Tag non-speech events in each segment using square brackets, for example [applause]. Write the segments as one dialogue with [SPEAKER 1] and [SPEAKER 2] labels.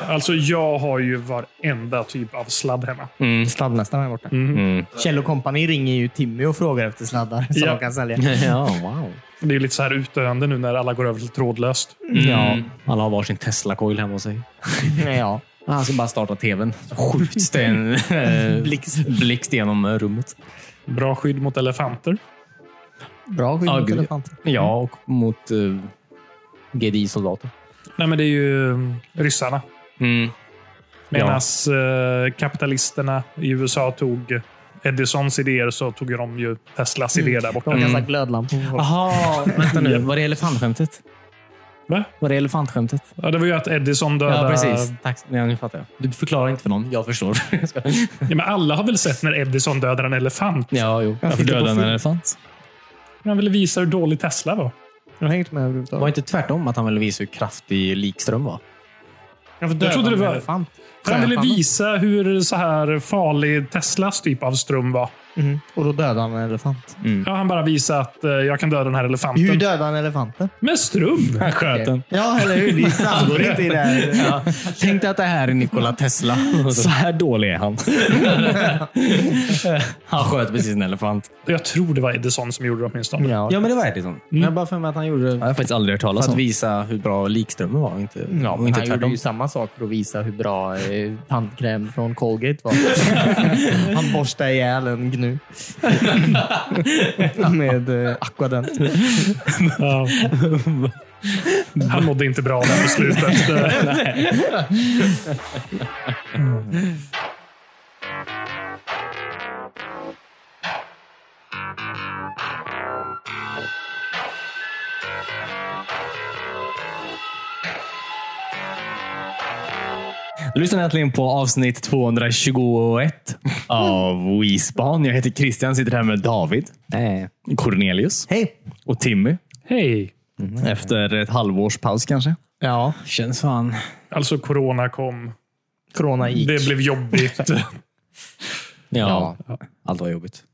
[SPEAKER 1] Alltså, jag har ju varenda typ av sladd hemma.
[SPEAKER 2] Mm.
[SPEAKER 3] Sladdmästaren är borta.
[SPEAKER 2] Mm.
[SPEAKER 3] Kjell och kompani ringer ju Timmy och frågar efter sladdar [laughs] som
[SPEAKER 1] [laughs] Ja.
[SPEAKER 3] de kan sälja.
[SPEAKER 4] [laughs] Ja, wow.
[SPEAKER 1] Det är lite så här utdöende nu när alla går över till trådlöst.
[SPEAKER 4] Ja, alla har varsin Tesla-coil hemma hos sig.
[SPEAKER 3] ja.
[SPEAKER 4] Han ska bara starta tvn. Så skjuts det [laughs] en eh,
[SPEAKER 3] Blixt.
[SPEAKER 4] blixt genom eh, rummet.
[SPEAKER 1] Bra skydd mot elefanter.
[SPEAKER 3] Bra skydd
[SPEAKER 4] Ja,
[SPEAKER 3] mot
[SPEAKER 4] gud.
[SPEAKER 3] elefanter.
[SPEAKER 4] Ja, och mot eh, GDI-soldater.
[SPEAKER 1] Nej, men det är ju mm, ryssarna.
[SPEAKER 4] Mm.
[SPEAKER 1] Medan eh, kapitalisterna i USA tog Edisons idéer så tog ju de ju Teslas
[SPEAKER 4] Mm.
[SPEAKER 1] idéer där borta. Mm.
[SPEAKER 3] De kastar glödlampor på folk.
[SPEAKER 4] Aha, vänta nu. Var det elefantskämtet?
[SPEAKER 1] Va?
[SPEAKER 4] Var det elefantskämtet?
[SPEAKER 1] Ja, det var ju att Edison dödade...
[SPEAKER 4] Ja, precis. Tack. Ja, nu fattar jag. Du förklarar inte för någon. Jag förstår. [laughs]
[SPEAKER 1] Ja, men alla har väl sett när Edison dödar en elefant?
[SPEAKER 4] ja, jo.
[SPEAKER 3] Jag sitter på
[SPEAKER 4] Döda en
[SPEAKER 3] film.
[SPEAKER 4] elefant.
[SPEAKER 1] Han ville visa hur dålig Tesla var.
[SPEAKER 3] De hänger inte med
[SPEAKER 4] Var
[SPEAKER 3] överhuvudtaget.
[SPEAKER 4] inte tvärtom att han ville visa hur kraftig likström var?
[SPEAKER 1] Jag trodde det var-
[SPEAKER 3] elefant.
[SPEAKER 1] Han ville
[SPEAKER 3] Sjöpannan.
[SPEAKER 1] visa hur så här farlig Teslas typ av ström var.
[SPEAKER 3] Mhm. Och då dödade han en elefant.
[SPEAKER 1] Ja, han bara visade att eh, jag kan döda den här elefanten.
[SPEAKER 3] Hur dödade han elefanten?
[SPEAKER 1] Med ström!
[SPEAKER 4] Han sköt den.
[SPEAKER 3] Ja, eller
[SPEAKER 1] [laughs]
[SPEAKER 3] hur? Det framgår inte i det här.
[SPEAKER 4] Ja. Tänk dig att det här är Nikola Tesla. [laughs] Så här dålig är han. [laughs] han sköt precis en elefant.
[SPEAKER 1] Jag tror det var Edison som gjorde det åtminstone.
[SPEAKER 3] Ja.
[SPEAKER 4] Ja, men det var Edison. Jag har bara för mig att han gjorde
[SPEAKER 2] Jag har faktiskt aldrig hört
[SPEAKER 4] för
[SPEAKER 2] talas
[SPEAKER 4] att
[SPEAKER 2] om.
[SPEAKER 4] visa hur bra likströmmen var. och Inte,
[SPEAKER 3] Ja,
[SPEAKER 4] och
[SPEAKER 3] men
[SPEAKER 4] inte
[SPEAKER 3] han gjorde
[SPEAKER 4] tvärtom.
[SPEAKER 3] ju samma sak för att visa hur bra eh, tandkräm från Colgate [laughs] var. han borstade ihjäl
[SPEAKER 1] [laughs]
[SPEAKER 3] en gnu. Med eh, Aquadent.
[SPEAKER 1] Ja. Han mådde inte bra där på slutet.
[SPEAKER 4] Du lyssnar äntligen på avsnitt 221 av Wispan. Jag heter Christian, sitter här med David,
[SPEAKER 2] Nej.
[SPEAKER 4] Cornelius
[SPEAKER 3] Hej!
[SPEAKER 4] och Timmy.
[SPEAKER 1] Hej!
[SPEAKER 4] Efter ett halvårs paus kanske.
[SPEAKER 3] Ja,
[SPEAKER 4] Känns fan.
[SPEAKER 1] Alltså, corona kom.
[SPEAKER 3] corona gick.
[SPEAKER 1] Det blev [laughs] jobbigt.
[SPEAKER 4] Ja,
[SPEAKER 3] Ja.
[SPEAKER 4] allt var jobbigt.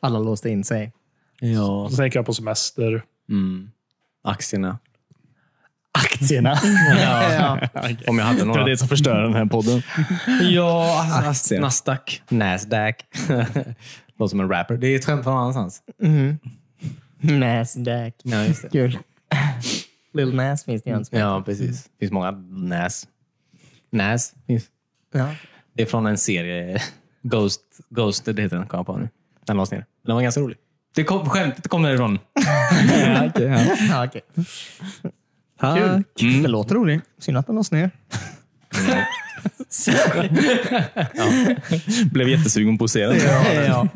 [SPEAKER 3] Alla låste in sig.
[SPEAKER 4] Ja.
[SPEAKER 1] Och så tänker jag på semester.
[SPEAKER 4] Mm. Aktierna.
[SPEAKER 3] Aktierna. [laughs] ja.
[SPEAKER 4] Om jag hade några.
[SPEAKER 2] som förstör den här podden.
[SPEAKER 4] [laughs] Ja, alltså,
[SPEAKER 2] Aktier.
[SPEAKER 4] Nasdaq. Nasdaq. [laughs] Låter som en rapper. Det är ett skämt från någon annanstans.
[SPEAKER 3] Mm. Nasdaq.
[SPEAKER 4] Ja, just det.
[SPEAKER 3] Kul. Lil Nas finns det ju en som
[SPEAKER 4] Ja, precis. Det finns många Nas. Nas finns.
[SPEAKER 3] ja.
[SPEAKER 4] Det är från en serie. [laughs] Ghost, Ghosted heter den. Kom jag på nu. Den lades ner. Den var ganska rolig. Det kom, skämtet kom [laughs] därifrån.
[SPEAKER 3] ja, okej. Kul. Mm. Det låter roligt. Synd att den lades ner.
[SPEAKER 2] Blev jättesugen på att se den.
[SPEAKER 3] [laughs] Ja.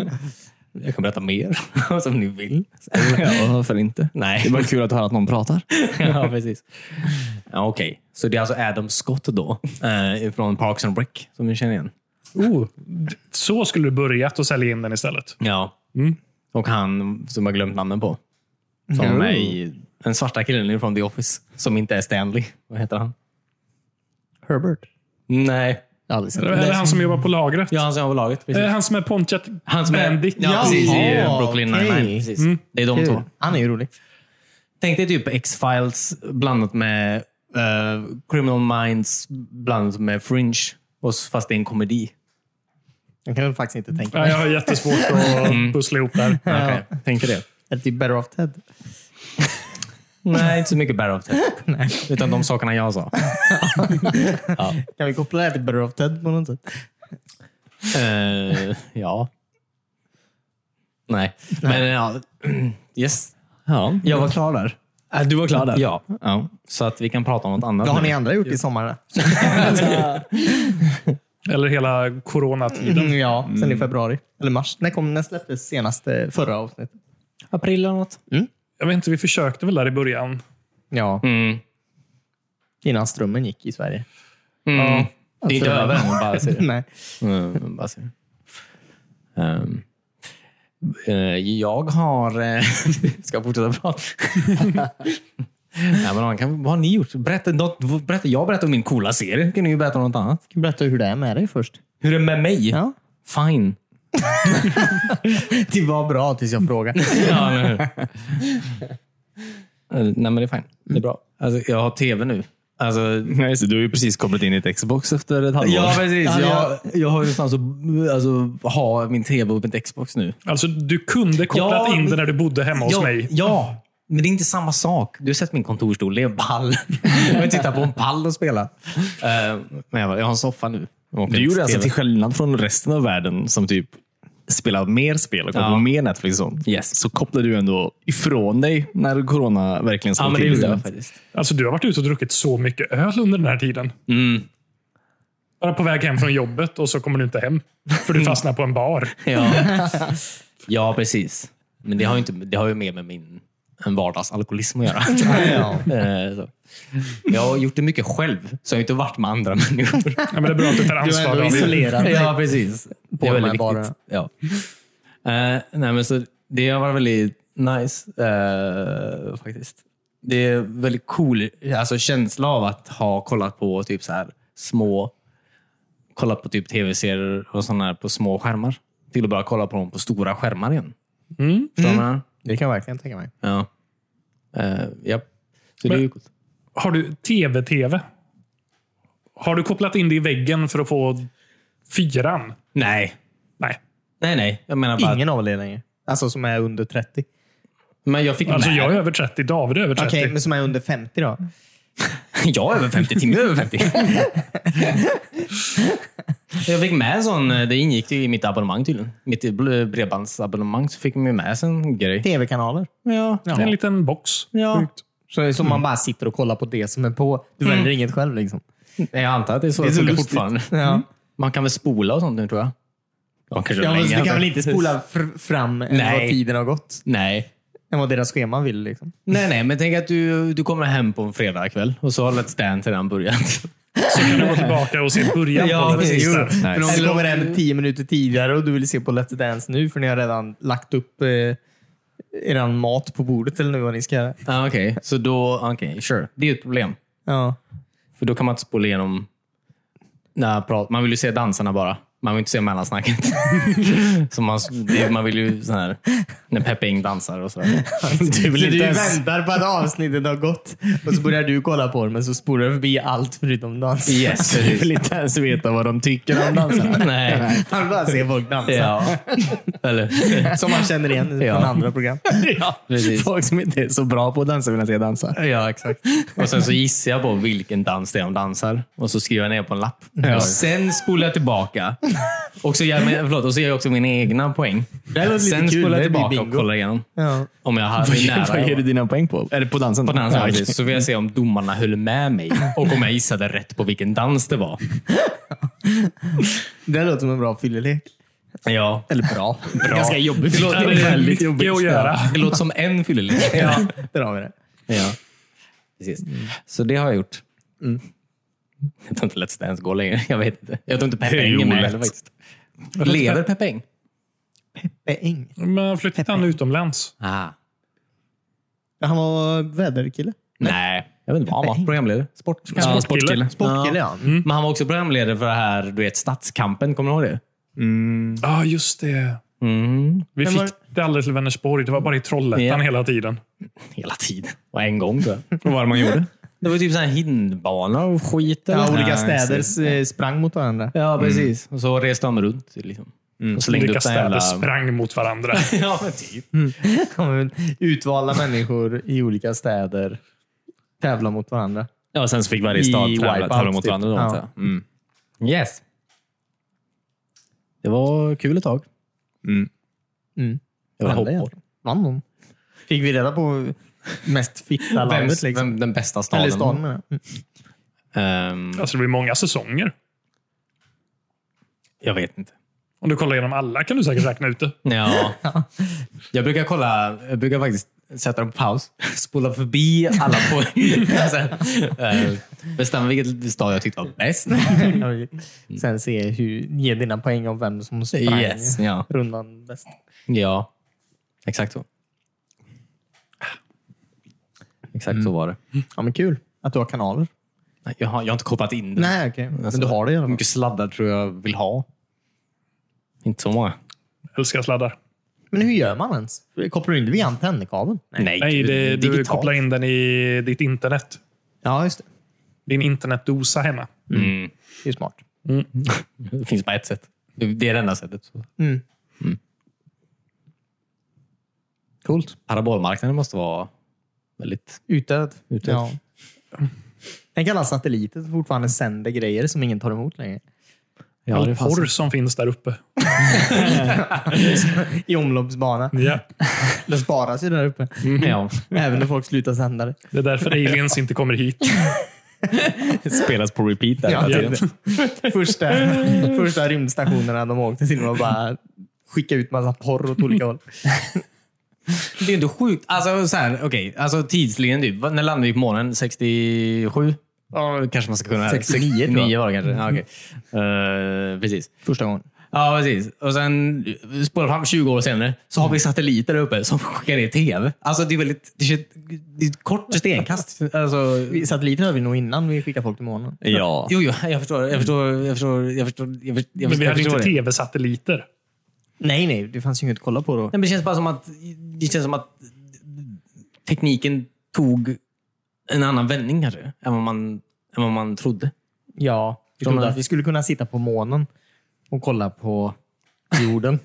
[SPEAKER 4] Jag kan berätta mer [laughs] som ni vill.
[SPEAKER 2] Ja, varför inte?
[SPEAKER 4] Nej.
[SPEAKER 2] Det var kul att höra att någon pratar.
[SPEAKER 4] [laughs] ja, precis. Ja, Okej, så det är alltså Adam Scott då, eh, från Parks and Rec, som ni känner igen.
[SPEAKER 1] Oh, d- så skulle du börjat och sälja in den istället.
[SPEAKER 4] Ja.
[SPEAKER 1] Mm.
[SPEAKER 4] Och han som jag glömt namnen på. Som är med i den svarta killen från The Office, som inte är Stanley. Vad heter han?
[SPEAKER 3] Herbert.
[SPEAKER 4] Nej.
[SPEAKER 3] Jag har aldrig sett
[SPEAKER 1] Eller är det han som jobbar på lagret?
[SPEAKER 4] Ja, han som var laget.
[SPEAKER 1] Eh,
[SPEAKER 4] Precis.
[SPEAKER 1] Han som är Pontiac
[SPEAKER 4] han som är...
[SPEAKER 1] Bandit.
[SPEAKER 4] Ja, precis. I
[SPEAKER 3] Jaha,
[SPEAKER 4] Brooklyn
[SPEAKER 3] okej.
[SPEAKER 4] Nine-Nine. Precis.
[SPEAKER 1] Mm.
[SPEAKER 4] Det är de två.
[SPEAKER 3] Kul. Han är ju rolig.
[SPEAKER 4] Tänk dig typ X-Files blandat med eh, Criminal Minds blandat med Fringe. Och s- Fast det är en komedi.
[SPEAKER 3] Jag kan väl faktiskt inte tänka
[SPEAKER 1] Ja,
[SPEAKER 3] mig.
[SPEAKER 1] jag har jättesvårt
[SPEAKER 4] Mm.
[SPEAKER 1] att pussla ihop där.
[SPEAKER 4] Okej, Tänk dig det.
[SPEAKER 3] Är det typ Better Off Ted?
[SPEAKER 4] Nej, inte så mycket Bear of [laughs] Ted. Utan de sakerna jag sa.
[SPEAKER 3] Kan vi koppla det här till Better Off Ted på något sätt?
[SPEAKER 4] Eh, ja. Nej, men ja. Yes.
[SPEAKER 2] Ja.
[SPEAKER 4] Jag var klar där.
[SPEAKER 2] Du var klar där?
[SPEAKER 4] Ja. ja. Så att vi kan prata om något annat.
[SPEAKER 3] Vad har
[SPEAKER 4] nu.
[SPEAKER 3] ni andra gjort i sommar?
[SPEAKER 1] Eller hela coronatiden.
[SPEAKER 3] Mm, ja, sen i februari. Eller mars. När, kom, när släpptes senaste förra avsnittet?
[SPEAKER 4] April eller något?
[SPEAKER 1] Jag vet inte, vi försökte väl där i början.
[SPEAKER 3] Ja,
[SPEAKER 4] Mm.
[SPEAKER 3] innan strömmen gick i Sverige.
[SPEAKER 4] Mm.
[SPEAKER 1] Ja.
[SPEAKER 4] Det är inte
[SPEAKER 3] Alltså,
[SPEAKER 4] över än. Bara ser det.
[SPEAKER 3] [laughs] Nej.
[SPEAKER 4] Mm, bara ser det. Ehm, eh, jag har... eh, [laughs] ska jag fortsätta prata? Nej, men vad kan, vad har ni gjort? Berätta, något, berätta, jag berättar om min coola serie. Kan ni ju berätta om något annat?
[SPEAKER 3] Kan du berätta hur det är med dig först?
[SPEAKER 4] Hur är det med mig?
[SPEAKER 3] Ja.
[SPEAKER 4] Fine.
[SPEAKER 3] [laughs] Det var bra tills jag [laughs] frågade.
[SPEAKER 4] Ja, men hur? Eh, Nej, men det är fint. Det är bra. Alltså, jag har tv nu. Alltså,
[SPEAKER 2] Nej, så du har ju precis kommit in i ett Xbox efter ett halvår.
[SPEAKER 4] ja, precis.
[SPEAKER 3] Ja,
[SPEAKER 4] Jag, jag har ju fanns att alltså, ha min tv och mitt Xbox nu.
[SPEAKER 1] Alltså, du kunde kopplat
[SPEAKER 4] Ja,
[SPEAKER 1] in det
[SPEAKER 4] men-
[SPEAKER 1] när du bodde hemma hos
[SPEAKER 4] ja,
[SPEAKER 1] mig.
[SPEAKER 4] Ja, men det är inte samma sak. Du har sett min kontorsstol. Det är en pall. [laughs] jag vill titta på en pall och spela. Eh, men jag, bara, jag har en soffa nu.
[SPEAKER 2] Du gjorde alltså till skillnad från resten av världen som typ spelar mer spel och kollar
[SPEAKER 4] Ja.
[SPEAKER 2] på mer Netflix och sånt,
[SPEAKER 4] Yes.
[SPEAKER 2] så kopplade du ändå ifrån dig när corona verkligen slog
[SPEAKER 4] Ja, men det
[SPEAKER 2] till.
[SPEAKER 4] gjorde jag faktiskt.
[SPEAKER 1] Alltså, du har varit ute och druckit så mycket öl under den här tiden. Bara på väg hem från jobbet och så kommer du inte hem. För du fastnar på en bar.
[SPEAKER 4] Ja. [laughs] ja, precis. Men det har ju, inte, det har ju mer med min en vardagsalkoholism att göra. Eh, så. Jag har gjort det mycket själv, så jag har inte varit med andra människor.
[SPEAKER 1] Ja, men det är bra att du tar
[SPEAKER 3] Du är
[SPEAKER 1] ansvar.
[SPEAKER 3] ändå
[SPEAKER 1] David.
[SPEAKER 3] isolerad.
[SPEAKER 4] ja, precis. Det är
[SPEAKER 3] de här
[SPEAKER 4] väldigt viktigt.
[SPEAKER 3] barerna.
[SPEAKER 4] Ja. Eh, nej, men så det har varit väldigt nice, eh, faktiskt. Det är väldigt cool alltså, känsla av att ha kollat på typ så här små kollat på typ tv-serier och sådana här på små skärmar. Till att bara kolla på dem på stora skärmar igen.
[SPEAKER 1] Mm.
[SPEAKER 4] Förstår du vad jag menar?
[SPEAKER 3] Det kan jag verkligen tänka mig.
[SPEAKER 4] Ja. Eh, japp. Så
[SPEAKER 1] Men-
[SPEAKER 4] det är ju coolt.
[SPEAKER 1] Har du tv-tv? Har du kopplat in det i väggen för att få fyran?
[SPEAKER 4] Nej.
[SPEAKER 1] Nej.
[SPEAKER 4] Nej, nej. Jag menar bara...
[SPEAKER 3] Ingen av er längre. Alltså som är under 30.
[SPEAKER 4] Men jag fick
[SPEAKER 1] Alltså,
[SPEAKER 4] med.
[SPEAKER 1] jag är över 30. David är över 30.
[SPEAKER 3] Okej, men som är under 50 då?
[SPEAKER 4] [laughs] Jag är över 50. Timmy är över 50. [laughs] jag fick med en sån. eh, Det ingick ju i mitt abonnemang tydligen. Mitt bl- bredbandsabonnemang så fick man med sig en grej.
[SPEAKER 3] Tv-kanaler.
[SPEAKER 4] Ja.
[SPEAKER 1] En liten box.
[SPEAKER 4] ja.
[SPEAKER 3] Så det är som man bara sitter och kollar på det som är på. Du väljer inget själv liksom.
[SPEAKER 4] Jag antar att det är så
[SPEAKER 3] Det
[SPEAKER 4] det,
[SPEAKER 3] är så
[SPEAKER 4] funkar
[SPEAKER 3] lustigt. Mm.
[SPEAKER 4] fortfarande.
[SPEAKER 3] Ja.
[SPEAKER 4] Man kan väl spola och sånt nu tror jag. Ja, kanske
[SPEAKER 3] Ja, men
[SPEAKER 4] länge,
[SPEAKER 3] du
[SPEAKER 4] alltså.
[SPEAKER 3] kan väl inte spola fr- fram än
[SPEAKER 4] Nej.
[SPEAKER 3] vad tiden har gått?
[SPEAKER 4] Nej.
[SPEAKER 3] Än vad deras schema vill liksom.
[SPEAKER 4] Nej, nej, men tänk att du, du kommer hem på en fredagkväll och så har Let's Dance redan börjat. [laughs]
[SPEAKER 1] Så kan du gå tillbaka och se början på det.
[SPEAKER 4] precis.
[SPEAKER 1] Precis.
[SPEAKER 3] Jo.
[SPEAKER 1] där.
[SPEAKER 3] Men om
[SPEAKER 4] Eller
[SPEAKER 3] du
[SPEAKER 4] om
[SPEAKER 3] kommer
[SPEAKER 4] du-
[SPEAKER 3] hem tio minuter tidigare och du vill se på Let's Dance nu för ni har redan lagt upp eh, er mat på bordet eller nu vad ni ska göra.
[SPEAKER 4] Ah, Okej, så då, okay, sure. Det är ju ett problem.
[SPEAKER 3] Ja.
[SPEAKER 4] För då kan man inte spola
[SPEAKER 2] [laughs]
[SPEAKER 4] igenom... När prat, man vill ju se dansarna bara. Man vill inte se mellansnacket. så man, det, man vill ju sån här, när Peppe Ing dansar och sådär. Du vill
[SPEAKER 3] Så
[SPEAKER 4] inte
[SPEAKER 3] du
[SPEAKER 4] ens...
[SPEAKER 3] väntar på att avsnittet har gått och så börjar du kolla på det men så spolar du förbi allt förutom dans.
[SPEAKER 4] Yes,
[SPEAKER 2] Du [laughs]
[SPEAKER 4] precis.
[SPEAKER 2] vill inte ens veta vad de tycker om dansarna.
[SPEAKER 4] Nej.
[SPEAKER 3] Han bara ser folk dansa.
[SPEAKER 4] Ja. Eller?
[SPEAKER 3] Som man känner igen från
[SPEAKER 4] Ja.
[SPEAKER 3] andra program.
[SPEAKER 4] Ja, [laughs] precis.
[SPEAKER 2] Folk som inte är så bra på att dansa vill att jag dansa.
[SPEAKER 4] Ja, exakt. Och sen så gissar jag på vilken dans det är de dansar. Och så skriver jag ner på en lapp. Och sen spolar jag tillbaka. Och så gör, jag- förlåt, och så gör jag också mina egna poäng.
[SPEAKER 3] här låter lite
[SPEAKER 4] Sen
[SPEAKER 3] kul.
[SPEAKER 4] spolar
[SPEAKER 3] Det
[SPEAKER 4] jag
[SPEAKER 3] blir
[SPEAKER 4] tillbaka och
[SPEAKER 3] bingo.
[SPEAKER 4] kollar igenom.
[SPEAKER 3] Ja.
[SPEAKER 4] Om jag hade
[SPEAKER 2] Vad
[SPEAKER 4] hur
[SPEAKER 2] ger,
[SPEAKER 4] nära
[SPEAKER 2] vad
[SPEAKER 4] jag
[SPEAKER 2] ger du
[SPEAKER 4] var.
[SPEAKER 2] dina poäng på? Eller på dansen?
[SPEAKER 4] på dansen.
[SPEAKER 2] Ja, okej.
[SPEAKER 4] faktiskt. Så vill jag se om domarna höll med mig och om jag gissade rätt på vilken dans det var.
[SPEAKER 3] Det här låter som en bra fyllelek.
[SPEAKER 4] Ja.
[SPEAKER 3] Eller bra.
[SPEAKER 4] Bra.
[SPEAKER 3] Ganska jobbig
[SPEAKER 4] Det låter,
[SPEAKER 1] Ja,
[SPEAKER 4] det
[SPEAKER 1] det är
[SPEAKER 4] väldigt
[SPEAKER 1] mycket
[SPEAKER 4] jobbigt.
[SPEAKER 1] att göra.
[SPEAKER 4] Ja. Det låter som en fyllelek.
[SPEAKER 3] Ja, [laughs] där har vi det.
[SPEAKER 4] Ja. Precis. Så det har jag gjort. Mm. Jag tror inte Let's Dance går längre. Jag vet inte. Jag tror inte Peppe Eng är med
[SPEAKER 2] Hur
[SPEAKER 4] heller faktiskt. Lever Peppe Eng?
[SPEAKER 3] Bäng.
[SPEAKER 1] Men han flyttade han utomlands?
[SPEAKER 4] Ah.
[SPEAKER 3] Han var väderkille.
[SPEAKER 4] Nej. Jag vet inte vad han
[SPEAKER 3] Peppe
[SPEAKER 4] var.
[SPEAKER 3] Eng.
[SPEAKER 4] Programledare? Sport. Mm.
[SPEAKER 1] Sportkille.
[SPEAKER 3] Sportkille, ja.
[SPEAKER 4] Men han var också programledare för det här, du vet, Stadskampen. Kommer du ihåg det?
[SPEAKER 1] Ja, just det.
[SPEAKER 4] Mm.
[SPEAKER 1] Vi
[SPEAKER 3] Men
[SPEAKER 1] fick
[SPEAKER 3] var-
[SPEAKER 1] det aldrig till Vänersborg. Det var bara i Trollhättan
[SPEAKER 4] Ja.
[SPEAKER 1] hela tiden.
[SPEAKER 4] Hela tiden. Och en gång tror jag. [laughs]
[SPEAKER 2] Vad var det man gjorde?
[SPEAKER 4] Det var typ så här hindbanor och skit. eller?
[SPEAKER 3] Ja, olika
[SPEAKER 4] Ja,
[SPEAKER 3] städer
[SPEAKER 4] precis.
[SPEAKER 3] eh, sprang mot varandra. [laughs]
[SPEAKER 4] Ja, precis. Och så reste de runt. Liksom. Och slängde
[SPEAKER 1] Olika
[SPEAKER 4] upp den
[SPEAKER 1] städer
[SPEAKER 4] jävla... [laughs]
[SPEAKER 1] sprang mot varandra.
[SPEAKER 4] Ja, men typ.
[SPEAKER 3] Utvalda människor i olika städer tävla mot varandra.
[SPEAKER 2] Ja, sen så fick varje
[SPEAKER 3] I
[SPEAKER 2] stad tävla-
[SPEAKER 3] Wipeout,
[SPEAKER 2] tävla mot
[SPEAKER 3] typ.
[SPEAKER 2] varandra. Då,
[SPEAKER 3] Ja.
[SPEAKER 2] antar jag. Mm.
[SPEAKER 4] Yes. Det var kul ett tag.
[SPEAKER 3] Mm.
[SPEAKER 4] Det var
[SPEAKER 3] Vann
[SPEAKER 4] hoppor.
[SPEAKER 3] det egentligen? Vann de? Fick vi reda på mest fitta landet? Liksom.
[SPEAKER 4] vem, den bästa staden?
[SPEAKER 3] Eller staden menar jag. Mm.
[SPEAKER 4] Ehm,
[SPEAKER 1] Alltså, det blir många säsonger.
[SPEAKER 4] jag vet inte.
[SPEAKER 1] Om du kollar igenom alla kan du säkert räkna ut det.
[SPEAKER 4] [laughs] Ja. jag brukar kolla, jag brukar faktiskt sätta dem på paus, spola förbi alla på... [laughs] alltså, eh, bestämma vilket stad jag tyckte var bäst. [laughs]
[SPEAKER 3] Ja, Sen se hur, ge dina poäng om vem som sprang
[SPEAKER 4] Yes. Ja.
[SPEAKER 3] rundan bäst.
[SPEAKER 4] Ja, exakt så. Exakt så var det.
[SPEAKER 3] Ja, men kul att du har kanaler.
[SPEAKER 4] Nej, Jag har, jag har inte kopplat in det.
[SPEAKER 3] Nej, okej.
[SPEAKER 4] Alltså,
[SPEAKER 3] men du har det i alla
[SPEAKER 4] Hur
[SPEAKER 3] fall.
[SPEAKER 4] mycket sladdar tror jag vill ha? Inte så många.
[SPEAKER 1] Älskar sladdar.
[SPEAKER 3] Men hur gör man ens? Kopplar du in det via antennkabeln?
[SPEAKER 4] Nej,
[SPEAKER 1] Nej, det, du
[SPEAKER 4] digitalt.
[SPEAKER 1] kopplar in den i ditt internet.
[SPEAKER 3] Ja, just det.
[SPEAKER 1] din internetdosa hemma.
[SPEAKER 4] Mm.
[SPEAKER 3] Det är smart.
[SPEAKER 4] Det finns bara ett sätt. Det är det enda sättet. Så.
[SPEAKER 3] Mm.
[SPEAKER 4] Coolt. Parabolmarknaden måste vara väldigt... [laughs]
[SPEAKER 3] Utdöd.
[SPEAKER 4] Utdöd.
[SPEAKER 3] Ja. Tänk alla satelliter som fortfarande sänder grejer som ingen tar emot längre. [laughs]
[SPEAKER 1] All
[SPEAKER 4] det
[SPEAKER 1] porr som finns där uppe.
[SPEAKER 3] I omloppsbana.
[SPEAKER 1] Ja.
[SPEAKER 3] Det sparas ju där uppe.
[SPEAKER 4] Ja.
[SPEAKER 3] Även när folk slutar sända det.
[SPEAKER 1] Det är därför aliens inte kommer
[SPEAKER 4] [laughs]
[SPEAKER 1] hit.
[SPEAKER 2] Spelas på repeat där hela
[SPEAKER 1] Ja.
[SPEAKER 2] tiden.
[SPEAKER 3] [laughs] Första, första rymdstationerna de åkte till var bara skicka ut massa porr åt olika håll.
[SPEAKER 4] Det är inte sjukt. Alltså, så här, okay. alltså tidslinjen typ. Vad- När landade vi på månen? 67? Ja, kanske man ska kunna.
[SPEAKER 3] 69 tror jag.
[SPEAKER 4] 69 var det kanske. Ja, okej. Eh, precis.
[SPEAKER 3] Första gången.
[SPEAKER 4] Ja, precis. Och sen spolar fram 20 år senare så har vi satelliter där uppe som skickar ner tv. Alltså det är väldigt... Det är ett, det är ett kort stenkast. Alltså,
[SPEAKER 3] Vi- Satelliter hade vi nog innan vi skickade folk till månen.
[SPEAKER 4] Mm.
[SPEAKER 2] Ja.
[SPEAKER 4] Jo, jo, jag förstår. Jag förstår. Jag förstår. Jag förstår. Jag förstår,
[SPEAKER 1] Men vi
[SPEAKER 4] jag förstår, jag
[SPEAKER 1] hade
[SPEAKER 4] förstår
[SPEAKER 1] inte
[SPEAKER 4] det. Nej,
[SPEAKER 1] tv-satelliter.
[SPEAKER 3] Nej, nej. Det fanns ju inget att kolla på då.
[SPEAKER 4] men det känns bara som att det känns som att tekniken tog en annan vändning kanske, än vad man, än vad man trodde.
[SPEAKER 3] Ja, vi
[SPEAKER 4] trodde
[SPEAKER 3] trodde
[SPEAKER 4] att-
[SPEAKER 3] att vi skulle kunna sitta på månen och kolla på [laughs] jorden.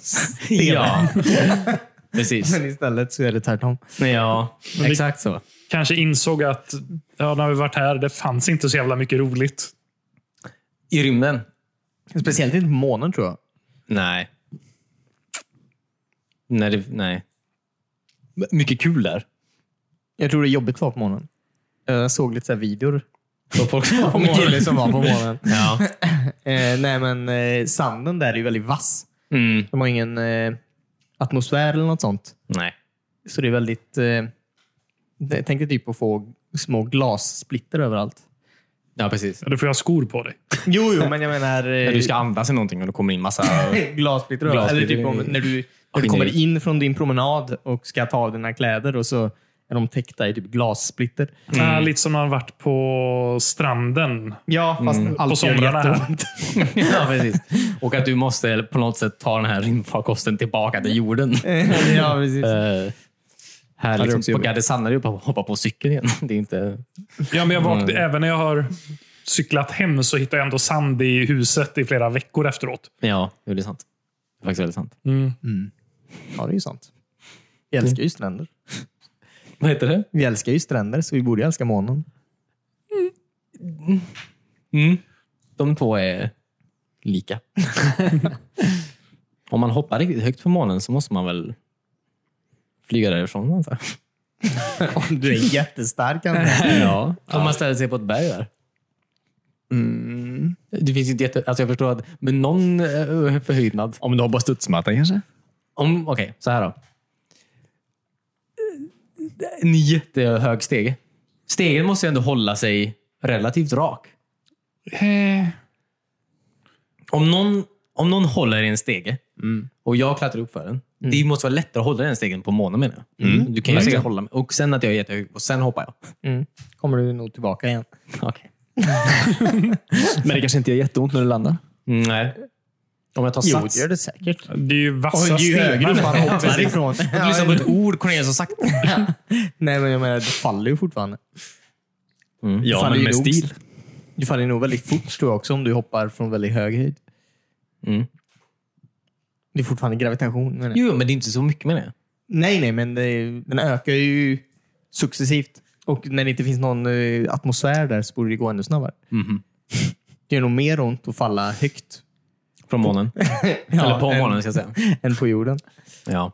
[SPEAKER 4] Ja, [laughs] precis.
[SPEAKER 3] Men istället så är det tvärtom.
[SPEAKER 4] Ja, exakt så.
[SPEAKER 1] Kanske insåg att ja, när vi varit här, det fanns inte så jävla mycket roligt.
[SPEAKER 4] I rymden?
[SPEAKER 3] Speciellt inte på månen tror jag.
[SPEAKER 4] Nej. Nej, det, nej. Mycket kul där.
[SPEAKER 3] Jag tror det är jobbigt att vara på månen. Jag såg lite så här videor
[SPEAKER 4] Vad folk [laughs] var
[SPEAKER 3] om en kille som var på månen.
[SPEAKER 4] [laughs] Ja.
[SPEAKER 3] Eh, nej, men eh, sanden där är ju väldigt vass.
[SPEAKER 4] Mm,
[SPEAKER 3] De har ingen eh, atmosfär eller något sånt.
[SPEAKER 4] nej.
[SPEAKER 3] Så det är väldigt... Eh, det- tänk dig typ att få små glassplitter överallt.
[SPEAKER 4] Ja, precis.
[SPEAKER 1] Ja, Du får jag skor på dig.
[SPEAKER 3] Jo, jo, men jag menar...
[SPEAKER 4] [laughs] När
[SPEAKER 3] Eh,
[SPEAKER 4] du ska andas i någonting och det kommer in massa...
[SPEAKER 3] glassplitter överallt. Eller
[SPEAKER 4] Glassplitter
[SPEAKER 3] typ om,
[SPEAKER 4] i-
[SPEAKER 3] när du, när du
[SPEAKER 4] in
[SPEAKER 3] kommer
[SPEAKER 4] i-
[SPEAKER 3] in från din promenad och ska ta av dina kläder och så är de täckta i typ glassplitter.
[SPEAKER 4] Mm.
[SPEAKER 1] Äh, lite som när man varit på stranden.
[SPEAKER 3] Ja, fast
[SPEAKER 4] Mm.
[SPEAKER 3] allt gör
[SPEAKER 1] somrarna här.
[SPEAKER 4] [laughs]
[SPEAKER 3] jätteont.
[SPEAKER 4] [laughs]
[SPEAKER 3] [laughs]
[SPEAKER 4] ja, precis. Och att du måste på något sätt ta den här rymdfarkosten tillbaka till jorden.
[SPEAKER 3] ja, precis.
[SPEAKER 4] Eh, här
[SPEAKER 3] är
[SPEAKER 4] liksom,
[SPEAKER 3] också
[SPEAKER 4] på
[SPEAKER 3] jobbigt.
[SPEAKER 4] Gardesandare är det bara att hoppa på cykeln igen. Det är inte...
[SPEAKER 1] Ja, men jag vaknade, Även när jag har cyklat hem så hittar jag ändå sand i huset i flera veckor efteråt.
[SPEAKER 4] Ja, jo, det är sant. Det är faktiskt väldigt sant.
[SPEAKER 3] Ja, det är ju sant. Mm. Vi älskar ju stränder.
[SPEAKER 4] Vad heter det?
[SPEAKER 3] Vi älskar ju stränder, så vi borde ju älska månen.
[SPEAKER 4] Mm. De två är [laughs] lika. Om man hoppar riktigt högt på månen så måste man väl flyga därifrån antar jag.
[SPEAKER 3] Om [laughs] du är jättestark, André.
[SPEAKER 4] Ja. [laughs] Om man ställer sig på ett berg där. Mm. Det finns inte jätte... Alltså jag förstår att med någon eh, förhöjdnad.
[SPEAKER 2] Om du hoppar studsmatta kanske?
[SPEAKER 4] Om, okej, så här då. En jättehög stege. Stegen måste ju ändå hålla sig relativt rak. Om någon, om någon håller i en stege och jag klättrar upp för den. Det måste vara lättare att hålla den stegen på månen menar jag. Du kan ju säkert hålla mig. Och sen att jag är jättehög och sen hoppar jag.
[SPEAKER 3] Mm. kommer du nog tillbaka igen.
[SPEAKER 4] [laughs] Okej.
[SPEAKER 2] Men det kanske inte gör jätteont när du landar?
[SPEAKER 4] Mm, Nej. Om jag tar sats.
[SPEAKER 3] det säkert.
[SPEAKER 1] Det är ju vassa
[SPEAKER 3] ju högre upp man
[SPEAKER 1] stenar.
[SPEAKER 3] hoppar ifrån.
[SPEAKER 4] Du lyssnar på ett ord Cornelius har sagt.
[SPEAKER 3] [laughs] Nej, men jag menar, det faller ju fortfarande.
[SPEAKER 2] Ja,
[SPEAKER 3] Faller ju
[SPEAKER 2] men med
[SPEAKER 3] nog-
[SPEAKER 2] stil.
[SPEAKER 3] Du faller nog väldigt fort, tror jag också, om du hoppar från väldigt hög höjd.
[SPEAKER 4] Mm.
[SPEAKER 3] Det är fortfarande gravitation, menar jag.
[SPEAKER 4] Jo, men det är inte så mycket menar jag.
[SPEAKER 3] Nej, nej, men det, den ökar ju successivt. Och när det inte finns någon eh, atmosfär där så borde det gå ännu snabbare. [laughs] Det gör nog mer ont att falla högt [laughs]
[SPEAKER 4] Från månen. Eller på
[SPEAKER 3] än-
[SPEAKER 4] månen ska jag säga.
[SPEAKER 3] än på jorden.
[SPEAKER 4] Ja.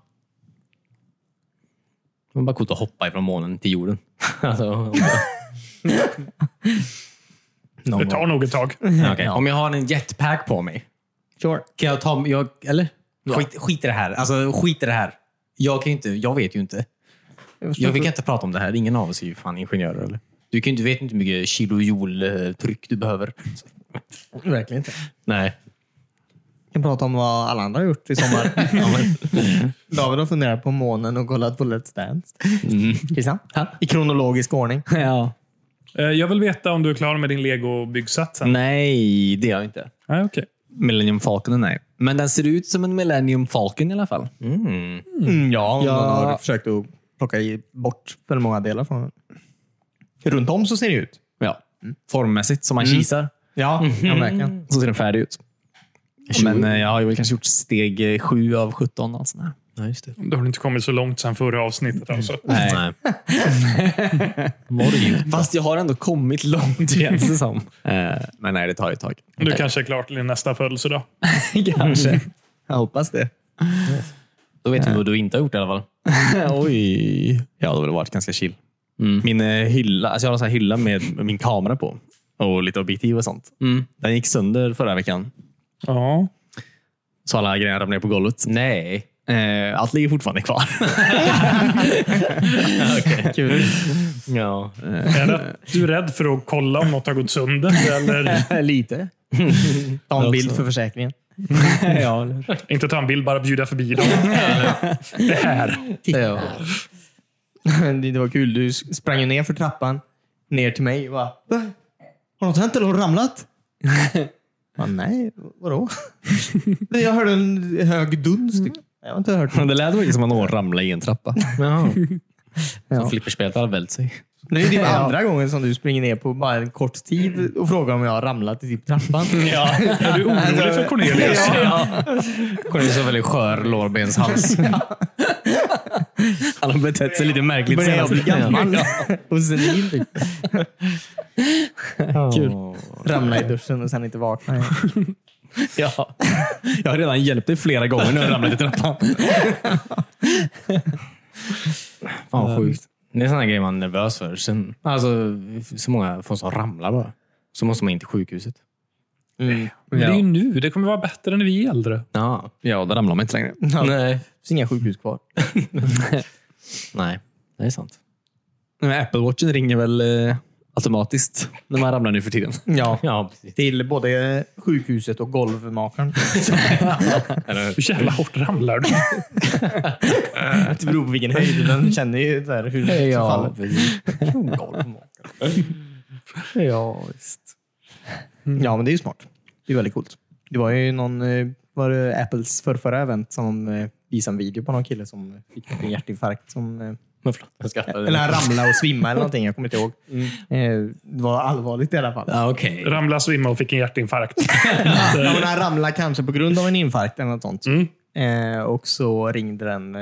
[SPEAKER 4] Det var bara coolt att hoppa ifrån månen till jorden. [laughs] Alltså,
[SPEAKER 1] Det tar nog ett tag.
[SPEAKER 4] okej. Om jag har en jetpack på mig,
[SPEAKER 3] Sure.
[SPEAKER 4] kan jag ta... Jag, eller? Skit, skit i det här. Alltså, skit i det här. Jag, kan ju inte, jag vet ju inte. Jag, vi kan inte prata om det här. Ingen av oss är ju fan ingenjörer. Eller? Du kan ju inte, vet inte hur mycket kilojoule-tryck du behöver.
[SPEAKER 3] Verkligen inte.
[SPEAKER 4] Nej.
[SPEAKER 3] Vi kan prata om vad alla andra har gjort i sommar. [laughs] David har funderat på månen och kollat på Let's Dance. [laughs] Christian? I kronologisk ordning.
[SPEAKER 4] [laughs] Ja.
[SPEAKER 1] Eh, Jag vill veta om du är klar med din lego-byggsats sen.
[SPEAKER 4] Mm.
[SPEAKER 2] Nej, det gör jag inte.
[SPEAKER 1] Nej, okej.
[SPEAKER 2] Millennium Falcon, nej. Men den ser ut som en Millennium Falcon i alla fall.
[SPEAKER 4] Mm.
[SPEAKER 3] ja, om
[SPEAKER 2] Ja.
[SPEAKER 3] någon har försökt att plocka i- bort väldigt många delar från den. Runt om så ser det ut.
[SPEAKER 2] Ja.
[SPEAKER 4] Mm.
[SPEAKER 2] formmässigt som man kisar.
[SPEAKER 3] Ja, ja verkligen.
[SPEAKER 2] Så ser den färdig ut. Men eh, jag har ju väl kanske gjort steg eh, 7 av 17. Alltså.
[SPEAKER 4] Nej, just det.
[SPEAKER 1] Då har du inte kommit så långt sedan förra avsnittet. Alltså.
[SPEAKER 2] Nej. [laughs] Fast jag har ändå kommit långt [laughs] känns det som. Eh, Men nej, det tar ju ett tag.
[SPEAKER 1] Du kanske är klar till din nästa födelsedag.
[SPEAKER 2] [laughs] kanske.
[SPEAKER 3] Jag hoppas det.
[SPEAKER 2] [clears throat]
[SPEAKER 4] Då vet vi vad du inte har gjort i alla fall.
[SPEAKER 2] Oj. Jag hade väl varit ganska chill. Min eh, hylla, alltså jag har en sån här hylla med med min kamera på. Och lite objektiv och sånt. Den gick sönder förra veckan.
[SPEAKER 1] Ja.
[SPEAKER 2] Så alla grejer ramlade ner på golvet.
[SPEAKER 4] Nej.
[SPEAKER 2] Eh, Allt ligger fortfarande kvar. [laughs]
[SPEAKER 3] Kul.
[SPEAKER 2] ja.
[SPEAKER 1] Är det, du är rädd för att kolla om något har gått sönder? Eller
[SPEAKER 3] [laughs] Lite. Ta en bild för försäkringen.
[SPEAKER 2] ja,
[SPEAKER 1] inte ta en bild, bara bjuda förbi dem. Det här.
[SPEAKER 3] Ja. Det det var kul. Du sprang ju ner för trappan, ner till mig och bara, "Va? Har något hänt eller har du ramlat? [laughs] Ja, nej, vadå? [laughs] Jag hörde en hög duns. typ. Jag har inte hört något. [laughs]
[SPEAKER 2] Det lät verkligen som att någon ramlade i en trappa.
[SPEAKER 4] Så flipperspelet har vält sig.
[SPEAKER 3] Det är typ andra gången som du springer ner på bara en kort tid och frågar om jag har ramlat i typ [laughs] trappan.
[SPEAKER 2] ja.
[SPEAKER 1] Är du orolig för Cornelius?
[SPEAKER 4] [laughs] Cornelius har väldigt skör lårbenshals.
[SPEAKER 2] Han har betett sig lite märkligt
[SPEAKER 3] Börjar jag
[SPEAKER 2] senast.
[SPEAKER 3] bli gammal [laughs] och senil. Typ.
[SPEAKER 2] Kul.
[SPEAKER 3] Ramla i duschen och sen inte vakna. igen.
[SPEAKER 2] Ja. Jag har redan hjälpt dig flera gånger när du ramlat i trappan.
[SPEAKER 4] [laughs] Fan
[SPEAKER 2] Ehm.
[SPEAKER 4] vad sjukt. Det är sådana grejer man är nervös för. Sen, alltså, så många folk som ramlar bara. Så måste man in till sjukhuset.
[SPEAKER 1] Det är ju nu. Det kommer vara bättre när vi är äldre.
[SPEAKER 4] Ja.
[SPEAKER 2] Ja, där ramlar man inte längre.
[SPEAKER 4] Nej.
[SPEAKER 3] Det finns inga sjukhus kvar.
[SPEAKER 4] Nej, det är sant.
[SPEAKER 2] Men Apple Watchen ringer väl eh, automatiskt när man ramlar nu för tiden?
[SPEAKER 3] Ja.
[SPEAKER 4] Ja, precis.
[SPEAKER 3] Till både sjukhuset och [laughs] golvmakaren.
[SPEAKER 1] Hur jävla hårt ramlar du?
[SPEAKER 3] Det beror på vilken höjd. Den känner ju så här hur det
[SPEAKER 4] Ja,
[SPEAKER 3] faller.
[SPEAKER 4] precis.
[SPEAKER 3] Ja, visst. Mm. Ja, men det är ju smart. Det är väldigt coolt. Det var ju någon, eh, var det Apples förrförra event som eh, visade en video på någon kille som fick en hjärtinfarkt. Som, eh,
[SPEAKER 4] Men förlåt, jag skrattade.
[SPEAKER 3] eller han ramlade och svimmade eller någonting. Jag kommer inte ihåg. Eh, Det var allvarligt i alla fall.
[SPEAKER 4] Ja, okej.
[SPEAKER 1] [laughs] Ramla, svimma och fick en hjärtinfarkt.
[SPEAKER 3] Ja, men han ramlade kanske på grund av en infarkt eller något sånt.
[SPEAKER 1] Mm.
[SPEAKER 3] Eh, och så ringde den eh,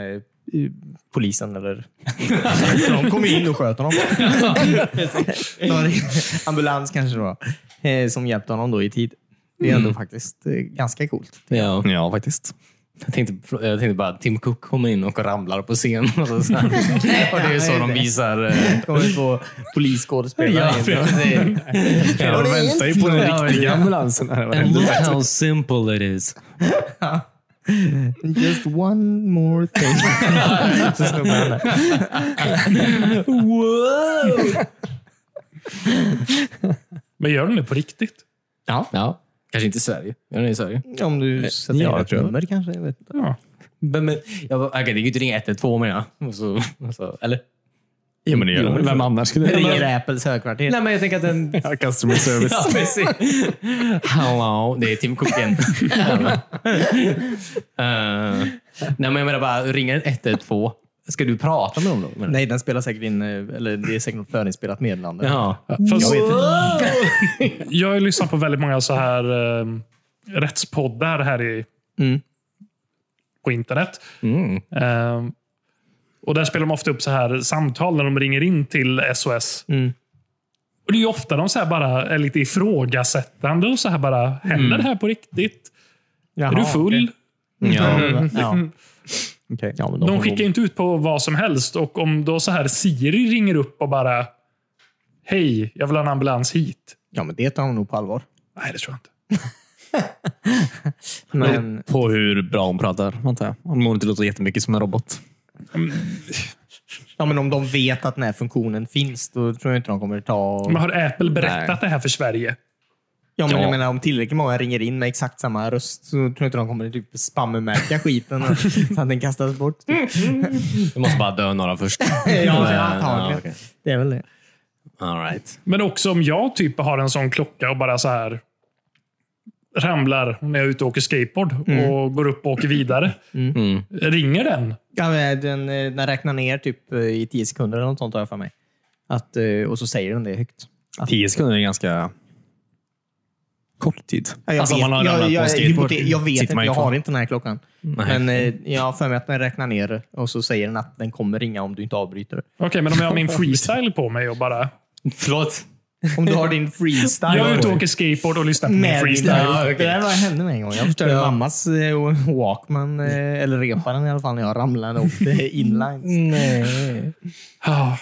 [SPEAKER 3] i- polisen eller... De kom in och sköt honom. De ringde- Ambulans kanske då. Eh, som hjälpte honom då i tid. Det är ändå faktiskt eh, ganska coolt.
[SPEAKER 4] Ja.
[SPEAKER 2] [laughs] Ja, faktiskt.
[SPEAKER 4] Jag, tänkte, jag tänkte bara att Tim Cook kommer in och ramlar på scen. [laughs] Och,
[SPEAKER 2] [laughs]
[SPEAKER 4] så, så här. och det är så de visar... eh,
[SPEAKER 3] Kommer få polisskådespelare in. Det är-
[SPEAKER 2] Jag
[SPEAKER 3] det är
[SPEAKER 2] väntar ju
[SPEAKER 3] inte
[SPEAKER 2] på den
[SPEAKER 3] bra.
[SPEAKER 2] riktiga ambulansen. här.
[SPEAKER 4] And look how simple it is.
[SPEAKER 3] Just one more thing. Så snubbar han där.
[SPEAKER 1] Men gör den det på riktigt?
[SPEAKER 4] Ja. ja. Kanske inte i Sverige. Gör det i Sverige?
[SPEAKER 3] Om du sätter
[SPEAKER 2] Ja,
[SPEAKER 3] in
[SPEAKER 2] jag
[SPEAKER 3] ett
[SPEAKER 2] tror jag.
[SPEAKER 3] nummer kanske. Jag vet. inte.
[SPEAKER 1] Ja.
[SPEAKER 4] Men, men, jag, bara, okej, det gick ju inte att ringa 112 menar jag. Och så, och så, eller?
[SPEAKER 2] Ja, men det gör de. Vem annars skulle
[SPEAKER 3] Ringer Apples högkvarter.
[SPEAKER 4] Nej, men jag tänker att den...
[SPEAKER 2] Ja, customer service.
[SPEAKER 4] Ja, precis. Hello, det är Tim Cook [laughs] igen. Eh, nej, men jag menar bara, ringer den 112, ska du prata med dem då? menar du?
[SPEAKER 3] Nej, den spelar säkert in, eh, eller det är säkert något förinspelat meddelande.
[SPEAKER 4] Ja.
[SPEAKER 1] Fast
[SPEAKER 3] Jag vet inte.
[SPEAKER 1] jag har ju lyssnat på väldigt många så här eh, rättspoddar här i,
[SPEAKER 3] Mm.
[SPEAKER 1] på internet.
[SPEAKER 4] Mm.
[SPEAKER 1] Ehm, och där spelar de ofta upp så här samtal när de ringer in till SOS.
[SPEAKER 3] Mm.
[SPEAKER 1] Och det är ju ofta de så här bara är lite ifrågasättande och så här bara, händer det här på riktigt?
[SPEAKER 3] Mm. Jaha,
[SPEAKER 1] är du full?
[SPEAKER 3] okej. Mm. Ja. Okej. Ja, men de
[SPEAKER 1] De
[SPEAKER 3] får
[SPEAKER 1] skickar ju inte ut på vad som helst och om då så här Siri ringer upp och bara, hej, jag vill ha en ambulans hit.
[SPEAKER 3] ja, men det tar hon nog på allvar.
[SPEAKER 1] Nej, det tror jag inte.
[SPEAKER 3] Men,
[SPEAKER 2] På hur bra hon pratar, antar jag. Hon må inte låta jättemycket som en robot.
[SPEAKER 3] ja, men om de vet att den här funktionen finns, då tror jag inte de kommer ta... Och...
[SPEAKER 1] Men har Apple berättat
[SPEAKER 2] Nej.
[SPEAKER 1] det här för Sverige?
[SPEAKER 3] Ja, men jag
[SPEAKER 2] Ja.
[SPEAKER 3] menar, om tillräckligt många ringer in med exakt samma röst så tror jag inte de kommer typ spammärka skiten [laughs] och- så att den kastas bort.
[SPEAKER 4] Du måste bara dö några först.
[SPEAKER 3] antagligen.
[SPEAKER 4] okej.
[SPEAKER 3] Det är väl det.
[SPEAKER 4] All right.
[SPEAKER 1] Men också om jag typ har en sån klocka och bara så här ramlar när jag är ute och åker skateboard och går upp och åker vidare. Ringer den?
[SPEAKER 3] Ja, men den, eh, den räknar ner typ eh, i tio sekunder eller något sånt har jag för mig. Att, eh, och så säger den det högt.
[SPEAKER 2] Tio sekunder är ganska kort tid.
[SPEAKER 3] Ja, jag
[SPEAKER 2] Alltså, om
[SPEAKER 3] vet,
[SPEAKER 2] man har ramlat
[SPEAKER 3] jag,
[SPEAKER 2] på
[SPEAKER 3] jag,
[SPEAKER 2] en skateboard
[SPEAKER 3] hypote- jag vet
[SPEAKER 2] sitter
[SPEAKER 3] inte,
[SPEAKER 2] man ju
[SPEAKER 3] jag
[SPEAKER 2] kvar.
[SPEAKER 3] har inte den här klockan. Men eh, jag har för mig att den räknar ner och så säger den att den kommer ringa om du inte avbryter. det.
[SPEAKER 1] Okej, men om jag har min freestyle på mig och bara...
[SPEAKER 4] Förlåt.
[SPEAKER 3] Om du har
[SPEAKER 2] [laughs]
[SPEAKER 3] din freestyle.
[SPEAKER 1] Jag är ute och åker skateboard och lyssnar på min
[SPEAKER 3] Med din-
[SPEAKER 1] freestyle.
[SPEAKER 3] Ja, Det där var- hände mig en gång. Jag förstörde mammas eh, walkman, eh, eller reparen i alla fall, när jag ramlade eh, och [laughs] åkte inline.
[SPEAKER 4] Nej.
[SPEAKER 1] Ah,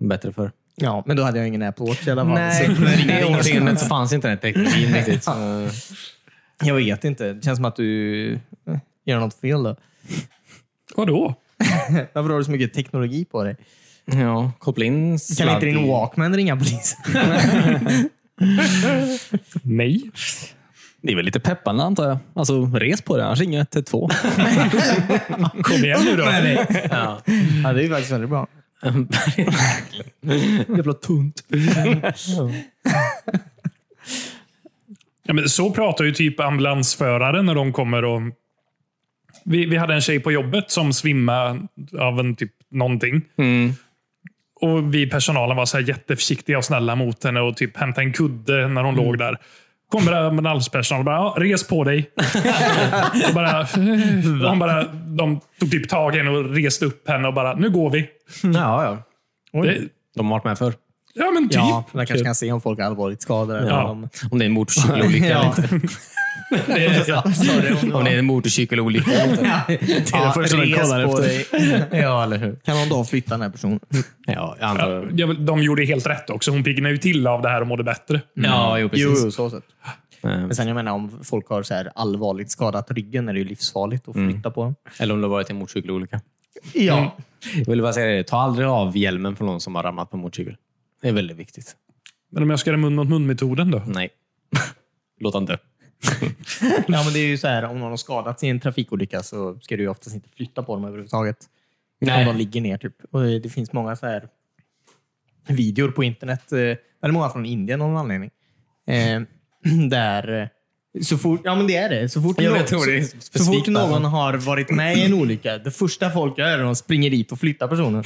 [SPEAKER 4] Bättre förr.
[SPEAKER 3] Ja, men då hade jag ingen Apple Watch i alla fall. [laughs]
[SPEAKER 4] Nej,
[SPEAKER 3] Så-
[SPEAKER 4] på det årtiondet så
[SPEAKER 3] [laughs]
[SPEAKER 4] fanns inte den teknologin riktigt.
[SPEAKER 3] Jag vet inte. Det känns som att du eh, gör något fel då. [laughs]
[SPEAKER 1] vadå?
[SPEAKER 3] Varför har du så mycket teknologi på dig?
[SPEAKER 4] Ja, koppla in
[SPEAKER 3] Kan inte din
[SPEAKER 4] i-
[SPEAKER 3] walkman ringa polisen?
[SPEAKER 1] Nej.
[SPEAKER 2] Det är väl lite peppande antar jag. Alltså, res på det, annars ringer jag 112.
[SPEAKER 1] Kom igen nu då.
[SPEAKER 4] Ja.
[SPEAKER 3] ja, det är ju faktiskt väldigt bra.
[SPEAKER 4] Jävla tunt.
[SPEAKER 1] Ja, men så pratar ju typ ambulansförare när de kommer och... Vi, vi hade en tjej på jobbet som svimmade av en typ någonting. Och vi i personalen var så här jätteförsiktiga och snälla mot henne och typ hämtade en kudde när hon låg där. Kommer ambulanspersonal och bara, ja, res på dig. och bara, och hon bara, de tog typ tag i henne och reste upp henne och bara, nu går vi.
[SPEAKER 4] Ja, ja.
[SPEAKER 1] Det,
[SPEAKER 4] De har varit med förr.
[SPEAKER 1] ja, men typ.
[SPEAKER 3] Ja, man kanske kan se om folk är allvarligt skadade. eller
[SPEAKER 1] Ja.
[SPEAKER 3] om-
[SPEAKER 4] Om det är en [laughs] motorcykelolycka eller
[SPEAKER 3] Ja.
[SPEAKER 4] inte.
[SPEAKER 3] [laughs]
[SPEAKER 4] Om det är en motorcykelolycka eller inte.
[SPEAKER 3] Det
[SPEAKER 2] är det första man kollar
[SPEAKER 4] [laughs]
[SPEAKER 3] efter.
[SPEAKER 4] Ja, eller hur?
[SPEAKER 3] Kan någon dag flytta den här personen?
[SPEAKER 4] Ja, jag antar det.
[SPEAKER 1] Ja, väl, De gjorde helt rätt också. Hon piggnade ju till av det här och mådde bättre.
[SPEAKER 4] Ja, Mm. jo, precis.
[SPEAKER 3] Jo, så sett.
[SPEAKER 4] Eh,
[SPEAKER 3] Men sen jag menar om folk har så här allvarligt skadat ryggen är det ju livsfarligt att flytta på dem.
[SPEAKER 4] Eller om det har varit en motorcykelolycka.
[SPEAKER 3] Ja.
[SPEAKER 4] Jag vill bara säga det. Ta aldrig av hjälmen från någon som har ramlat på en motorcykel. Det är väldigt viktigt.
[SPEAKER 1] Men om jag ska göra mun mot mun-metoden då?
[SPEAKER 4] Nej. [laughs] Låt han dö. [laughs]
[SPEAKER 3] ja, men det är ju så här om någon har skadats i en trafikolycka så ska du ju oftast inte flytta på dem överhuvudtaget.
[SPEAKER 4] Nej.
[SPEAKER 3] Om de ligger ner typ. Och det finns många så här videor på internet, eh, eller många från Indien av någon anledning. Eh, [clears throat] Där eh, så fort, ja men det är det. Så fort,
[SPEAKER 4] Ja,
[SPEAKER 3] någon-
[SPEAKER 4] jag tror det är
[SPEAKER 3] så, så
[SPEAKER 4] specifikt
[SPEAKER 3] fort någon har varit med i en olycka, det första folk gör är att de springer dit och
[SPEAKER 4] [laughs]
[SPEAKER 3] flyttar personen.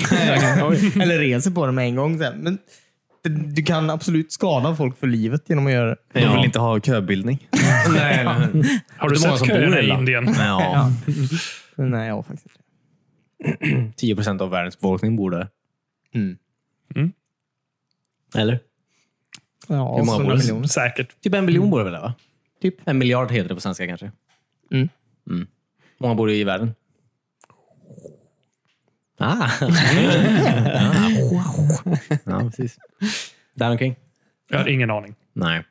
[SPEAKER 3] eller reser på dem med en gång. Sen. Men det- du kan absolut skada folk för livet genom att göra det.
[SPEAKER 2] De
[SPEAKER 4] Ja.
[SPEAKER 2] vill inte ha köbildning.
[SPEAKER 4] Nej, eller hur?
[SPEAKER 1] [laughs] Har du
[SPEAKER 4] Det är
[SPEAKER 1] sett
[SPEAKER 4] många som bor
[SPEAKER 1] köerna
[SPEAKER 4] i
[SPEAKER 1] i
[SPEAKER 4] land.
[SPEAKER 1] Indien?
[SPEAKER 4] Ja.
[SPEAKER 3] Men Nej, jag har faktiskt inte.
[SPEAKER 4] 10 procent av världens befolkning bor där.
[SPEAKER 3] Mm.
[SPEAKER 1] Mm.
[SPEAKER 4] Eller?
[SPEAKER 3] Ja,
[SPEAKER 4] Hur många bor
[SPEAKER 3] 100
[SPEAKER 4] det?
[SPEAKER 3] miljoner.
[SPEAKER 1] Säkert.
[SPEAKER 4] Typ en biljon bor det väl där, va?
[SPEAKER 3] Typ.
[SPEAKER 4] En miljard heter det på svenska kanske.
[SPEAKER 3] Mm.
[SPEAKER 4] Mm. Många bor i världen. Ah. [laughs] ja, precis. Där omkring?
[SPEAKER 1] Jag har ingen aning.
[SPEAKER 4] Nej.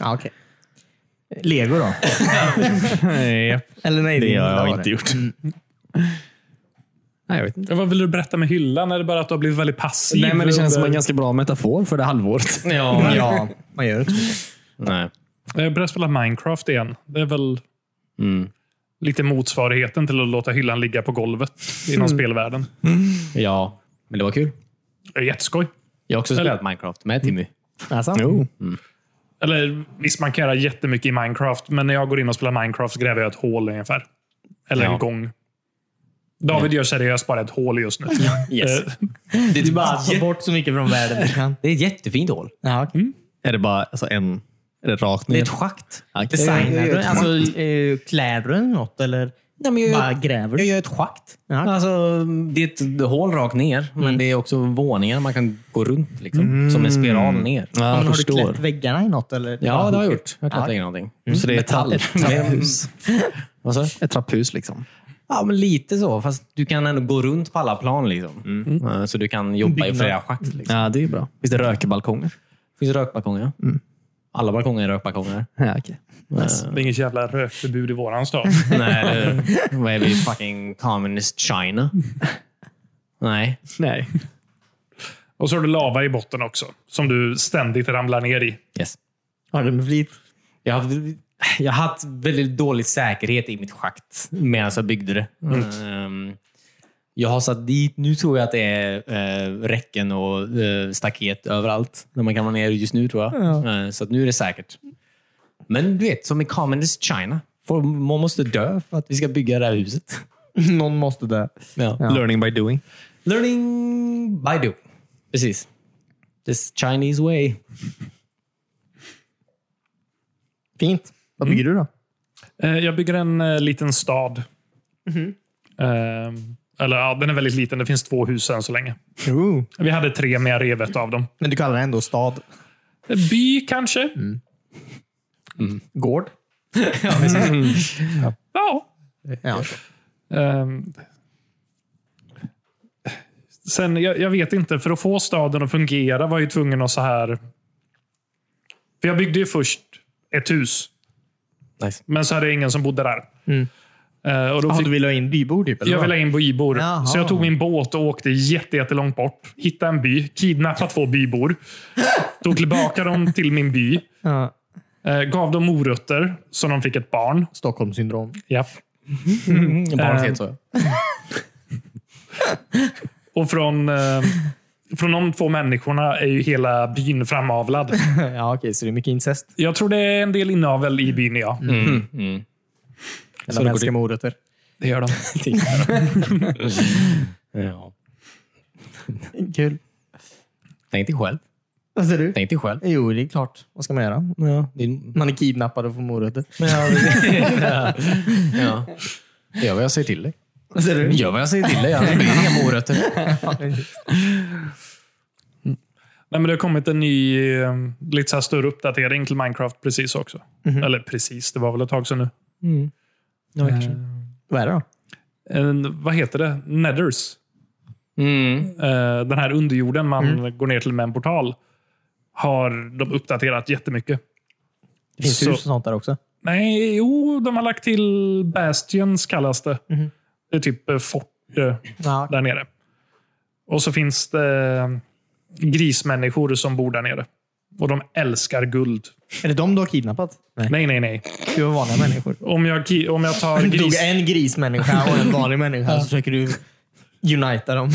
[SPEAKER 3] Ja, okej. Lego då?
[SPEAKER 2] Nej,
[SPEAKER 3] Eller nej,
[SPEAKER 2] det
[SPEAKER 3] din
[SPEAKER 2] har jag
[SPEAKER 3] var
[SPEAKER 2] inte
[SPEAKER 3] det.
[SPEAKER 2] gjort.
[SPEAKER 4] Mm. Nej, jag vet inte.
[SPEAKER 1] Vad vill du berätta med hyllan? Är det bara att du har blivit väldigt passiv?
[SPEAKER 2] Nej, men det känns som en
[SPEAKER 1] under-
[SPEAKER 2] ganska bra metafor för det halvåret.
[SPEAKER 4] Ja.
[SPEAKER 3] Ja, man gör det.
[SPEAKER 4] [laughs] Nej.
[SPEAKER 1] Jag börjar spela Minecraft igen. Det är väl
[SPEAKER 4] Mm.
[SPEAKER 1] lite motsvarigheten till att låta hyllan ligga på golvet inom
[SPEAKER 2] Mm.
[SPEAKER 1] spelvärlden.
[SPEAKER 4] Ja, men det var kul.
[SPEAKER 1] Det är jätteskoj.
[SPEAKER 4] Jag har också spelat Minecraft med Timmy.
[SPEAKER 3] Alltså?
[SPEAKER 2] Jo.
[SPEAKER 1] Eller visst, man kan göra jättemycket i Minecraft, men när jag går in och spelar Minecraft så gräver jag ett hål ungefär. Eller
[SPEAKER 4] Ja.
[SPEAKER 1] en gång. David gör seriöst bara ett hål just [laughs] nu. Eh,
[SPEAKER 4] Det är, typ
[SPEAKER 3] Du bara tar bort så mycket från världen Mm. du kan.
[SPEAKER 4] det är ett jättefint hål.
[SPEAKER 3] [laughs] Ja, okej.
[SPEAKER 2] Är det bara alltså, en... Är det rakt
[SPEAKER 4] Det är
[SPEAKER 2] ner?
[SPEAKER 4] ett schakt.
[SPEAKER 2] Okej. Mm.
[SPEAKER 3] Designar du? Alltså, eh, klär du den något eller
[SPEAKER 4] Nej, men jag,
[SPEAKER 3] bara
[SPEAKER 4] gör,
[SPEAKER 3] gräver
[SPEAKER 4] jag
[SPEAKER 3] du?
[SPEAKER 4] gör ett schakt.
[SPEAKER 3] Ja.
[SPEAKER 4] Alltså, det är ett hål rakt ner, men det är också våningar man kan gå runt. Liksom, Som en spiral ner.
[SPEAKER 2] Ja,
[SPEAKER 3] Men
[SPEAKER 2] jag
[SPEAKER 3] har du
[SPEAKER 2] förstår.
[SPEAKER 3] klätt väggarna i något? Eller?
[SPEAKER 4] Ja, det har jag gjort. Jag har
[SPEAKER 3] Ja.
[SPEAKER 4] klättrat i någonting.
[SPEAKER 2] Så det är ett
[SPEAKER 4] Mm. Metall.
[SPEAKER 2] Mm.
[SPEAKER 4] Mm.
[SPEAKER 2] ett trapphus.
[SPEAKER 4] Vad sa du?
[SPEAKER 2] Ett trapphus liksom.
[SPEAKER 4] Ja, men lite så. Fast du kan ändå gå runt på alla plan. Liksom. Eh, Så du kan jobba i
[SPEAKER 3] Byggnad.
[SPEAKER 4] flera schakt. Liksom.
[SPEAKER 2] Ja, det är bra. Visst är det rökbalkonger?
[SPEAKER 4] Finns det rökbalkonger? Alla balkonger är rökbalkonger.
[SPEAKER 2] Ja, okej.
[SPEAKER 1] Eh, det är inget jävla rökförbud i våran stad.
[SPEAKER 4] Nej, det, vad är vi? Fucking communist China? Nej.
[SPEAKER 2] Nej.
[SPEAKER 1] Och så har du lava i botten också, som du ständigt ramlar ner i.
[SPEAKER 4] Yes.
[SPEAKER 3] Har du med flit?
[SPEAKER 4] Jag har haft- jag har haft väldigt dålig säkerhet i mitt schakt medan jag byggde det.
[SPEAKER 3] Mm.
[SPEAKER 4] Ehm, jag har satt dit, nu tror jag att det är eh, räcken och eh, staket överallt där man kan vara ner just nu tror jag. Eh, så att nu är det säkert. Men du vet, som i Communist China. Folk- Man måste dö för att vi ska bygga det här huset.
[SPEAKER 3] [laughs]
[SPEAKER 4] [laughs]
[SPEAKER 3] Någon måste dö.
[SPEAKER 4] Ja.
[SPEAKER 2] Learning by doing.
[SPEAKER 4] Learning by doing. Precis. This Chinese way.
[SPEAKER 3] Fint. Vad bygger du då?
[SPEAKER 1] Eh, Jag bygger en eh, liten stad. Ehm, eller ja, den är väldigt liten. Det finns två hus än så länge.
[SPEAKER 3] Ooh.
[SPEAKER 1] Vi hade tre, men jag rev ett av dem.
[SPEAKER 3] Men du kallar det ändå stad.
[SPEAKER 1] Eh, By kanske?
[SPEAKER 3] Gård.
[SPEAKER 1] Ja.
[SPEAKER 3] Ja.
[SPEAKER 1] Ehm. Sen, jag, jag vet inte, för att få staden att fungera var jag ju tvungen att så här... För jag byggde ju först ett hus,
[SPEAKER 4] Nice.
[SPEAKER 1] men så hade jag ingen som bodde där. Eh, och då
[SPEAKER 3] Ah,
[SPEAKER 1] fick,
[SPEAKER 3] du vill ha in bybor typ? Eller
[SPEAKER 1] jag
[SPEAKER 3] vad?
[SPEAKER 1] ville ha in bybor,
[SPEAKER 3] Jaha.
[SPEAKER 1] så jag tog min båt och åkte jätte- jättelångt bort. Hittade en by, kidnappade två bybor, tog tillbaka dem till min by,
[SPEAKER 3] ja.
[SPEAKER 1] eh, gav dem morötter så de fick ett barn.
[SPEAKER 3] Stockholmssyndrom.
[SPEAKER 1] Japp.
[SPEAKER 4] Barnet
[SPEAKER 1] Eh,
[SPEAKER 4] heter så.
[SPEAKER 1] [laughs] Och från, eh, från de två människorna är ju hela byn framavlad.
[SPEAKER 3] [laughs] ja, okej, så det är mycket incest.
[SPEAKER 1] Jag tror det är en del inavel i byn, ja.
[SPEAKER 3] Eller de älskar morötter.
[SPEAKER 1] Det
[SPEAKER 3] [laughs]
[SPEAKER 1] gör de.
[SPEAKER 4] Ja.
[SPEAKER 3] Kul.
[SPEAKER 4] Tänk dig själv.
[SPEAKER 3] Vad säger du?
[SPEAKER 4] Tänk dig själv.
[SPEAKER 3] Jo, det är klart. Vad ska man göra?
[SPEAKER 4] Ja, din...
[SPEAKER 3] Man är kidnappad och får morötter.
[SPEAKER 4] ja. Gör vad jag säger till dig.
[SPEAKER 3] Vad säger du?
[SPEAKER 4] Gör vad jag säger till dig. Annars blir det inga morötter.
[SPEAKER 2] [laughs]
[SPEAKER 1] Nej, men det har kommit en ny, eh, lite så här större uppdatering till Minecraft precis också. Eller precis, det var väl ett tag sedan nu.
[SPEAKER 3] Eh, Vad är det då?
[SPEAKER 1] En, vad heter det? Nethers.
[SPEAKER 4] Mm.
[SPEAKER 1] Eh, den här underjorden man går ner till med en portal har de uppdaterat jättemycket.
[SPEAKER 3] Det finns
[SPEAKER 1] Så-
[SPEAKER 3] hus och sånt där också.
[SPEAKER 1] Nej, jo, de har lagt till Bastions kallas det.
[SPEAKER 3] Mhm.
[SPEAKER 1] Det är typ eh, fort eh,
[SPEAKER 3] Ja.
[SPEAKER 1] där nere. Och så finns det eh, grismänniskor som bor där nere. Och de älskar guld.
[SPEAKER 3] Är det de du har kidnappat? Nej.
[SPEAKER 1] Nej, nej, nej.
[SPEAKER 3] Du var vanliga människor.
[SPEAKER 1] Om jag, ki- om jag
[SPEAKER 3] [laughs]
[SPEAKER 1] tar
[SPEAKER 3] Du tog
[SPEAKER 1] gris
[SPEAKER 3] en grismänniska och en vanlig människa så försöker du unita dem.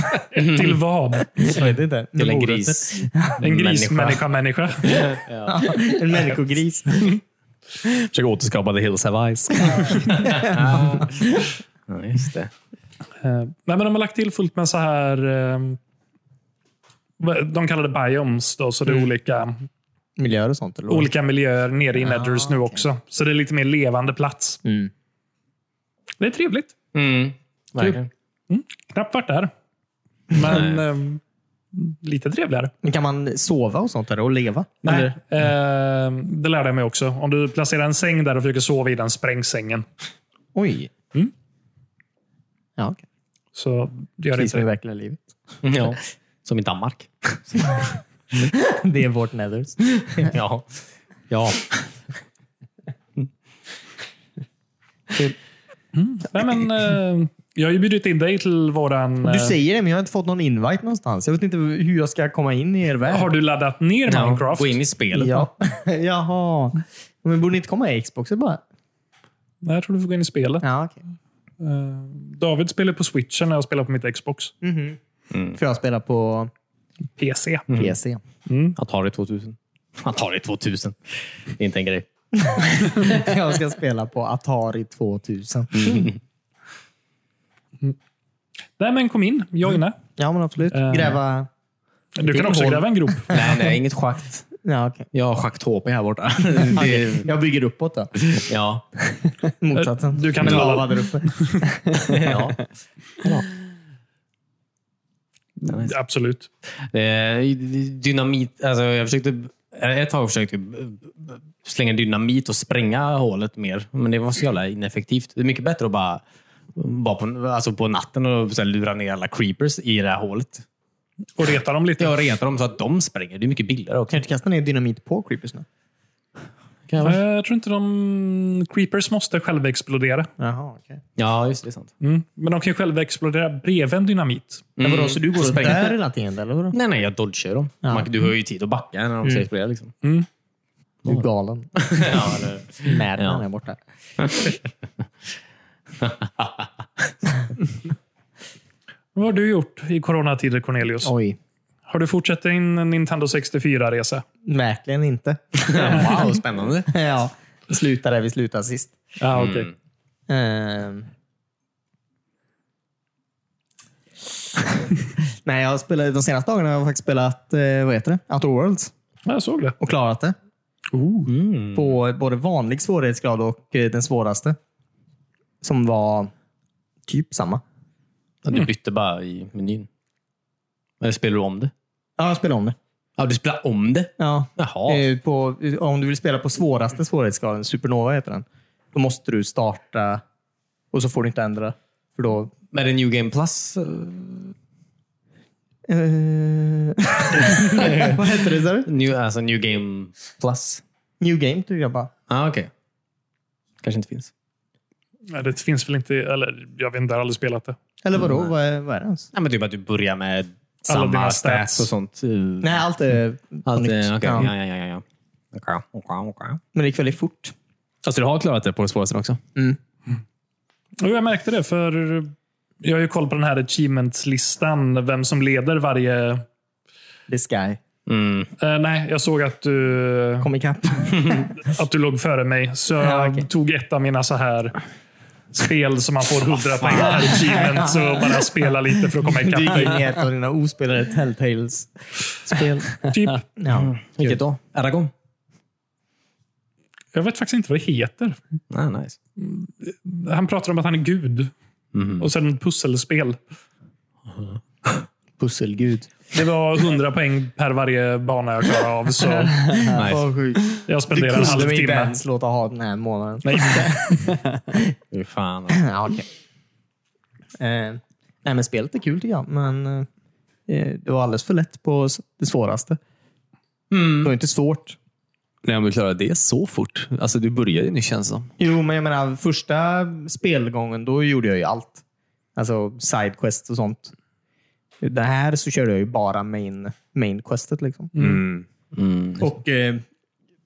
[SPEAKER 1] till vad?
[SPEAKER 3] Jag vet inte.
[SPEAKER 4] Till en
[SPEAKER 3] Morötter.
[SPEAKER 4] gris.
[SPEAKER 1] [laughs] En
[SPEAKER 4] Människa.
[SPEAKER 1] grismänniska människa.
[SPEAKER 3] Ja, [laughs] en människogris.
[SPEAKER 2] Försöker återskapa The Hills Have Eyes.
[SPEAKER 4] Ja, just det.
[SPEAKER 1] Eh, Nej, men de har lagt till fullt med så här... eh, vad- De kallar det biomes, då, så det är
[SPEAKER 3] Mm.
[SPEAKER 1] olika,
[SPEAKER 3] Miljöer och sånt. Eller? vad?
[SPEAKER 1] olika miljöer nere i Nethers nu också. Så det är lite mer levande plats.
[SPEAKER 3] Mm.
[SPEAKER 1] Det är trevligt.
[SPEAKER 4] Mm. Verkligen.
[SPEAKER 1] Knappt varit där. Men ehm, lite trevligare.
[SPEAKER 3] Men Kan man sova och sånt där och leva?
[SPEAKER 1] Nej,
[SPEAKER 3] Eller?
[SPEAKER 1] eh, det lärde jag mig också. Om du placerar en säng där och försöker sova i den, sprängs sängen.
[SPEAKER 3] Oj.
[SPEAKER 1] Mm.
[SPEAKER 3] Ja, okej.
[SPEAKER 1] Så gör det
[SPEAKER 3] Precis
[SPEAKER 1] inte
[SPEAKER 3] som i
[SPEAKER 1] det.
[SPEAKER 3] verkliga livet.
[SPEAKER 1] [laughs]
[SPEAKER 4] Mm, Ja. [laughs] Som i Danmark.
[SPEAKER 3] Det är vårt nethers.
[SPEAKER 4] [laughs] Ja. Ja.
[SPEAKER 1] Mm. Nej, men, eh, jag har ju bjudit in dig till våran...
[SPEAKER 3] Du
[SPEAKER 1] eh,
[SPEAKER 3] säger det, men jag har inte fått någon invite någonstans. Jag vet inte hur jag ska komma in i er värld.
[SPEAKER 1] har du laddat ner
[SPEAKER 4] ja.
[SPEAKER 1] Minecraft?
[SPEAKER 4] Gå in i spelet.
[SPEAKER 3] Ja. [laughs] Jaha. Men borde ni inte komma i Xboxen bara?
[SPEAKER 1] Nej, jag tror du får gå in i spelet.
[SPEAKER 3] Ja, okej.
[SPEAKER 1] Eh, David spelar på switchen när jag spelar på mitt Xbox.
[SPEAKER 3] För jag spelar på
[SPEAKER 1] PC.
[SPEAKER 3] PC.
[SPEAKER 4] Atari 2000. Atari 2000. Det är inte en grej.
[SPEAKER 3] [laughs] Jag ska spela på Atari 2000.
[SPEAKER 1] Nej, men kom in. Joina.
[SPEAKER 3] Ja, men absolut.
[SPEAKER 1] Eh.
[SPEAKER 3] Gräva...
[SPEAKER 1] Du kan också
[SPEAKER 3] hål.
[SPEAKER 1] gräva en [laughs] grop.
[SPEAKER 4] Nej, nej, inget schakt.
[SPEAKER 3] Ja, okej.
[SPEAKER 4] Jag har schakt-HP här [laughs] borta. Det,
[SPEAKER 3] Jag bygger uppåt då.
[SPEAKER 4] ja.
[SPEAKER 3] Motsatsen.
[SPEAKER 1] Eh, Du kan
[SPEAKER 3] lava
[SPEAKER 1] lava.
[SPEAKER 3] där uppe.
[SPEAKER 4] ja.
[SPEAKER 1] Absolut.
[SPEAKER 4] Eh, Dynamit, alltså jag försökte, ett tag försökte jag slänga dynamit och spränga hålet mer, men det var så jävla ineffektivt. Det är mycket bättre att bara vara på, alltså på natten och så här lura ner alla creepers i det här hålet.
[SPEAKER 1] Och reta dem lite.
[SPEAKER 4] Jag retar dem så att de spränger. Det är mycket billigare också.
[SPEAKER 3] Kan du inte kasta ner dynamit på Creepers nu?
[SPEAKER 1] Eh, Jag tror inte de... Creepers måste själva explodera.
[SPEAKER 3] Jaha, okej.
[SPEAKER 4] Ja, just det. är sant.
[SPEAKER 1] Mm. Men de kan ju själva explodera bredvid en dynamit.
[SPEAKER 3] Men vadå, så du går
[SPEAKER 4] Mm. Så
[SPEAKER 3] runt
[SPEAKER 4] spränga.
[SPEAKER 3] där hela tiden? Eller vadå?
[SPEAKER 4] Nej, nej, jag dodgar dem. Man, du har ju tid att backa när de ska explodera. Liksom.
[SPEAKER 3] Du är galen.
[SPEAKER 4] [laughs] Ja, eller, [laughs]
[SPEAKER 3] Madden
[SPEAKER 4] Ja.
[SPEAKER 3] är borta.
[SPEAKER 1] Vad har du gjort i coronatider, Cornelius?
[SPEAKER 3] Oj.
[SPEAKER 1] Har du fortsatt din Nintendo 64-resa?
[SPEAKER 3] Verkligen inte.
[SPEAKER 4] wow, spännande.
[SPEAKER 3] ja. Sluta där vi slutade sist.
[SPEAKER 1] Ja, okej.
[SPEAKER 3] Ehm. [laughs] Nej, jag har spelat, de senaste dagarna har jag faktiskt spelat eh, vad heter det? Outer Worlds
[SPEAKER 1] Jag såg det.
[SPEAKER 3] och klarat det.
[SPEAKER 4] Mm.
[SPEAKER 3] På både vanlig svårighetsgrad och eh, den svåraste. Som var typ samma.
[SPEAKER 4] Ja, Du bytte bara i menyn. Eller spelar du om det?
[SPEAKER 3] Ja, jag spelade om det.
[SPEAKER 4] Ja, du spelar om det?
[SPEAKER 3] Ja.
[SPEAKER 4] Jaha.
[SPEAKER 3] Eh, På, om du vill spela på svåraste svårighetsgraden, Supernova heter den, då måste du starta och så får du inte ändra. För då...
[SPEAKER 4] Med en New Game [laughs] Plus? eh,
[SPEAKER 3] Eh, Vad heter det? sa du?
[SPEAKER 4] New, alltså New Game Plus?
[SPEAKER 3] [laughs] New Game, tycker jag bara.
[SPEAKER 4] Ja, ah, okej. Kanske inte finns.
[SPEAKER 1] Nej, det finns väl inte, eller jag vet inte, jag har aldrig spelat det.
[SPEAKER 3] Eller vadå? Vad, är, vad är det ens?
[SPEAKER 4] Nej, men typ att du börjar med
[SPEAKER 1] Alla
[SPEAKER 4] samma
[SPEAKER 1] dina
[SPEAKER 4] stats.
[SPEAKER 1] stats.
[SPEAKER 4] och sånt. Mm.
[SPEAKER 3] Nej, allt är på
[SPEAKER 4] Allt,
[SPEAKER 3] nytt.
[SPEAKER 4] eh, okej.
[SPEAKER 3] Ja.
[SPEAKER 4] Ja, ja, ja. ja, ja. Okej, okej, okej.
[SPEAKER 3] Men det gick väldigt fort. Mm.
[SPEAKER 2] Alltså du har klarat det på det svåraste också?
[SPEAKER 1] Och jag märkte det, för jag har ju koll på den här achievements-listan. Vem som leder varje...
[SPEAKER 3] The Sky.
[SPEAKER 4] Mm.
[SPEAKER 1] Eh, nej, jag såg att du,
[SPEAKER 3] Kom ikapp. [laughs]
[SPEAKER 1] att du låg före mig. Så
[SPEAKER 3] Ja,
[SPEAKER 1] jag
[SPEAKER 3] okej.
[SPEAKER 1] tog ett av mina så här spel som man får 100 poäng per achievement. Så bara spela lite för att komma ikapp
[SPEAKER 3] Dyker in
[SPEAKER 1] dig.
[SPEAKER 3] i ett av dina ospelade Telltales-spel. Mm.
[SPEAKER 1] Typ,
[SPEAKER 3] [laughs] Ja.
[SPEAKER 4] Vilket då? Aragon?
[SPEAKER 1] jag vet faktiskt inte vad det heter.
[SPEAKER 4] Ah, nice.
[SPEAKER 1] Han pratar om att han är gud. Och sen pusselspel.
[SPEAKER 3] Pusselgud.
[SPEAKER 1] Det var 100 poäng per varje bana jag klarade av. Så
[SPEAKER 4] nice.
[SPEAKER 3] Vad sjukt.
[SPEAKER 1] jag
[SPEAKER 3] Du
[SPEAKER 1] spenderade en
[SPEAKER 3] kunde mig
[SPEAKER 1] halvtimme.
[SPEAKER 3] inte ens låta ha den här månaden.
[SPEAKER 1] Nej,
[SPEAKER 4] Fy fan.
[SPEAKER 3] [clears throat] ja, okej. Eh, nej, men spelet är kul tycker jag, men eh, det var alldeles för lätt på s- det svåraste. Det var inte svårt.
[SPEAKER 2] Nej, om du klarar det så fort. Alltså du börjar ju nu känns det som.
[SPEAKER 3] Jo, men jag menar första spelgången, då gjorde jag ju allt. Alltså sidequest och sånt. Det här så körde jag ju bara main, main questet. Liksom. Och eh,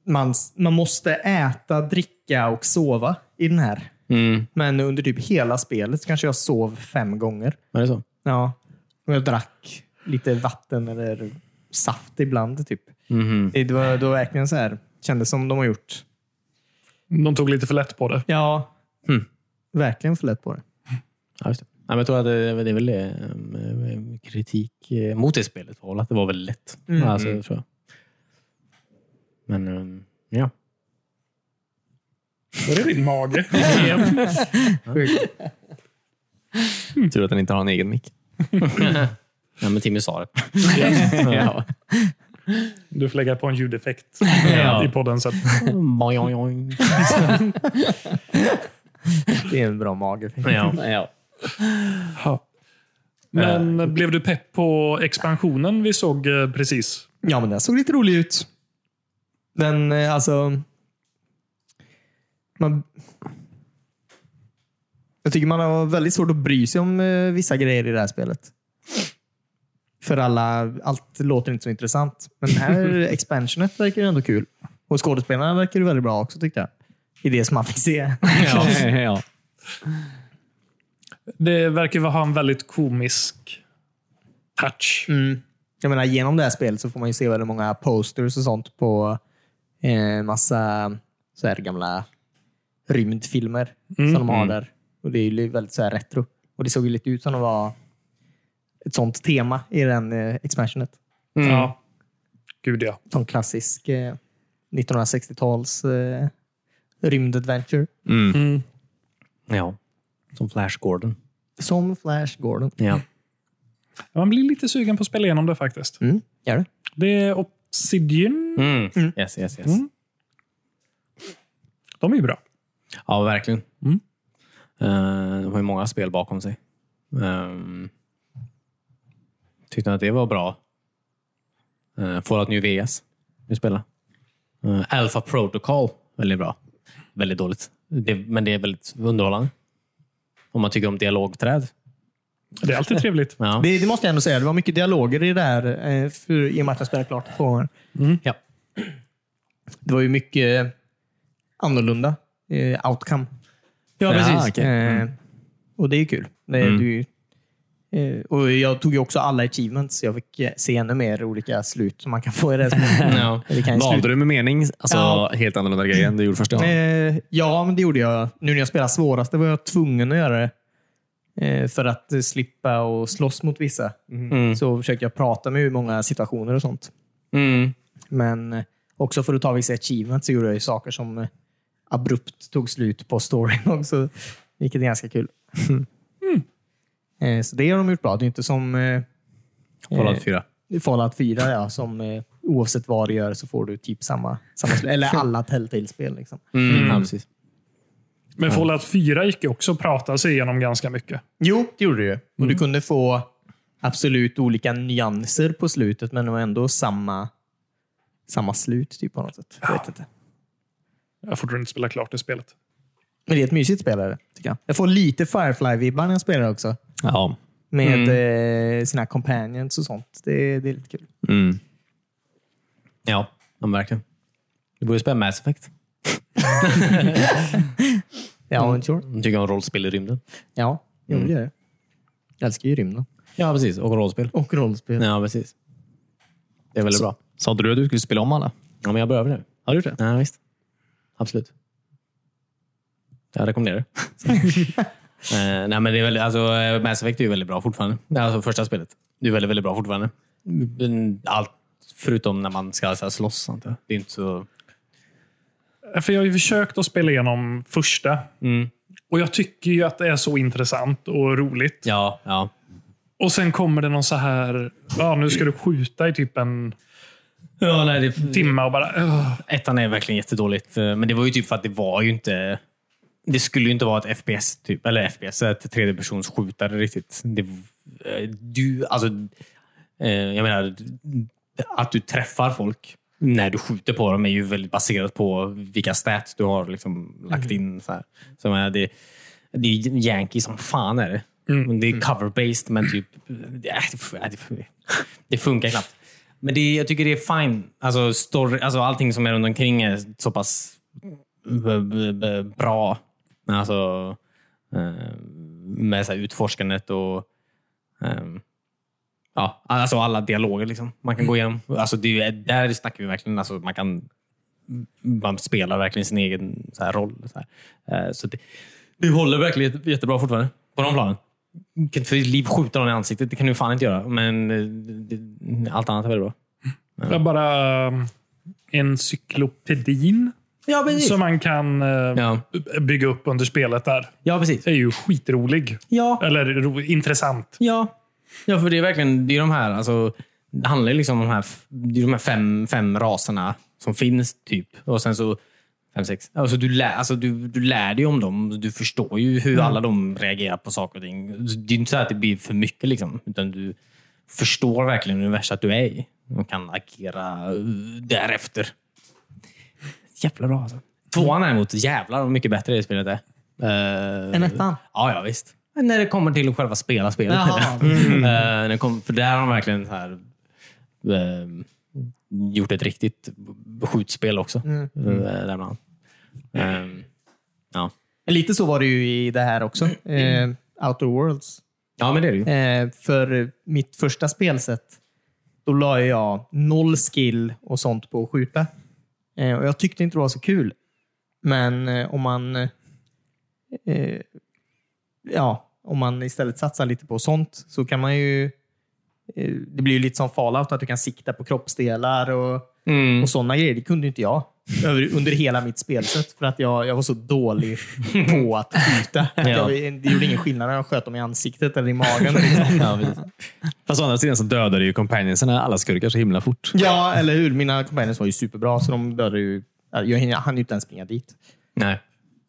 [SPEAKER 3] man, s- man måste äta, dricka och sova i den här.
[SPEAKER 4] Mm.
[SPEAKER 3] Men under typ hela spelet så kanske jag sov fem gånger.
[SPEAKER 4] Är det så?
[SPEAKER 3] Ja. Och jag drack lite vatten eller saft ibland. typ. Det, det var, det var verkligen så här. Kändes som de har gjort.
[SPEAKER 1] de tog lite för lätt på det.
[SPEAKER 3] Ja. Verkligen för lätt på det.
[SPEAKER 4] Ja, just det. Nej, men jag tror att det, det är väl ehm, eh, kritik eh, mot det spelet. Var väl att det var väldigt lätt. Alltså, tror jag. Men ehm, ja.
[SPEAKER 1] Var är din mage?
[SPEAKER 4] Mm.
[SPEAKER 2] Tur att den inte har en egen mick.
[SPEAKER 4] Nej, men Timmy [laughs] sa det.
[SPEAKER 2] ja.
[SPEAKER 1] Du får lägga på en ljudeffekt i podden. Så att,
[SPEAKER 4] Boing, boing, boing.
[SPEAKER 3] Det är en bra mage.
[SPEAKER 4] ja.
[SPEAKER 2] ja.
[SPEAKER 1] men Eh, blev du pepp på expansionen vi såg eh, precis?
[SPEAKER 3] Ja, men den såg lite rolig ut. Den, eh, alltså... Man, jag tycker man har väldigt svårt att bry sig om eh, vissa grejer i det här spelet. För alla, allt låter inte så intressant. Men det här expansionet verkar ju ändå kul. Och skådespelarna verkar ju väldigt bra också tyckte jag. I det som man fick se.
[SPEAKER 2] ja. [laughs] ja.
[SPEAKER 1] Det verkar ha en väldigt komisk touch.
[SPEAKER 3] Mm. Jag menar, genom det här spelet så får man ju se väldigt många posters och sånt på eh, massa så här gamla rymdfilmer som de har där. Och Det är ju väldigt så här retro. Och Det såg ju lite ut som det var ett sånt tema i den eh, expansionet.
[SPEAKER 4] Mm.
[SPEAKER 1] Ja. Mm. Gud ja.
[SPEAKER 3] Som klassisk eh, 1960-tals eh, rymdadventure.
[SPEAKER 4] ja. Som Flash Gordon.
[SPEAKER 3] Som Flash Gordon.
[SPEAKER 4] Ja.
[SPEAKER 1] Man blir lite sugen på att spela igenom det faktiskt.
[SPEAKER 3] Mm, gör det.
[SPEAKER 1] Det är Obsidian.
[SPEAKER 4] Mm. Yes, yes, yes.
[SPEAKER 1] De är ju bra.
[SPEAKER 4] Ja, verkligen. Eh, de har ju många spel bakom sig. Um, tyckte att det var bra. Uh, Fallout New VS. Vi spelar. Eh, Alpha Protocol. Väldigt bra. Väldigt dåligt. Det, men det är väldigt underhållande. Om man tycker om dialogträd.
[SPEAKER 1] Det är alltid trevligt.
[SPEAKER 4] Ja.
[SPEAKER 3] det. Det måste jag ändå säga. Det var mycket dialoger i det här. Eh, för, I och med att jag spelade klart två gånger.
[SPEAKER 4] Ja.
[SPEAKER 3] Det var ju mycket annorlunda eh, outcome.
[SPEAKER 4] Ja, precis.
[SPEAKER 2] okej. Mm.
[SPEAKER 3] Eh, och det är ju kul. Det, är ju- eh, och jag tog ju också alla achievements. så Jag fick eh, se ännu mer olika slut som man kan få i det här
[SPEAKER 2] [laughs]
[SPEAKER 3] spelet.
[SPEAKER 4] Ja.
[SPEAKER 3] Det kan ju
[SPEAKER 2] Valde
[SPEAKER 3] sluta-
[SPEAKER 2] du med mening? Alltså,
[SPEAKER 3] Eh, Ja.
[SPEAKER 2] Helt annorlunda grejer än du gjorde första gången.
[SPEAKER 3] Eh, ja, men det gjorde jag. Nu när jag spelade svåraste var jag tvungen att göra det. Eh, för att eh, slippa och slåss mot vissa
[SPEAKER 2] Mm.
[SPEAKER 3] så försökte jag prata med hur många situationer och sånt.
[SPEAKER 4] Mm.
[SPEAKER 3] Men eh, också för att ta vissa achievements så gjorde jag ju saker som eh, abrupt tog slut på storyn [laughs] också. Vilket är ganska kul. [laughs] Eh, Så det har de gjort bra. Det är inte som eh,
[SPEAKER 4] Fallout 4.
[SPEAKER 3] i Fallout 4 ja, som eh, oavsett vad du gör så får du typ samma, samma slut. Eller [laughs] alla Telltale-spel. Liksom.
[SPEAKER 4] Mm. Ja, precis.
[SPEAKER 1] [laughs] Men Fallout 4 gick ju också att prata sig igenom ganska mycket.
[SPEAKER 3] Jo, det gjorde du ju. Och du kunde få absolut olika nyanser på slutet, men det var ändå samma, samma slut typ, på något sätt. Jag vet inte.
[SPEAKER 1] Jag har fortfarande inte spelat klart det spelet.
[SPEAKER 3] Men det är ett mysigt spel. är det, Tycker jag. jag får lite Firefly-vibbar när jag spelar också.
[SPEAKER 2] Ja.
[SPEAKER 3] Med eh, sina companions och sånt. Det, det är lite kul.
[SPEAKER 2] Mm.
[SPEAKER 4] Ja, men verkligen. Du borde spela Mass Effect.
[SPEAKER 3] Ja, men sure.
[SPEAKER 4] Du tycker om rollspel i rymden.
[SPEAKER 3] Ja, jo, det gör jag. Jag älskar ju rymden.
[SPEAKER 4] Ja, precis. Och rollspel.
[SPEAKER 3] Och rollspel.
[SPEAKER 4] Ja, precis. Det är väldigt bra.
[SPEAKER 2] Sa inte du att du skulle spela om alla?
[SPEAKER 4] Ja, men jag behöver det.
[SPEAKER 2] Har du gjort det?
[SPEAKER 4] Ja, visst. Absolut. Jag rekommenderar
[SPEAKER 2] [laughs]
[SPEAKER 4] det. Eh, nej, men det är väldigt, alltså, eh, Mass Effect är ju väldigt bra fortfarande. Nej, Alltså, första spelet. Det är väldigt, väldigt bra fortfarande. Men Allt förutom när man ska så här, slåss. antar jag. Det är inte så...
[SPEAKER 1] Eh, För jag har ju försökt att spela igenom första. Och jag tycker ju att det är så intressant och roligt.
[SPEAKER 4] Ja, ja.
[SPEAKER 1] Och sen kommer det någon så här, ja nu ska du skjuta i typ en
[SPEAKER 4] ja nej, det,
[SPEAKER 1] timme och bara... eh, "Ugh."
[SPEAKER 4] Ettan är verkligen jättedåligt, eh, men det var ju typ för att det var ju inte... Det skulle ju inte vara ett FPS, typ, eller FPS, ett tredjepersons skjutare riktigt. Det, eh, du, alltså, eh, jag menar, att du träffar folk när du skjuter på dem är ju väldigt baserat på vilka stats du har liksom lagt in. Så, här. så jag menar, det, det är Yankee som fan är det. Men Det är cover-based, men typ... ja, det f- ja, det f- Det funkar knappt. Men det, jag tycker det är fine. Alltså, story, alltså allting som är runt omkring är så pass b- b- b- bra. Alltså, eh, med så här utforskandet och ehm, ja, alltså alla dialoger liksom. man kan gå igenom. Alltså, det, är- där snackar vi verkligen, alltså, man kan man spelar verkligen sin egen så här, roll. Så, här. Eh, så det, det håller verkligen jätte- jättebra fortfarande på de planen. Du kan inte för ditt liv skjuta någon i ansiktet, det kan du fan inte göra. Men eh, det, det, allt annat är väldigt bra.
[SPEAKER 1] Jag bara... um, Encyklopedin
[SPEAKER 4] Ja, precis.
[SPEAKER 1] som man kan eh,
[SPEAKER 4] Ja.
[SPEAKER 1] b- bygga upp under spelet där.
[SPEAKER 4] Ja, precis.
[SPEAKER 1] Det är ju skitrolig.
[SPEAKER 4] Ja,
[SPEAKER 1] Eller ro, intressant.
[SPEAKER 4] Ja. ja, för det är verkligen det är de här, alltså, det handlar ju liksom om de här, det är de här fem, fem raserna som finns. typ. Och sen så fem, sex. Alltså, du, lär, alltså, du, du lär dig om dem. Du förstår ju hur alla de reagerar på saker och ting. Det är inte så att det blir för mycket, liksom, utan du förstår verkligen universum att du är i och kan agera eh, därefter. Jävla bra alltså. Tvåan däremot, jävlar vad mycket bättre det spelet är. Uh,
[SPEAKER 3] En ettan?
[SPEAKER 4] Ja, ja visst. Men När det kommer till själva spela spelet.
[SPEAKER 3] Jaha.
[SPEAKER 4] Mm. [laughs] Eh, den kom, för där har de verkligen så här, eh, gjort ett riktigt skjutspel också. Mm. där bland annat. Eh, ja.
[SPEAKER 3] Lite så var det ju i det här också. Eh, Outer Worlds.
[SPEAKER 4] ja, men det är det ju.
[SPEAKER 3] Eh, för mitt första spelsätt, då la jag noll skill och sånt på att skjuta. Eh, och jag tyckte inte det var så kul. Men eh, om man eh, ja, om man istället satsar lite på sånt så kan man ju eh, det blir ju lite som Fallout, att du kan sikta på kroppsdelar och, och sådana grejer. Det kunde ju inte jag över, under hela mitt spelsätt för att jag, jag var så dålig på att [laughs] skjuta. Att jag, det gjorde ingen skillnad när jag sköt dem i ansiktet eller i [laughs] magen. liksom.
[SPEAKER 4] Ja, precis.
[SPEAKER 2] Fast å andra sidan så dödade ju companionserna alla skurkar så himla fort.
[SPEAKER 3] Ja, eller hur? Mina companions var ju superbra, så de dödade ju... Jag hann- hann ju inte ens springa dit.
[SPEAKER 4] Nej.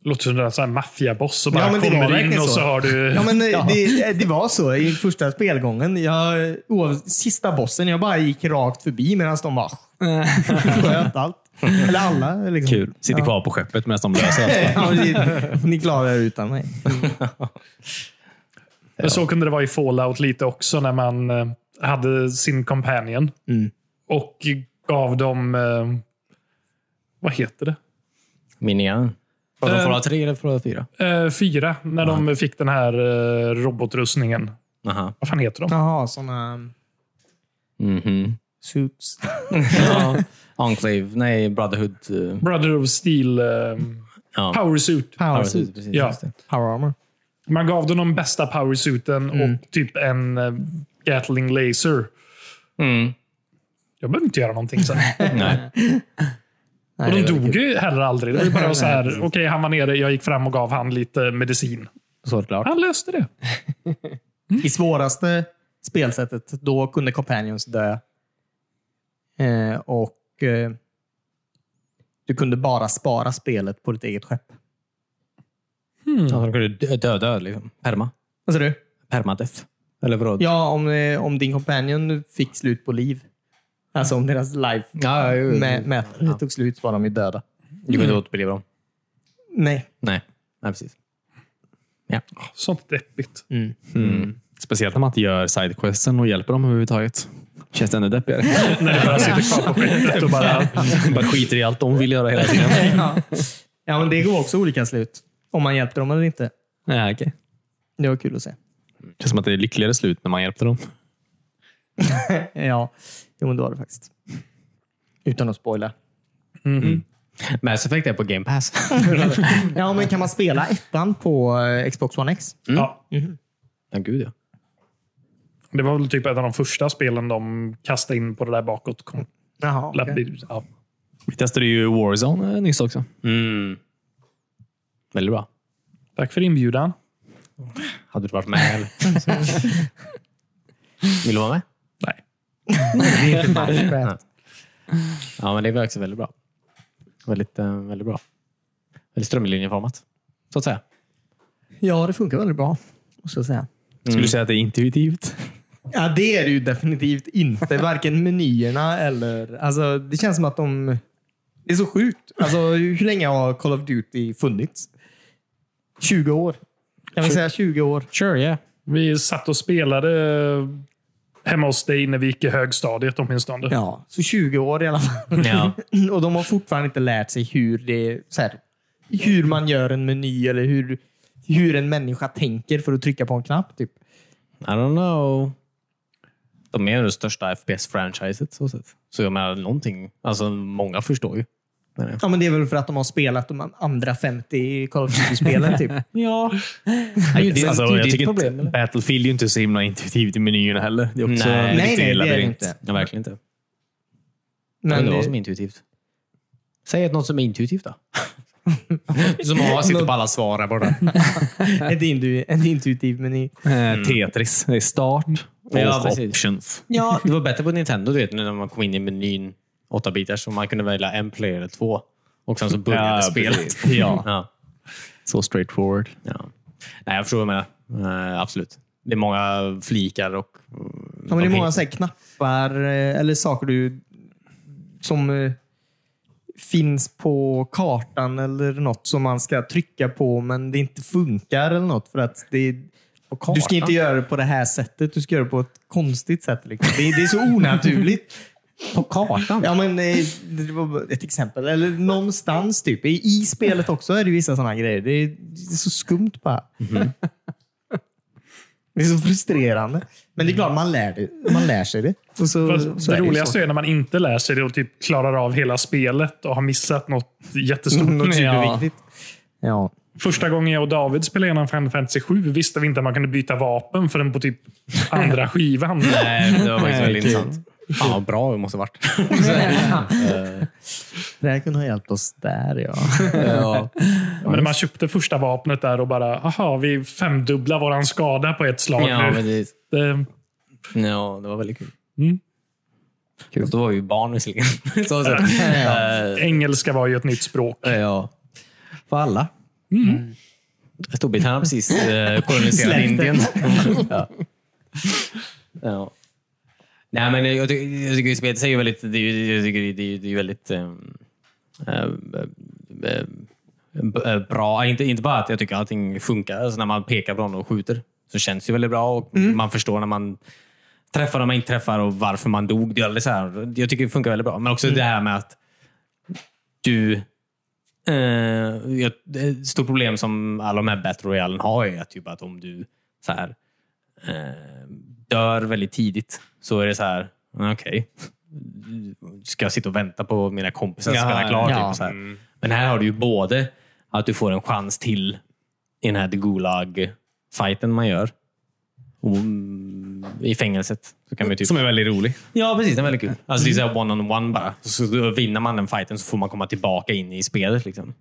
[SPEAKER 1] Låter som en sån här maffiaboss och bara
[SPEAKER 3] Ja, men det var
[SPEAKER 1] kommer in
[SPEAKER 3] verkligen
[SPEAKER 1] och så,
[SPEAKER 3] så.
[SPEAKER 1] har du...
[SPEAKER 3] Ja, men eh, det, det var så i första spelgången. Jag, oav- sista bossen, jag bara gick rakt förbi medan de [laughs] bara sköt allt. Eller alla. Liksom.
[SPEAKER 2] Kul. Sitter kvar på skeppet medan de löser allt.
[SPEAKER 3] [laughs] Ja, men det- ni klarar er utan mig.
[SPEAKER 1] Men så kunde det vara i Fallout lite också när man eh, hade sin companion.
[SPEAKER 3] Mm.
[SPEAKER 1] Och gav dem... eh, Vad heter det?
[SPEAKER 4] Minigun. Pratar du om
[SPEAKER 1] Eh.
[SPEAKER 4] Fallout 3 eller Fallout 4?
[SPEAKER 1] Eh, Fyra, när de fick den här eh, robotrustningen.
[SPEAKER 4] Aha.
[SPEAKER 1] Vad fan heter de?
[SPEAKER 3] Jaha, såna
[SPEAKER 4] Mhm. [laughs]
[SPEAKER 3] suits.
[SPEAKER 4] Ja. Enclave. Nej, Brotherhood. eh,
[SPEAKER 1] Brother of Steel eh,
[SPEAKER 4] Ja.
[SPEAKER 1] Power Suit.
[SPEAKER 3] Power
[SPEAKER 4] Power Suit,
[SPEAKER 3] suit.
[SPEAKER 4] precis.
[SPEAKER 1] Ja.
[SPEAKER 4] just det.
[SPEAKER 3] Power armor.
[SPEAKER 1] Man gav dem de bästa powersuiten och typ en eh, Gatling laser.
[SPEAKER 4] Mm.
[SPEAKER 1] Jag behövde inte göra någonting sen.
[SPEAKER 4] [laughs] Nej.
[SPEAKER 1] och de
[SPEAKER 3] det var
[SPEAKER 1] dog ju heller aldrig. Det var ju
[SPEAKER 4] [laughs]
[SPEAKER 1] bara så här, okej han var nere, jag gick fram och gav han lite medicin.
[SPEAKER 4] Såklart.
[SPEAKER 1] Han löste det.
[SPEAKER 3] I svåraste spelsättet, då kunde Companions dö. Eh, och eh, du kunde bara spara spelet på ditt eget skepp.
[SPEAKER 4] Så de kunde dö- döda liksom. Perma.
[SPEAKER 3] Vad sa du?
[SPEAKER 4] Permadeath. Eller vadå?
[SPEAKER 3] Ja, om, eh, om din Companion fick slut på liv. Alltså om deras life
[SPEAKER 4] ja, jo, jo.
[SPEAKER 3] mä- mätare tog slut så var de ju döda.
[SPEAKER 4] Du kunde återuppliva dem?
[SPEAKER 3] Nej.
[SPEAKER 4] Nej. Nej, precis.
[SPEAKER 1] Sånt deppigt.
[SPEAKER 4] Mm.
[SPEAKER 2] Mm. Speciellt när man inte gör sidequesten och hjälper dem överhuvudtaget. Känns det ännu deppigare.
[SPEAKER 1] När det bara sitter kvar
[SPEAKER 4] [laughs]
[SPEAKER 1] på skeppet och bara...
[SPEAKER 2] bara skiter i allt de vill göra hela tiden.
[SPEAKER 3] [laughs] ja. ja, men det går också olika slut. Om man hjälpte dem eller inte.
[SPEAKER 2] Nej, okay.
[SPEAKER 3] Det var kul att se. [laughs]
[SPEAKER 2] Känns som att det är lyckligare slut när man hjälpte dem.
[SPEAKER 3] Ja, jo, men det var det faktiskt. Utan att spoila.
[SPEAKER 4] Mass Effect är på Game Pass.
[SPEAKER 3] Ja, men kan man spela ettan på eh, Xbox One X?
[SPEAKER 1] Ja,
[SPEAKER 4] [laughs] ja, gud ja.
[SPEAKER 1] det var väl typ ett av de första spelen de kastade in på det där bakåt.
[SPEAKER 3] Jaha, okej.
[SPEAKER 1] Ja.
[SPEAKER 2] Vi testade ju Warzone eh, nyss också.
[SPEAKER 4] Mm. Väldigt bra.
[SPEAKER 1] Tack för inbjudan.
[SPEAKER 4] Hade du varit med eller? Vill du vara med?
[SPEAKER 1] Nej.
[SPEAKER 3] Minecraft.
[SPEAKER 4] Ja, men det var också väldigt bra. Väldigt, eh, väldigt bra. Väldigt strömlinjeformat, så att säga.
[SPEAKER 3] Ja, det funkar väldigt bra. Måste jag säga.
[SPEAKER 2] Skulle du säga att det är intuitivt?
[SPEAKER 3] Ja, det är det ju definitivt inte. Varken menyerna eller... Alltså, det känns som att de... Det är så sjukt. Alltså, hur länge har Call of Duty funnits? 20 år. Kan vi säga 20 år?
[SPEAKER 4] Sure, yeah.
[SPEAKER 1] Vi satt och spelade eh, hemma hos dig när vi gick i högstadiet åtminstone.
[SPEAKER 3] Ja, så 20 år i alla fall.
[SPEAKER 4] Ja.
[SPEAKER 3] Och de har fortfarande inte lärt sig hur det så här, hur man gör en meny eller hur, hur en människa tänker för att trycka på en knapp. Typ.
[SPEAKER 4] [laughs] I don't know. De är ju det största FPS-franchiset, så sett. Så jag menar, någonting. Alltså, många förstår ju. menar jag.
[SPEAKER 3] Ja, men det är väl för att de har spelat de andra 50 Call of Duty-spelen. Typ.
[SPEAKER 4] [laughs] Ja. det är ju
[SPEAKER 2] Alltså,
[SPEAKER 4] ditt
[SPEAKER 2] jag tycker
[SPEAKER 4] problem,
[SPEAKER 2] inte
[SPEAKER 4] eller?
[SPEAKER 2] Battlefield är ju inte så himla intuitivt i menyerna heller. Det är också
[SPEAKER 4] Nej.
[SPEAKER 2] en
[SPEAKER 3] Nej,
[SPEAKER 2] riktig
[SPEAKER 3] nej, det är det
[SPEAKER 2] labyrint.
[SPEAKER 3] inte.
[SPEAKER 4] Ja, verkligen inte. Men
[SPEAKER 3] Men
[SPEAKER 4] det var som
[SPEAKER 3] det,
[SPEAKER 4] är intuitivt. Säg ett något som är intuitivt då. som har sitter
[SPEAKER 2] Mm.
[SPEAKER 4] på alla svar här borta.
[SPEAKER 3] ett, indu, ett intuitiv meny.
[SPEAKER 2] [laughs] Eh, Tetris. Det är start och
[SPEAKER 4] Mm. Ja, precis.
[SPEAKER 2] options.
[SPEAKER 4] Ja, [laughs] det var bättre på Nintendo du vet, när man kom in i menyn 8 bitar så man kunde välja en player eller två. Och sen så började
[SPEAKER 2] Ja,
[SPEAKER 4] spelet.
[SPEAKER 2] precis. Ja.
[SPEAKER 4] [laughs] Ja.
[SPEAKER 2] Så straightforward.
[SPEAKER 4] Ja. Nej, jag förstår vad du menar. Eh, absolut. Det är många flikar och...
[SPEAKER 3] Ja, men det är många så här knappar eh, eller saker du som eh, finns på kartan eller något som man ska trycka på men det inte funkar eller något. För att det, du ska inte göra det på det här sättet. Du ska göra det på ett konstigt sätt. Liksom. Det, det är så onaturligt.
[SPEAKER 4] På kartan?
[SPEAKER 3] Ja, men, eh, det var bara ett exempel. Eller någonstans typ. I, i spelet också är det vissa sådana grejer. Det är, det är så skumt bara. [laughs] Det är så frustrerande. Men det är klart, man lär, det. Man lär sig det. Och så,
[SPEAKER 1] Fast
[SPEAKER 3] så
[SPEAKER 1] det
[SPEAKER 3] är ju
[SPEAKER 1] roligaste
[SPEAKER 3] så.
[SPEAKER 1] är när man inte lär sig det och typ klarar av hela spelet och har missat något jättestort.
[SPEAKER 3] Något
[SPEAKER 1] Ja.
[SPEAKER 3] superviktigt. Ja.
[SPEAKER 1] Första gången jag och David spelade igenom Final Fantasy 7 visste vi inte att man kunde byta vapen förrän på typ
[SPEAKER 3] [laughs]
[SPEAKER 1] andra skivan.
[SPEAKER 4] Nej, det var faktiskt väldigt
[SPEAKER 3] kul.
[SPEAKER 4] intressant. Fan vad bra det måste ha varit.
[SPEAKER 3] Det här kunde ha hjälpt oss där, ja.
[SPEAKER 4] ja.
[SPEAKER 1] Men när man köpte första vapnet där och bara, aha, vi femdubblar våran skada på ett slag
[SPEAKER 4] ja,
[SPEAKER 1] nu.
[SPEAKER 4] men det,
[SPEAKER 1] Det,
[SPEAKER 4] ja, det var väldigt kul.
[SPEAKER 1] Mm.
[SPEAKER 4] Kul. Fast Då var vi ju barn visserligen. [laughs] Så att säga. Eh,
[SPEAKER 1] engelska var ju ett nytt språk. Mm.
[SPEAKER 4] ja. För alla. mm. Storbritannien har precis eh, koloniserat
[SPEAKER 3] Släkten. [laughs]
[SPEAKER 4] Indien. ja. Ja. Nej, men jag, ty- jag tycker spelet säger väldigt... Det är ju jag tycker det är, det är väldigt... ehm, ehm, ehm, b- bra. Inte, inte bara att jag tycker allting funkar. Alltså när man pekar på någon och skjuter så känns det ju väldigt bra och man förstår när man träffar och man inte träffar och varför man dog. Det är alldeles så här. Jag tycker det funkar väldigt bra. Men också det här med att du... Eh, jag, ett stort problem som alla de här Battle Royalen har är att, typ att om du så här, eh, dör väldigt tidigt så är det så här, "Ah, okej. Ska jag sitta och vänta på mina kompisar att
[SPEAKER 2] Ja,
[SPEAKER 4] spela klart?
[SPEAKER 3] ja.
[SPEAKER 4] Typ, så här. Men här har du ju både att du får en chans till i den här The Gulag fighten man gör och, mm, i fängelset. Så kan man ju typ...
[SPEAKER 2] Som är väldigt rolig.
[SPEAKER 4] Ja, precis. Den är väldigt kul. Alltså, det är såhär one-on-one bara. Så då vinner man den fighten så får man komma tillbaka in i spelet. Liksom.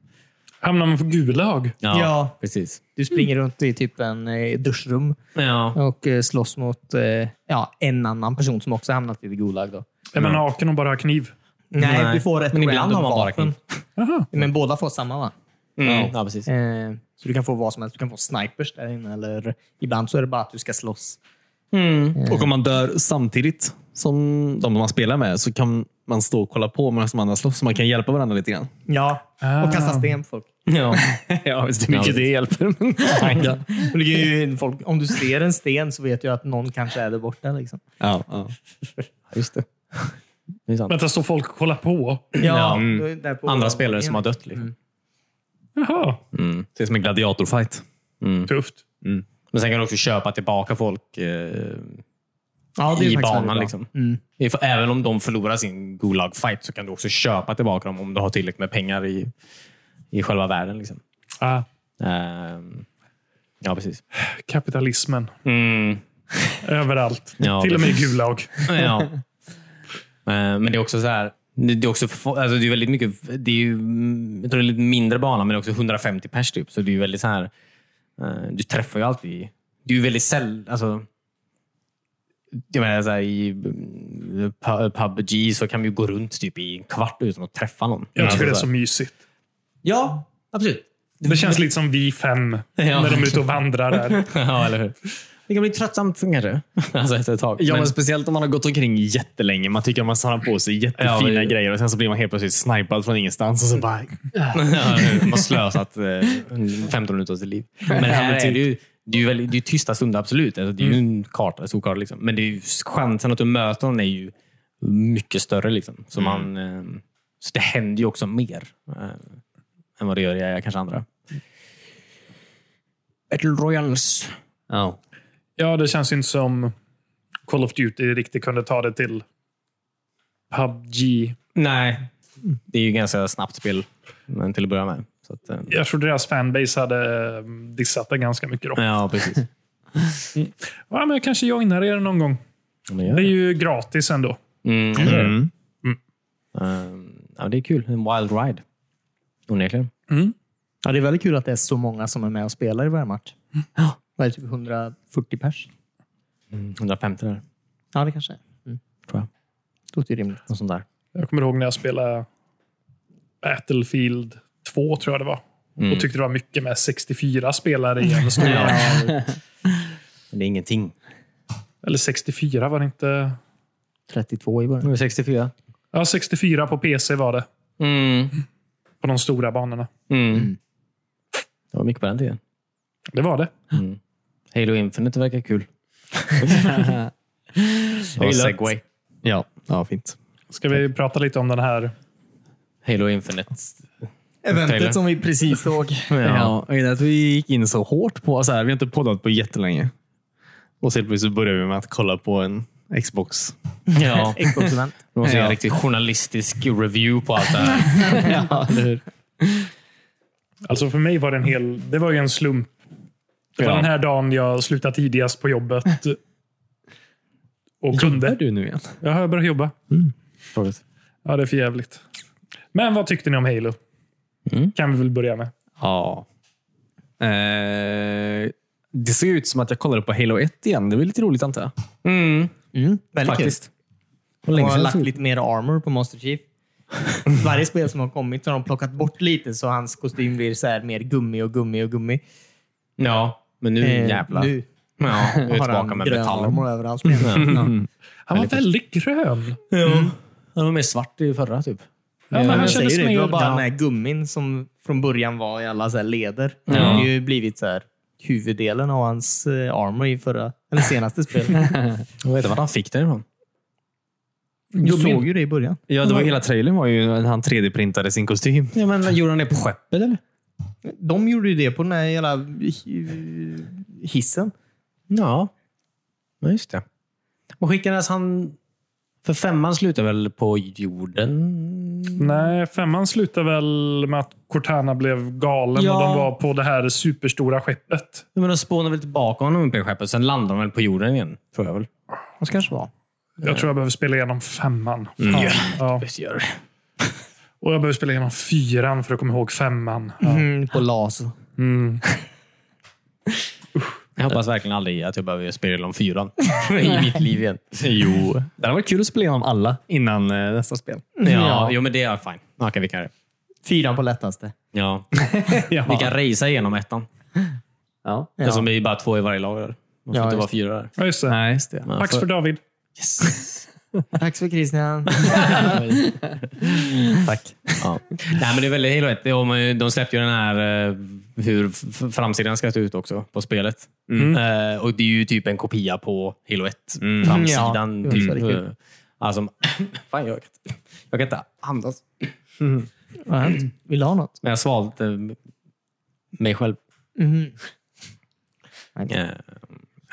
[SPEAKER 1] Hamnar man på Gulag?
[SPEAKER 3] Ja.
[SPEAKER 4] precis.
[SPEAKER 3] Du springer runt i typ en eh, duschrum
[SPEAKER 4] Ja.
[SPEAKER 3] och eh, slåss mot eh, ja, en annan person som också hamnat i det Gulag. Då.
[SPEAKER 1] Är
[SPEAKER 4] Mm.
[SPEAKER 1] man naken och bara har kniv?
[SPEAKER 3] Nej, du får ett
[SPEAKER 4] Men ibland
[SPEAKER 3] random
[SPEAKER 4] har man bara
[SPEAKER 3] vapen.
[SPEAKER 1] Jaha.
[SPEAKER 3] Men båda får samma va?
[SPEAKER 4] Mm. ja, precis.
[SPEAKER 3] Eh, så du kan få vad som helst. Du kan få snipers där inne. Eller ibland så är det bara att du ska slåss.
[SPEAKER 4] Mm.
[SPEAKER 2] Och om man dör samtidigt som de man spelar med så kan man stå och kolla på medan de andra slåss. Så man kan hjälpa varandra lite grann.
[SPEAKER 3] Ja, och kasta sten på folk.
[SPEAKER 4] Ja.
[SPEAKER 2] [laughs] ja, visst.
[SPEAKER 4] mycket det
[SPEAKER 2] hjälper.
[SPEAKER 4] [laughs]
[SPEAKER 3] Och det är ju folk. Om du ser en sten så vet du att någon kanske är där borta. Liksom.
[SPEAKER 2] ja, ja.
[SPEAKER 4] Just det. det är sant.
[SPEAKER 1] Vänta, står folk och kollar på?
[SPEAKER 4] Ja. mm.
[SPEAKER 3] då är det där på-
[SPEAKER 4] Andra spelare som har dött. Liksom.
[SPEAKER 1] Jaha,
[SPEAKER 2] Det är som en gladiatorfight.
[SPEAKER 4] Mm.
[SPEAKER 1] tufft.
[SPEAKER 4] Men sen kan du också köpa tillbaka folk eh,
[SPEAKER 3] Ja, det är
[SPEAKER 4] i
[SPEAKER 3] faktiskt väldigt
[SPEAKER 4] banan.
[SPEAKER 3] bra. Mm.
[SPEAKER 4] Liksom. If- Även om de förlorar sin Gulag-fight så kan du också köpa tillbaka dem om du har tillräckligt med pengar i, i själva världen. Liksom.
[SPEAKER 1] Ah,
[SPEAKER 4] Ehm, ja, precis.
[SPEAKER 1] kapitalismen.
[SPEAKER 4] Mm.
[SPEAKER 1] Överallt.
[SPEAKER 4] Ja,
[SPEAKER 1] Till och med i
[SPEAKER 4] precis.
[SPEAKER 1] Gulag.
[SPEAKER 4] ja. Eh, Men det är också så här. Det det är också få- alltså det är väldigt mycket. Det är ju, mm, jag tror det är lite mindre bana, men det är också 150 pers typ. Så det är ju väldigt så här. eh, Du träffar ju alltid. Det är ju väldigt sällan. Alltså, jag menar, så här, i mm, Pu- PubG så kan vi ju gå runt typ i en kvart utan att träffa någon.
[SPEAKER 1] Jag
[SPEAKER 4] Alltså,
[SPEAKER 1] tycker det är
[SPEAKER 4] så
[SPEAKER 1] så
[SPEAKER 4] här.
[SPEAKER 1] mysigt.
[SPEAKER 4] Ja, absolut.
[SPEAKER 1] Det känns lite som vi fem
[SPEAKER 4] Ja.
[SPEAKER 1] när de är ute och vandrar där.
[SPEAKER 4] ja, eller hur? Det kan bli tröttsamt kanske. [laughs] Alltså efter ett tag.
[SPEAKER 2] Ja, men,
[SPEAKER 4] Men-
[SPEAKER 2] speciellt om man har gått omkring jättelänge. Man tycker att man samlar på sig jättefina
[SPEAKER 4] Ja, men-
[SPEAKER 2] grejer och sen så blir man helt plötsligt snipad från ingenstans. Och så bara,
[SPEAKER 4] [laughs] Ja, de har slösat eh, 15 minuter av sitt liv. Men här är det ju, det är ju väldigt, det är ju tysta stunder, absolut. Alltså, det är ju en karta, en stor karta. Liksom. Men det är ju, chansen att du möter någon är ju mycket större. Liksom. Så, man, eh, så det händer ju också mer eh, än vad det gör i eh, kanske andra. Battle Royals. Ja.
[SPEAKER 1] Ja, det känns ju inte som Call of Duty riktigt kunde ta det till PubG.
[SPEAKER 4] Nej, det är ju ganska snabbt spel men till att börja med. Så att, eh,
[SPEAKER 1] Jag tror deras fanbase hade eh, dissat det ganska mycket. Då.
[SPEAKER 4] ja, precis.
[SPEAKER 1] Ja, men jag kanske joinar er någon gång.
[SPEAKER 4] [laughs] Men
[SPEAKER 1] Det är
[SPEAKER 4] ja.
[SPEAKER 1] ju gratis ändå.
[SPEAKER 4] Mm.
[SPEAKER 2] mm.
[SPEAKER 4] Eh, ja, det är kul. En wild ride. Onekligen.
[SPEAKER 3] Ja, det är väldigt kul att det är så många som är med och spelar i varje match. Vad är det, typ 140 pers?
[SPEAKER 4] 150 där,
[SPEAKER 3] Ja, det kanske är. Mm.
[SPEAKER 4] tror jag.
[SPEAKER 3] Låter ju rimligt.
[SPEAKER 4] Något sånt där.
[SPEAKER 1] Jag kommer ihåg när jag spelade Battlefield 2, tror jag det var. Och tyckte det var mycket med 64 spelare i en stor...
[SPEAKER 4] Men det är ingenting.
[SPEAKER 1] [laughs] Eller 64 var det inte.
[SPEAKER 3] 32 i början.
[SPEAKER 4] är 64.
[SPEAKER 1] Ja, 64 på PC var det.
[SPEAKER 4] Mm.
[SPEAKER 1] På de stora banorna.
[SPEAKER 4] Mm. Det var mycket på den tiden. Mm.
[SPEAKER 1] Det var det.
[SPEAKER 4] Halo Infinite verkar [laughs] kul.
[SPEAKER 2] Och
[SPEAKER 4] segway.
[SPEAKER 2] Ja. ja, fint.
[SPEAKER 1] Ska vi prata lite om den här?
[SPEAKER 4] Halo Infinite. Taylor.
[SPEAKER 3] Eventet som vi precis [laughs] såg.
[SPEAKER 2] Ja. Ja, att vi gick in så hårt på... Så här, vi har inte poddat på jättelänge. Och så helt plötsligt började vi med att kolla på en Xbox.
[SPEAKER 4] [laughs] ja.
[SPEAKER 3] Xbox-event.
[SPEAKER 4] Du måste göra
[SPEAKER 2] Ja.
[SPEAKER 4] en riktig journalistisk review på allt det här.
[SPEAKER 1] Alltså för mig var det en hel... Det var ju en slump. Det var
[SPEAKER 2] Ja.
[SPEAKER 1] den här dagen jag slutade tidigast på jobbet. Och kunde.
[SPEAKER 2] du nu igen?
[SPEAKER 1] Jag har börjat jobba.
[SPEAKER 3] Mm.
[SPEAKER 1] Ja, det är för jävligt. Men vad tyckte ni om Halo?
[SPEAKER 3] Mm.
[SPEAKER 1] Kan vi väl börja med.
[SPEAKER 2] Ja. Eh, det såg ut som att jag kollade på Halo 1 igen. Det var lite roligt antar jag.
[SPEAKER 3] Mm, väldigt kul.
[SPEAKER 2] Faktiskt. Och
[SPEAKER 3] De
[SPEAKER 2] länge
[SPEAKER 3] har
[SPEAKER 2] sedan
[SPEAKER 3] lagt
[SPEAKER 2] såg-
[SPEAKER 3] lite mer armor på Master Chief. Varje spel som har kommit har de plockat bort lite så hans kostym blir så här mer gummi och gummi och gummi.
[SPEAKER 4] Ja, men nu
[SPEAKER 3] Eh,
[SPEAKER 4] jävlar.
[SPEAKER 3] Nu
[SPEAKER 4] Ja, nu är vi
[SPEAKER 3] [laughs] har
[SPEAKER 4] tillbaka
[SPEAKER 3] han
[SPEAKER 4] med metall.
[SPEAKER 3] grönarmor överallt. Ja.
[SPEAKER 1] Han var väldigt grön.
[SPEAKER 4] Mm. Ja. Han var mer svart i förra typ.
[SPEAKER 1] Ja, men
[SPEAKER 3] Men
[SPEAKER 1] han
[SPEAKER 3] jag säger
[SPEAKER 1] kändes
[SPEAKER 3] det, det var
[SPEAKER 1] mer...
[SPEAKER 3] bara den
[SPEAKER 1] Ja.
[SPEAKER 3] här gummin som från början var i alla så här leder. Det har ju blivit så här huvuddelen av hans eh, armor i förra, eller senaste spelet.
[SPEAKER 4] Jag vet inte var han fick den ifrån.
[SPEAKER 3] Du såg ju det i början.
[SPEAKER 2] Ja, det var hela trailern var ju att han 3D-printade sin kostym.
[SPEAKER 4] Ja, men gjorde han det på skeppet eller?
[SPEAKER 3] De gjorde ju det på den här jävla hi- hissen.
[SPEAKER 4] Ja, ja just det. Och skickades han... För femman slutar väl på jorden?
[SPEAKER 1] Nej, femman slutar väl med att Cortana blev galen och
[SPEAKER 4] Ja.
[SPEAKER 1] de var på det här superstora skeppet.
[SPEAKER 4] Men de spånar väl tillbaka honom upp i skeppet, sen landar de väl på jorden igen. Tror jag väl.
[SPEAKER 3] Det kanske var.
[SPEAKER 1] Jag tror jag behöver spela igenom femman.
[SPEAKER 3] Mm.
[SPEAKER 1] Fan.
[SPEAKER 4] Ja.
[SPEAKER 1] Ja.
[SPEAKER 4] Visst gör det.
[SPEAKER 1] Och jag behöver spela igenom fyran för att komma ihåg femman. Ja.
[SPEAKER 3] Mm, på LAS.
[SPEAKER 1] Mm.
[SPEAKER 4] Jag hoppas verkligen aldrig att jag behöver spela igenom [laughs] fyran i mitt liv igen.
[SPEAKER 2] Jo, det hade varit kul att spela igenom alla innan eh, nästa spel.
[SPEAKER 4] Ja,
[SPEAKER 3] Ja.
[SPEAKER 4] Jo, men det är fine. Okej, vi kan det.
[SPEAKER 3] Fyran på lättaste.
[SPEAKER 4] [laughs] Ja. Vi kan racea igenom ettan.
[SPEAKER 2] Ja.
[SPEAKER 4] Ja. Alltså, vi är bara två i varje lag. där. Man får
[SPEAKER 3] Ja,
[SPEAKER 4] inte vara
[SPEAKER 3] just
[SPEAKER 4] fyra där.
[SPEAKER 1] Ja, just det.
[SPEAKER 2] Nej, just det.
[SPEAKER 4] Ja,
[SPEAKER 1] Tack för David.
[SPEAKER 3] Tack för [laughs] Christian.
[SPEAKER 4] [laughs]
[SPEAKER 2] Tack.
[SPEAKER 4] Ja. Nej, men det är väldigt helt rätt. De- De släppte ju den här eh, hur f- framsidan ska se ut också på spelet. Eh, Och Det är ju typ en kopia på Halo 1. Framsidan.
[SPEAKER 3] Ja, det var
[SPEAKER 4] typ.
[SPEAKER 3] så riktigt.
[SPEAKER 4] Eh, Alltså, [coughs] fan, jag, kan inte- jag kan inte andas.
[SPEAKER 3] Vad har hänt? Vill du ha något?
[SPEAKER 4] Men jag svalde eh, mig själv.
[SPEAKER 3] Mhm.
[SPEAKER 4] Eh,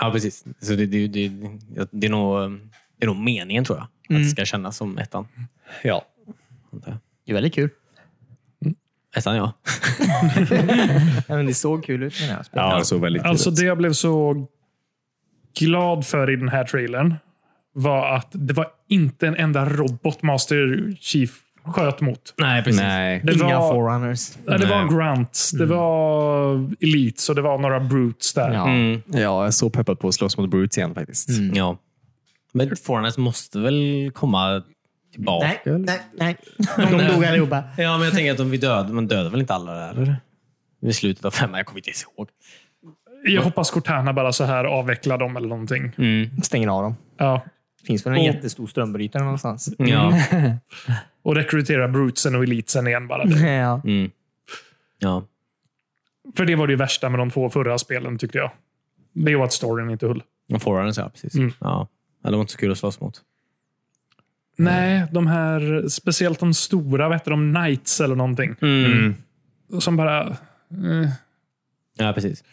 [SPEAKER 4] Ja, precis. Så det, det, det, det, det, är nog, eh, det är nog meningen, tror jag. Att det ska kännas som ettan.
[SPEAKER 2] Ja.
[SPEAKER 4] antar jag.
[SPEAKER 3] Det är väldigt kul.
[SPEAKER 4] Ettan, ja.
[SPEAKER 3] Ja, men det såg kul ut med det här spelet.
[SPEAKER 2] det såg väldigt
[SPEAKER 1] Alltså det jag blev så glad för i den här trailern var att det var inte en enda robot Master Chief sköt mot.
[SPEAKER 4] Nej, precis.
[SPEAKER 2] Nej.
[SPEAKER 1] Det
[SPEAKER 3] Inga
[SPEAKER 1] var,
[SPEAKER 3] forerunners.
[SPEAKER 1] ja, det var
[SPEAKER 4] Nej.
[SPEAKER 1] Grants, det var Elites och det var några Brutes där.
[SPEAKER 3] Ja.
[SPEAKER 4] Mm.
[SPEAKER 2] Ja, jag är så peppad på att slåss mot Brutes igen faktiskt.
[SPEAKER 4] Ja. Men Foreigners måste väl komma tillbaka?
[SPEAKER 3] Nej, nej, nej. De dog allihopa.
[SPEAKER 4] Ja, men jag tänker att de vi död, man dödar väl inte alla där? eller? Vid slutet av femman, jag kommer inte ens ihåg.
[SPEAKER 1] Jag hoppas Cortana bara så här avvecklar dem eller någonting.
[SPEAKER 3] Stänger av dem.
[SPEAKER 1] Ja.
[SPEAKER 3] Finns väl en
[SPEAKER 1] Och-
[SPEAKER 3] jättestor strömbrytare någonstans?
[SPEAKER 4] Mm. Ja.
[SPEAKER 1] Och rekrytera Brutesen och Elitesen igen bara. Det.
[SPEAKER 3] Ja.
[SPEAKER 4] Mm. ja.
[SPEAKER 1] För det var det värsta med de två förra spelen tyckte jag. Det var att storyn inte höll.
[SPEAKER 4] Och Foreigners, ja. Precis.
[SPEAKER 1] Mm.
[SPEAKER 4] Ja. Ja, De var inte så kul att slåss mot.
[SPEAKER 1] Nej, de här, speciellt de stora, vad heter de, Knights eller någonting.
[SPEAKER 4] Mm.
[SPEAKER 1] Som bara... Eh,
[SPEAKER 4] Ja, precis.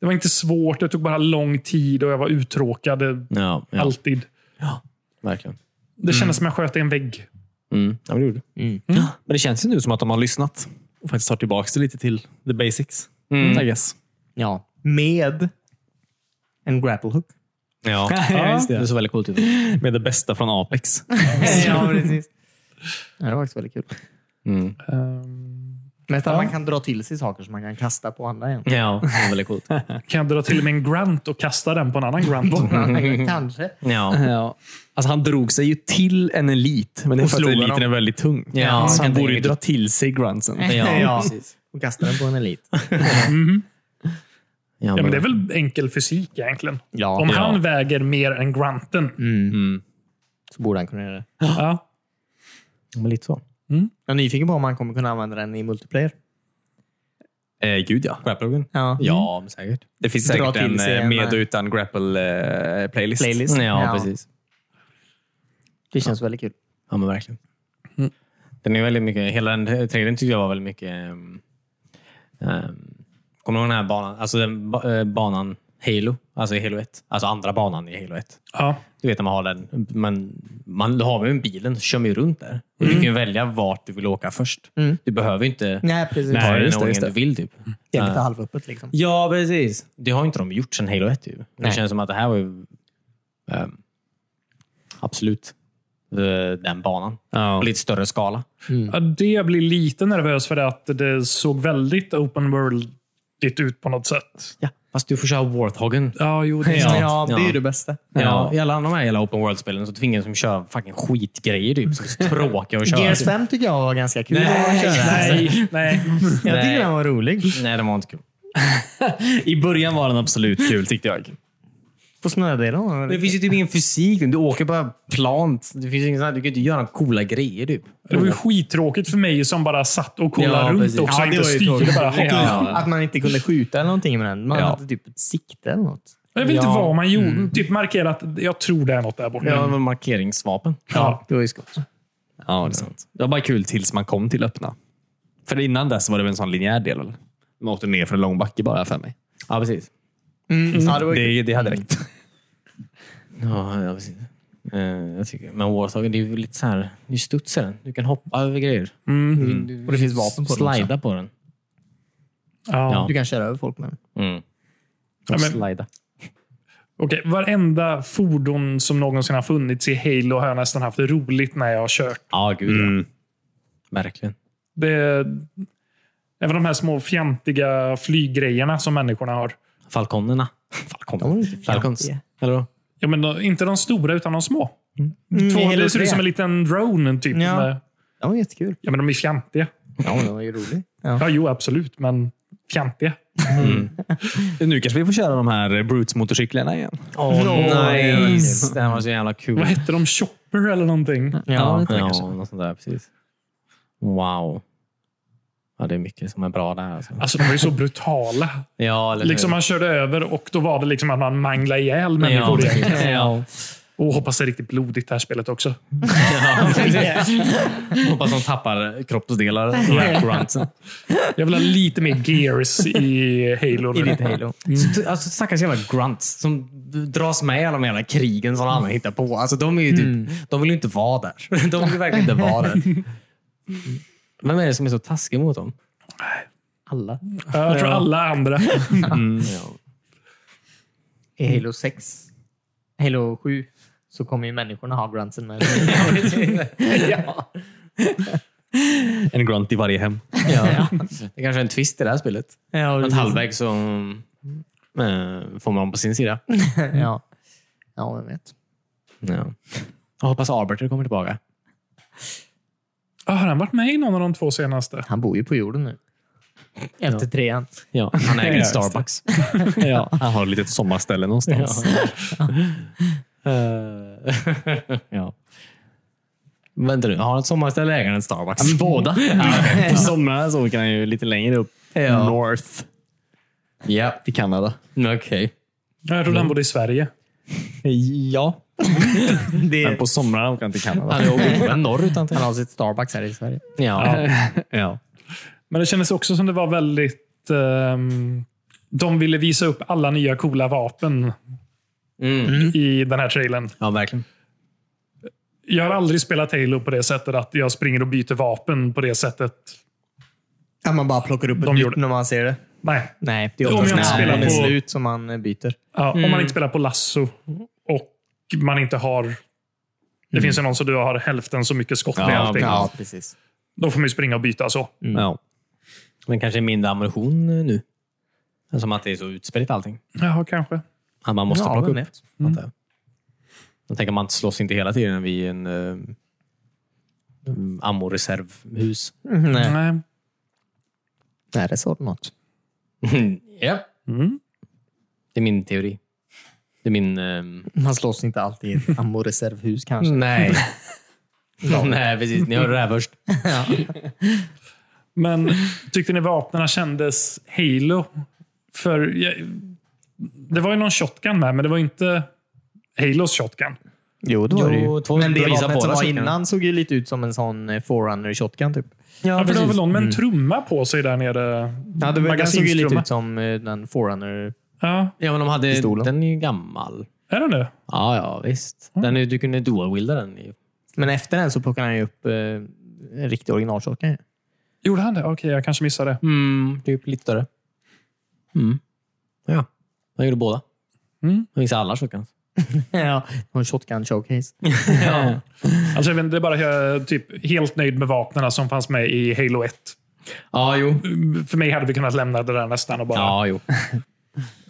[SPEAKER 1] det var inte svårt, det tog bara lång tid och jag var uttråkad. Det-
[SPEAKER 4] Ja, ja
[SPEAKER 1] Alltid.
[SPEAKER 4] verkligen.
[SPEAKER 1] Det kändes som jag sköt i en vägg.
[SPEAKER 4] Mm. Ja, men det gjorde du.
[SPEAKER 2] Men det känns ju nu som att de har lyssnat och faktiskt tar tillbaka det lite till the basics. I guess.
[SPEAKER 3] ja. Med en grapple hook.
[SPEAKER 4] Ja.
[SPEAKER 2] [laughs]
[SPEAKER 4] [laughs]
[SPEAKER 2] Ja, just det.
[SPEAKER 4] Det såg väldigt coolt ut.
[SPEAKER 2] Med det bästa från Apex.
[SPEAKER 3] [laughs] ja, precis. Ja, det var faktiskt väldigt kul.
[SPEAKER 4] Mm.
[SPEAKER 1] Ehm,
[SPEAKER 3] Mest att man kan dra till sig saker som man kan kasta på andra igen.
[SPEAKER 4] Ja, det var väldigt [laughs] coolt.
[SPEAKER 1] kan jag dra till mig en Grant och kasta den på en annan Grant?
[SPEAKER 3] Kanske.
[SPEAKER 4] Ja.
[SPEAKER 2] [laughs] Ja. Alltså, han drog sig ju till en elit, men det är för att
[SPEAKER 1] slog
[SPEAKER 2] eliten
[SPEAKER 1] honom.
[SPEAKER 2] är väldigt tung.
[SPEAKER 4] Ja,
[SPEAKER 2] så han
[SPEAKER 4] kan
[SPEAKER 2] borde ju
[SPEAKER 4] tänka
[SPEAKER 2] dra till sig Grunsen.
[SPEAKER 4] Ja,
[SPEAKER 3] Alltså, Ja.
[SPEAKER 4] precis.
[SPEAKER 3] Och kasta den på en elit.
[SPEAKER 4] Ja,
[SPEAKER 1] Ja, men det är väl enkel fysik egentligen.
[SPEAKER 3] Ja,
[SPEAKER 1] Om
[SPEAKER 3] ja.
[SPEAKER 1] han väger mer än Granten.
[SPEAKER 3] så borde han kunna göra det. Mm.
[SPEAKER 1] Ja.
[SPEAKER 4] men lite så.
[SPEAKER 3] Jag är nyfiken på om man kommer kunna använda den i multiplayer.
[SPEAKER 2] Eh, gud ja.
[SPEAKER 4] Grapplogen?
[SPEAKER 3] Ja.
[SPEAKER 4] Ja, men säkert.
[SPEAKER 2] Mm. Det finns
[SPEAKER 3] Dra
[SPEAKER 2] säkert
[SPEAKER 3] till
[SPEAKER 2] en
[SPEAKER 3] sig
[SPEAKER 2] eh,
[SPEAKER 3] en,
[SPEAKER 2] med
[SPEAKER 3] eh,
[SPEAKER 2] och utan grapple-playlist.
[SPEAKER 3] Playlist.
[SPEAKER 4] Ja,
[SPEAKER 3] Ja.
[SPEAKER 4] precis.
[SPEAKER 3] Det känns väldigt kul.
[SPEAKER 4] Ja, men verkligen.
[SPEAKER 2] Mm.
[SPEAKER 4] Den är väldigt mycket, hela den trailern tyckte jag var väldigt mycket... ehm, ehm, kommer du ihåg den här banan? Alltså den ba, eh, banan Halo. Alltså i Halo 1. Alltså andra banan i Halo 1.
[SPEAKER 1] ja.
[SPEAKER 4] Du vet när man har den. Men man, då har man ju bilen så kör man ju runt där. Och
[SPEAKER 2] Mm.
[SPEAKER 4] Du kan ju välja vart du vill åka först. Du behöver ju inte
[SPEAKER 3] Nej, precis.
[SPEAKER 4] ta
[SPEAKER 3] Nej,
[SPEAKER 4] den i
[SPEAKER 2] just
[SPEAKER 4] den
[SPEAKER 2] det,
[SPEAKER 4] ordningen
[SPEAKER 2] just
[SPEAKER 4] du
[SPEAKER 2] det. Mm.
[SPEAKER 4] vill. Typ.
[SPEAKER 3] Det är lite halvöppet liksom.
[SPEAKER 4] Ja, precis. Det har ju inte de gjort sedan Halo 1. Ju. Det
[SPEAKER 3] Nej.
[SPEAKER 4] känns som att det här var ju ehm, absolut eh, den banan. På
[SPEAKER 2] Ja.
[SPEAKER 4] lite större skala.
[SPEAKER 1] Ja, det jag blir lite nervös för det att det såg väldigt open worldigt ut på något sätt.
[SPEAKER 4] Ja, fast du får köra Warthogen.
[SPEAKER 1] Ja, jo, det
[SPEAKER 4] Ja.
[SPEAKER 3] Ja, det är ju det bästa.
[SPEAKER 4] Ja. I alla de här hela Open World-spelen så tvingas de köra fucking skitgrejer typ, som är så tråkiga att köra.
[SPEAKER 3] Gears
[SPEAKER 4] typ.
[SPEAKER 3] 5 tycker jag var ganska kul
[SPEAKER 4] Nej,
[SPEAKER 3] att
[SPEAKER 1] [laughs]
[SPEAKER 3] köra.
[SPEAKER 1] Nej, nej.
[SPEAKER 3] Jag tycker
[SPEAKER 4] Nej.
[SPEAKER 3] den var rolig.
[SPEAKER 4] Nej, det var inte kul.
[SPEAKER 2] I början var den absolut kul tyckte jag.
[SPEAKER 3] På snödelen var den
[SPEAKER 4] Det
[SPEAKER 3] rolig.
[SPEAKER 4] finns ju typ ingen fysik. Du åker bara plant. Det finns inget, du kan inte göra coola grejer. Typ.
[SPEAKER 1] Det var ju skittråkigt för mig som bara satt och kollade
[SPEAKER 4] Ja,
[SPEAKER 1] runt
[SPEAKER 4] precis.
[SPEAKER 1] också.
[SPEAKER 4] Ja,
[SPEAKER 1] inte styrde
[SPEAKER 3] tråkigt.
[SPEAKER 1] bara.
[SPEAKER 3] Och
[SPEAKER 1] Ja.
[SPEAKER 3] Att man inte kunde skjuta eller någonting med den. Man
[SPEAKER 2] Ja.
[SPEAKER 3] hade typ ett sikte eller något.
[SPEAKER 1] Jag vet inte vad man gjorde.
[SPEAKER 3] Mm.
[SPEAKER 1] Typ markera att jag tror det är något där borta.
[SPEAKER 4] Ja, det var markeringsvapen.
[SPEAKER 1] Ja.
[SPEAKER 3] Det var ju skott.
[SPEAKER 2] Ja, det är sant. Det var bara kul tills man kom till öppna. För innan dess var det väl en sån linjär del? Eller? Man åkte ner för en lång backe bara för mig.
[SPEAKER 4] Ja, precis.
[SPEAKER 3] Mm. Ja, det var ju
[SPEAKER 2] Det, det hade räckt.
[SPEAKER 4] Ja, ja, precis. Eh, jag tycker. Men Warthagen, det är ju lite så här, du studsar den. Du kan hoppa över grejer.
[SPEAKER 3] Mm. Och det finns vapen på den också.
[SPEAKER 4] Slida på den.
[SPEAKER 1] Ja.
[SPEAKER 4] Ja.
[SPEAKER 1] Ja.
[SPEAKER 3] Du kan köra över folk med den.
[SPEAKER 4] Mm.
[SPEAKER 1] men-
[SPEAKER 4] Slida.
[SPEAKER 1] Okej, varenda fordon som någonsin har funnits i Halo har jag nästan haft roligt när jag har kört.
[SPEAKER 4] Ja, gud ja. Verkligen.
[SPEAKER 1] Det, även de här små fjantiga flyggrejerna som människorna har.
[SPEAKER 4] Falkonerna.
[SPEAKER 3] De var
[SPEAKER 4] Falkon.
[SPEAKER 3] inte fjantiga.
[SPEAKER 4] Falcons. Eller vad?
[SPEAKER 1] Ja, men de, inte de stora, utan de små.
[SPEAKER 3] Mm, i
[SPEAKER 1] Två,
[SPEAKER 3] Halo
[SPEAKER 1] det ser
[SPEAKER 3] 3.
[SPEAKER 1] ut som en liten drone. Typ,
[SPEAKER 3] Ja.
[SPEAKER 1] med,
[SPEAKER 3] Den var jättekul.
[SPEAKER 1] ja, men de är fjantiga.
[SPEAKER 3] Ja, den var ju rolig. Ja.
[SPEAKER 1] Ja, jo, absolut. Men fjantiga.
[SPEAKER 2] [laughs] Nu kanske vi får köra de här Brutes-motorcyklarna igen.
[SPEAKER 4] Åh,
[SPEAKER 3] nice.
[SPEAKER 4] nice! Det här var så jävla kul.
[SPEAKER 1] Vad hette de? Chopper eller någonting?
[SPEAKER 3] Ja,
[SPEAKER 4] Ja,
[SPEAKER 3] det
[SPEAKER 4] ja,
[SPEAKER 3] kanske.
[SPEAKER 4] något sånt där. Precis. Wow. Ja, det är mycket som är bra där. Alltså.
[SPEAKER 1] Alltså, de var ju så brutala.
[SPEAKER 4] Ja, eller hur?
[SPEAKER 1] Liksom man körde över och då var det liksom att man manglade ihjäl
[SPEAKER 4] ja,
[SPEAKER 1] människor. igen.
[SPEAKER 4] precis. ja.
[SPEAKER 1] [laughs] Och hoppas det är riktigt blodigt det här spelet också.
[SPEAKER 4] Ja, precis. [laughs] Hoppas de tappar kroppsdelar. Wraparoundsen.
[SPEAKER 1] Jag vill ha lite mer gears i Halo.
[SPEAKER 3] I ditt Halo.
[SPEAKER 4] Så, Alltså, stackars jävla grunts som dras med i alla de jävla krigen som alla hittar på. Alltså, de, är ju typ, de vill ju inte vara där. [laughs] De vill verkligen inte vara där. [laughs] Vem är det som är så taskig mot dem? Alla.
[SPEAKER 1] Ja, Jag tror alla andra.
[SPEAKER 4] [laughs] Ja.
[SPEAKER 3] I Halo 6, Halo 7, så kommer ju människorna ha grunsen med.
[SPEAKER 2] En grunt i varje hem.
[SPEAKER 4] Ja. [laughs] Det kanske är en twist i det här spelet.
[SPEAKER 3] ja,
[SPEAKER 4] Att
[SPEAKER 3] precis.
[SPEAKER 4] halvvägs så mm, eh, får man på sin sida.
[SPEAKER 3] ja. ja, vem vet.
[SPEAKER 4] Ja. Jag hoppas Arbiter kommer tillbaka.
[SPEAKER 1] Ah, Har han varit med i någon av de två senaste?
[SPEAKER 3] Han bor ju på jorden nu. Efter trean.
[SPEAKER 4] Ja. Han
[SPEAKER 2] [laughs]
[SPEAKER 4] äger
[SPEAKER 2] Ja,
[SPEAKER 4] en
[SPEAKER 2] just det.
[SPEAKER 4] Starbucks.
[SPEAKER 2] Ja. Han har ett litet sommarställe någonstans. [laughs]
[SPEAKER 4] Eh, ja. Vänta nu, har han ett sommarställe äger han en Starbucks? [laughs]
[SPEAKER 2] Båda. [laughs] På somrarna så åker han ju lite längre upp
[SPEAKER 4] Ja.
[SPEAKER 2] north
[SPEAKER 4] Ja,
[SPEAKER 2] till Kanada.
[SPEAKER 4] okej.
[SPEAKER 1] Ja, Jag trodde
[SPEAKER 4] Mm.
[SPEAKER 1] han bodde i Sverige.
[SPEAKER 2] Ja.
[SPEAKER 3] Det
[SPEAKER 2] Men på somrarna åker han till Kanada.
[SPEAKER 4] Han åker inte norrut antar
[SPEAKER 3] Han har sitt Starbucks här i Sverige.
[SPEAKER 4] Ja.
[SPEAKER 2] Ja.
[SPEAKER 1] Men det kändes också som det var väldigt... ehm, de ville visa upp alla nya coola vapen
[SPEAKER 4] Mm.
[SPEAKER 1] i den här trailern.
[SPEAKER 4] ja, verkligen.
[SPEAKER 1] Jag har aldrig spelat Halo på det sättet att jag springer och byter vapen på det sättet.
[SPEAKER 3] Att man bara plockar upp ett
[SPEAKER 1] De
[SPEAKER 3] nytt
[SPEAKER 1] gjorde-
[SPEAKER 3] när man ser det.
[SPEAKER 1] Nej.
[SPEAKER 3] Nej, det är
[SPEAKER 1] Om
[SPEAKER 3] oftast
[SPEAKER 1] jag inte
[SPEAKER 3] när
[SPEAKER 1] spelar
[SPEAKER 3] man är
[SPEAKER 1] på-
[SPEAKER 3] slut som man eh, byter.
[SPEAKER 1] Ja, Om man inte spelar på lasso och man inte har... Det finns ju någon som du har hälften så mycket skott i
[SPEAKER 2] Ja,
[SPEAKER 1] allting.
[SPEAKER 3] Mm. Ja, precis.
[SPEAKER 1] Då får man ju springa och byta så.
[SPEAKER 4] Mm.
[SPEAKER 2] ja.
[SPEAKER 4] Men kanske mindre ammunition eh, nu. Som att det är så utspritt allting.
[SPEAKER 1] Ja, kanske.
[SPEAKER 4] Att man måste
[SPEAKER 3] Ja,
[SPEAKER 4] plocka
[SPEAKER 3] vem
[SPEAKER 4] upp.
[SPEAKER 3] vet?
[SPEAKER 4] antar jag. Jag tänker man slåss inte hela tiden vid en eh, mm, ammoreservhus.
[SPEAKER 3] Mm, Nej,
[SPEAKER 1] Nej.
[SPEAKER 3] Nej, det sa du något.
[SPEAKER 4] [laughs] ja.
[SPEAKER 1] Mm.
[SPEAKER 4] Det är min teori. Det är min... ehm,
[SPEAKER 3] Man slåss inte alltid i ett ammoreservhus
[SPEAKER 4] [laughs]
[SPEAKER 3] kanske.
[SPEAKER 4] Nej. Nej, precis. Ni hörde det här först.
[SPEAKER 1] Men tyckte ni vapnen kändes Halo? För jag, det var ju någon shotgun med, men det var inte Halos shotgun.
[SPEAKER 3] Jo, det var det
[SPEAKER 4] Jo,
[SPEAKER 3] ju.
[SPEAKER 4] två
[SPEAKER 3] Men det
[SPEAKER 4] bevisar
[SPEAKER 3] vapnet som
[SPEAKER 4] båda
[SPEAKER 3] var
[SPEAKER 4] sakerna.
[SPEAKER 3] innan såg ju lite ut som en sån eh, Forerunner shotgun typ.
[SPEAKER 1] Ja, för det var väl någon med en trumma på sig där nere?
[SPEAKER 3] Mm. Ja, det var, den såg ju lite
[SPEAKER 1] Magasinstrumma.
[SPEAKER 3] ut som eh, den Forerunner.
[SPEAKER 1] Ja,
[SPEAKER 4] Ja, men de hade...
[SPEAKER 3] Pistolen.
[SPEAKER 4] Den är ju gammal.
[SPEAKER 1] är det nu?
[SPEAKER 4] Ja, ja, visst. Den är, du kunde dual-wilda den. i-
[SPEAKER 3] Men efter den så plockade han ju upp eh, en riktig original shotgun. [laughs]
[SPEAKER 1] Gjorde han det? Okej, jag kanske missade det.
[SPEAKER 4] Mm, typ lite större. Mm. Ja, de gjorde båda.
[SPEAKER 1] Mm.
[SPEAKER 4] De visade alla shotguns.
[SPEAKER 3] ja, och en shotgun showcase.
[SPEAKER 4] Ja.
[SPEAKER 1] Alltså, jag vet inte, det är bara jag är typ helt nöjd med vapnen som fanns med i Halo 1.
[SPEAKER 4] ja, jo.
[SPEAKER 1] För mig hade vi kunnat lämna det där nästan och bara...
[SPEAKER 4] Ja, [laughs] jo.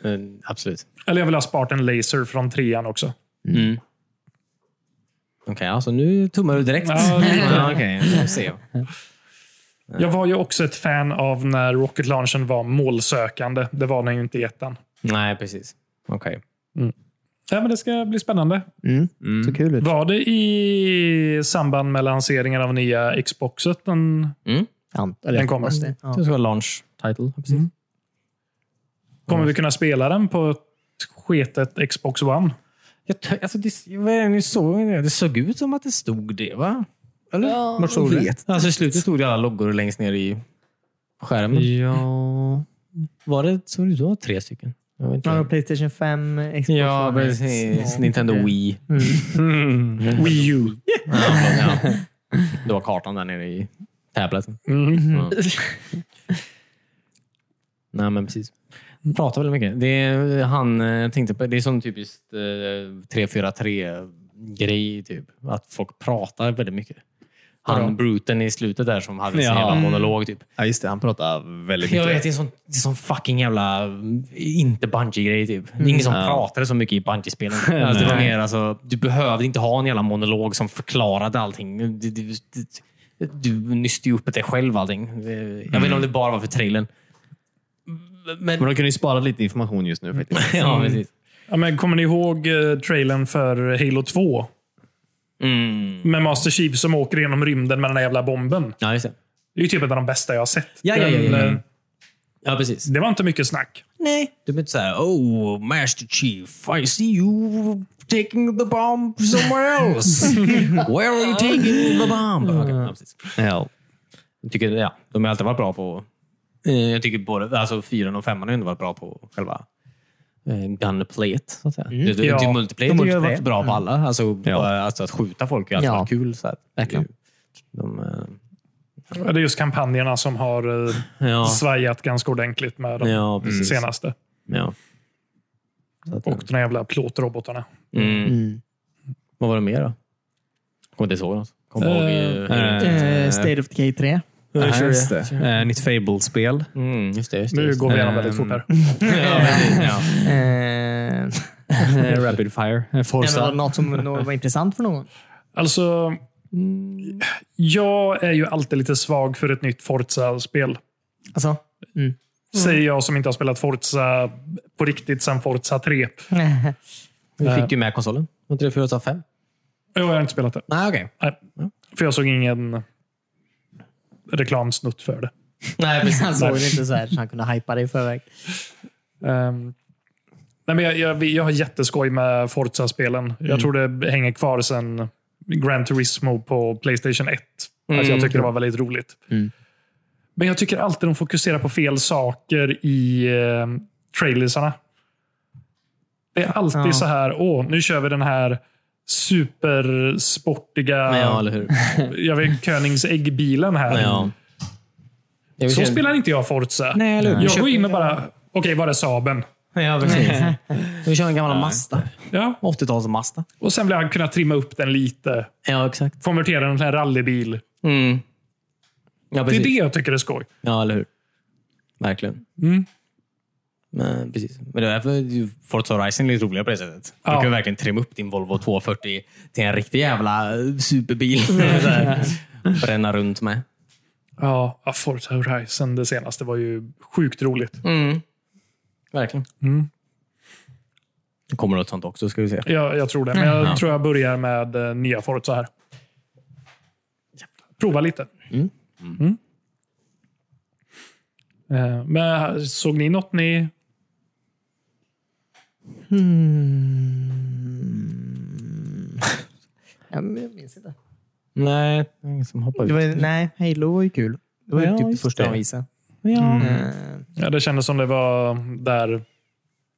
[SPEAKER 4] Mm, Absolut.
[SPEAKER 1] Eller jag vill ha sparat en laser från trean också.
[SPEAKER 4] Mm. Okej, alltså nu tummar du direkt.
[SPEAKER 1] Ja, lite.
[SPEAKER 4] ja, okej. Nu ser jag.
[SPEAKER 1] Jag var ju också ett fan av när Rocket Launchen var målsökande. Det var den ju inte i ettan.
[SPEAKER 4] Nej, precis. Okej.
[SPEAKER 1] Ja, men det ska bli spännande.
[SPEAKER 3] Mm. Så kul ut.
[SPEAKER 1] Var det i samband med lanseringen av nya Xboxet? Den...
[SPEAKER 4] Mm.
[SPEAKER 3] Ant- eller
[SPEAKER 1] Den kommer.
[SPEAKER 3] hoppas det. Ja. Mm.
[SPEAKER 4] Det ska vara launch title. Precis.
[SPEAKER 1] Kommer vi kunna spela den på ett sketet Xbox One?
[SPEAKER 4] Jag tö- alltså, det, vad är det ni såg? Det såg ut som att det stod det, va? Eller? Ja,
[SPEAKER 3] Vart såg du det?
[SPEAKER 4] Alltså, I slutet stod det alla loggor längst ner i skärmen.
[SPEAKER 3] Ja.
[SPEAKER 4] Var det, såg det ut att vara tre stycken? Jag vet
[SPEAKER 3] Ja,
[SPEAKER 4] inte.
[SPEAKER 3] Playstation 5, Xbox
[SPEAKER 4] Ja,
[SPEAKER 3] One X.
[SPEAKER 4] precis.
[SPEAKER 3] Ja.
[SPEAKER 4] Nintendo Wii.
[SPEAKER 1] Wii U.
[SPEAKER 4] Ja, ja. Det var kartan där nere i tableten.
[SPEAKER 1] Mm.
[SPEAKER 4] Ja. Nej, men precis. Pratar väldigt mycket. Det är, han, eh, jag tänkte på, det är som typiskt eh, 3-4-3-grej. Typ. Att folk pratar väldigt mycket. Han bruten i slutet där som hade sin
[SPEAKER 2] Ja.
[SPEAKER 4] jävla monolog. Typ.
[SPEAKER 2] Ja, just det. Han pratar väldigt
[SPEAKER 4] Jag
[SPEAKER 2] mycket.
[SPEAKER 4] vet, det är sån, det är sån fucking jävla mm, inte bungee grej typ. Det är ingen som
[SPEAKER 2] Ja.
[SPEAKER 4] pratade så mycket i bungee [laughs] spelen alltså, det var
[SPEAKER 2] Nej.
[SPEAKER 4] mer alltså, du behövde inte ha en jävla monolog som förklarade allting. Du, du, du, du nyste ju upp det själv allting. Det- Jag vet inte om det bara var för trailern. Men,
[SPEAKER 2] Men de kunde ju spara lite information just
[SPEAKER 4] Mm.
[SPEAKER 2] nu faktiskt.
[SPEAKER 4] ja, precis.
[SPEAKER 1] Ja, men kommer ni ihåg eh, trailern för Halo 2?
[SPEAKER 4] Mm.
[SPEAKER 1] Med Master Chief som åker genom rymden med den där jävla bomben.
[SPEAKER 4] Ja, just det.
[SPEAKER 1] Det är ju typ ett av de bästa jag har sett.
[SPEAKER 4] Ja, ja, ja, ja, ja.
[SPEAKER 1] Den, eh,
[SPEAKER 4] Ja, precis.
[SPEAKER 1] Det var inte mycket snack.
[SPEAKER 4] Nej. Du blir inte såhär, oh master chief, I see you taking the bomb somewhere else. [laughs] Where are you taking the bomb? Okej, ja, precis.
[SPEAKER 2] Ja.
[SPEAKER 4] Jag tycker, ja, de har alltid varit bra på... Eh, jag tycker både alltså, fyran och femman har ju ändå varit bra på själva eh, gunplayet. Så att säga. Det, det,
[SPEAKER 1] Ja.
[SPEAKER 4] det, multiplayer
[SPEAKER 3] De
[SPEAKER 4] tycker jag Mm. har varit
[SPEAKER 3] multiplayer.
[SPEAKER 4] bra på alla. Alltså,
[SPEAKER 2] Ja.
[SPEAKER 4] bara, alltså att skjuta folk är alltid
[SPEAKER 3] Ja.
[SPEAKER 4] varit kul. Så här.
[SPEAKER 3] Verkligen.
[SPEAKER 4] De, eh,
[SPEAKER 1] Ja, Det är just kampanjerna som har eh,
[SPEAKER 4] ja,
[SPEAKER 1] svajat ganska ordentligt med de
[SPEAKER 4] ja, precis.
[SPEAKER 1] senaste.
[SPEAKER 4] Ja. Så att,
[SPEAKER 1] Och de här jävla plåtrobotarna.
[SPEAKER 4] mm.
[SPEAKER 3] Mm.
[SPEAKER 4] Vad var det mer då? Kommer inte ihåg något. Kommer
[SPEAKER 1] Eh,
[SPEAKER 4] ihåg... eh,
[SPEAKER 3] Eh, State of Decay 3.
[SPEAKER 2] Nej, just det. Eh, nytt Fable-spel.
[SPEAKER 4] Mm, just det, just det.
[SPEAKER 1] Nu
[SPEAKER 4] Just det.
[SPEAKER 1] går vi igenom
[SPEAKER 2] Ehm,
[SPEAKER 1] väldigt fort här.
[SPEAKER 4] Ja, precis, ja.
[SPEAKER 3] Eh, [laughs]
[SPEAKER 2] [laughs] Eh, Rapid Fire. Eh,
[SPEAKER 3] men var det
[SPEAKER 2] Forza.
[SPEAKER 3] något som nog var intressant för någon? [laughs]
[SPEAKER 1] Alltså, jag är ju alltid lite svag för ett nytt Forza-spel.
[SPEAKER 3] Alltså? Mm.
[SPEAKER 1] Säger jag som inte har spelat Forza på riktigt sedan Forza 3.
[SPEAKER 4] Vi fick ju med konsolen. Var inte det 485?
[SPEAKER 1] Jag har inte spelat det.
[SPEAKER 3] Ah,
[SPEAKER 4] Nej, okej.
[SPEAKER 1] Nej. För jag såg ingen reklamsnutt för det.
[SPEAKER 3] Nej, [laughs] Han såg det inte så här så han kunde hypa det i förväg.
[SPEAKER 1] Ehm, nej men jag, jag, jag har jätteskoj med Forza-spelen. Jag tror det hänger kvar sen Gran Turismo på Playstation 1. Alltså jag tycker det var väldigt roligt. Men jag tycker alltid de fokuserar på fel saker i eh, trailersarna. Det är alltid
[SPEAKER 3] Ja.
[SPEAKER 1] så här, åh, nu kör vi den här supersportiga
[SPEAKER 4] Ja,
[SPEAKER 1] [laughs]
[SPEAKER 4] eller hur?
[SPEAKER 1] jag vet, Königsegg-bilen här.
[SPEAKER 4] Ja. Jag vill
[SPEAKER 1] Så
[SPEAKER 4] se-
[SPEAKER 1] spelar inte jag Forza.
[SPEAKER 4] Nej, eller hur?
[SPEAKER 1] Jag går in och bara, okej, var är Saben?
[SPEAKER 4] Ja, precis. Vi kör en gammal Mazda.
[SPEAKER 1] Ja,
[SPEAKER 4] 80-tals Mazda.
[SPEAKER 1] Och sen vill han kunna trimma upp den lite.
[SPEAKER 4] Ja, exakt.
[SPEAKER 1] Konvertera den till en rallybil.
[SPEAKER 4] Mm. Ja,
[SPEAKER 1] Det är
[SPEAKER 4] precis.
[SPEAKER 1] det jag tycker är skoj.
[SPEAKER 4] Ja, eller hur? Verkligen.
[SPEAKER 2] Mm.
[SPEAKER 4] Men, precis. Men det är därför ju Forza Horizon är lite roligare på det sättet. Du
[SPEAKER 1] Ja.
[SPEAKER 4] kan ju verkligen trimma upp din Volvo 240 till en riktig jävla eh,
[SPEAKER 2] [laughs]
[SPEAKER 4] superbil. Så här. Bränna runt med.
[SPEAKER 1] Ja, ja, Forza Horizon, det senaste, var ju sjukt roligt.
[SPEAKER 4] Verkligen.
[SPEAKER 1] Mm.
[SPEAKER 4] Det kommer något sånt också, ska vi se.
[SPEAKER 1] Jag, jag tror det, men jag tror jag börjar med eh, nya Forza här. Prova lite. Mm. Eh, Men såg ni något ni...
[SPEAKER 3] Ja, men Jag minns inte.
[SPEAKER 4] Nej, det är ingen som hoppar
[SPEAKER 3] Det
[SPEAKER 4] ut.
[SPEAKER 3] var, nej, Halo var ju kul. Det var ju
[SPEAKER 4] Ja,
[SPEAKER 3] typ det
[SPEAKER 4] just
[SPEAKER 3] första
[SPEAKER 4] det.
[SPEAKER 3] jag visade.
[SPEAKER 4] Ja.
[SPEAKER 3] Eh,
[SPEAKER 1] Ja, det kändes som det var där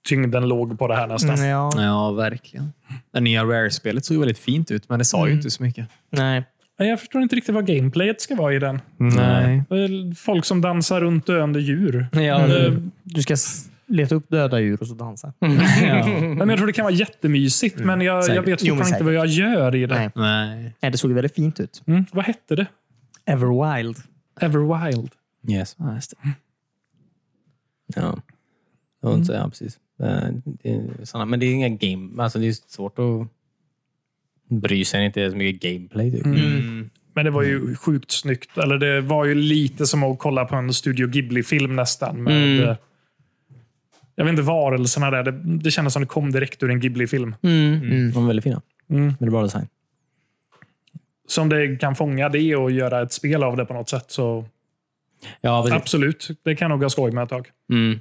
[SPEAKER 1] tyngden låg på det här nästan.
[SPEAKER 3] men ja,
[SPEAKER 2] Ja, verkligen. Det nya Rare-spelet såg ju väldigt fint ut, men det sa
[SPEAKER 4] Mm.
[SPEAKER 2] ju inte så mycket.
[SPEAKER 3] nej.
[SPEAKER 1] Nej, Jag förstår inte riktigt vad gameplayet ska vara i den.
[SPEAKER 2] Nej.
[SPEAKER 1] Det är Folk som dansar runt döende djur.
[SPEAKER 2] [laughs] Ja,
[SPEAKER 1] Mm.
[SPEAKER 3] eh, Du ska s- leta upp döda djur och så dansa.
[SPEAKER 1] Nej, men jag tror det kan vara jättemysigt, men jag, jag
[SPEAKER 2] säkert.
[SPEAKER 1] vet
[SPEAKER 3] Jo, men
[SPEAKER 1] fortfarande inte vad jag gör i det.
[SPEAKER 3] Nej.
[SPEAKER 2] Nej.
[SPEAKER 3] Nej, det såg väldigt fint ut.
[SPEAKER 1] Mm, vad hette det?
[SPEAKER 3] Everwild.
[SPEAKER 1] Everwild.
[SPEAKER 4] Yes.
[SPEAKER 2] Ja, just det.
[SPEAKER 4] Ja. Jag vet inte, ja, precis. Eh, det är Såna, men det är inga game... Alltså, det är svårt att bry sig när det inte är så mycket gameplay. Typ.
[SPEAKER 1] Men det var ju sjukt snyggt. Eller det var ju lite som att kolla på en Studio Ghibli-film nästan. Med, eh, Jag vet inte varelserna där. Det, det kändes som det kom direkt ur en Ghibli-film.
[SPEAKER 4] De är väldigt fina.
[SPEAKER 1] Mm.
[SPEAKER 4] Väldigt bra design.
[SPEAKER 1] Så om det kan fånga det och göra ett spel av det på något sätt så
[SPEAKER 4] Ja, precis.
[SPEAKER 1] absolut. Det kan nog ha skoj med ett tag.
[SPEAKER 4] Mm.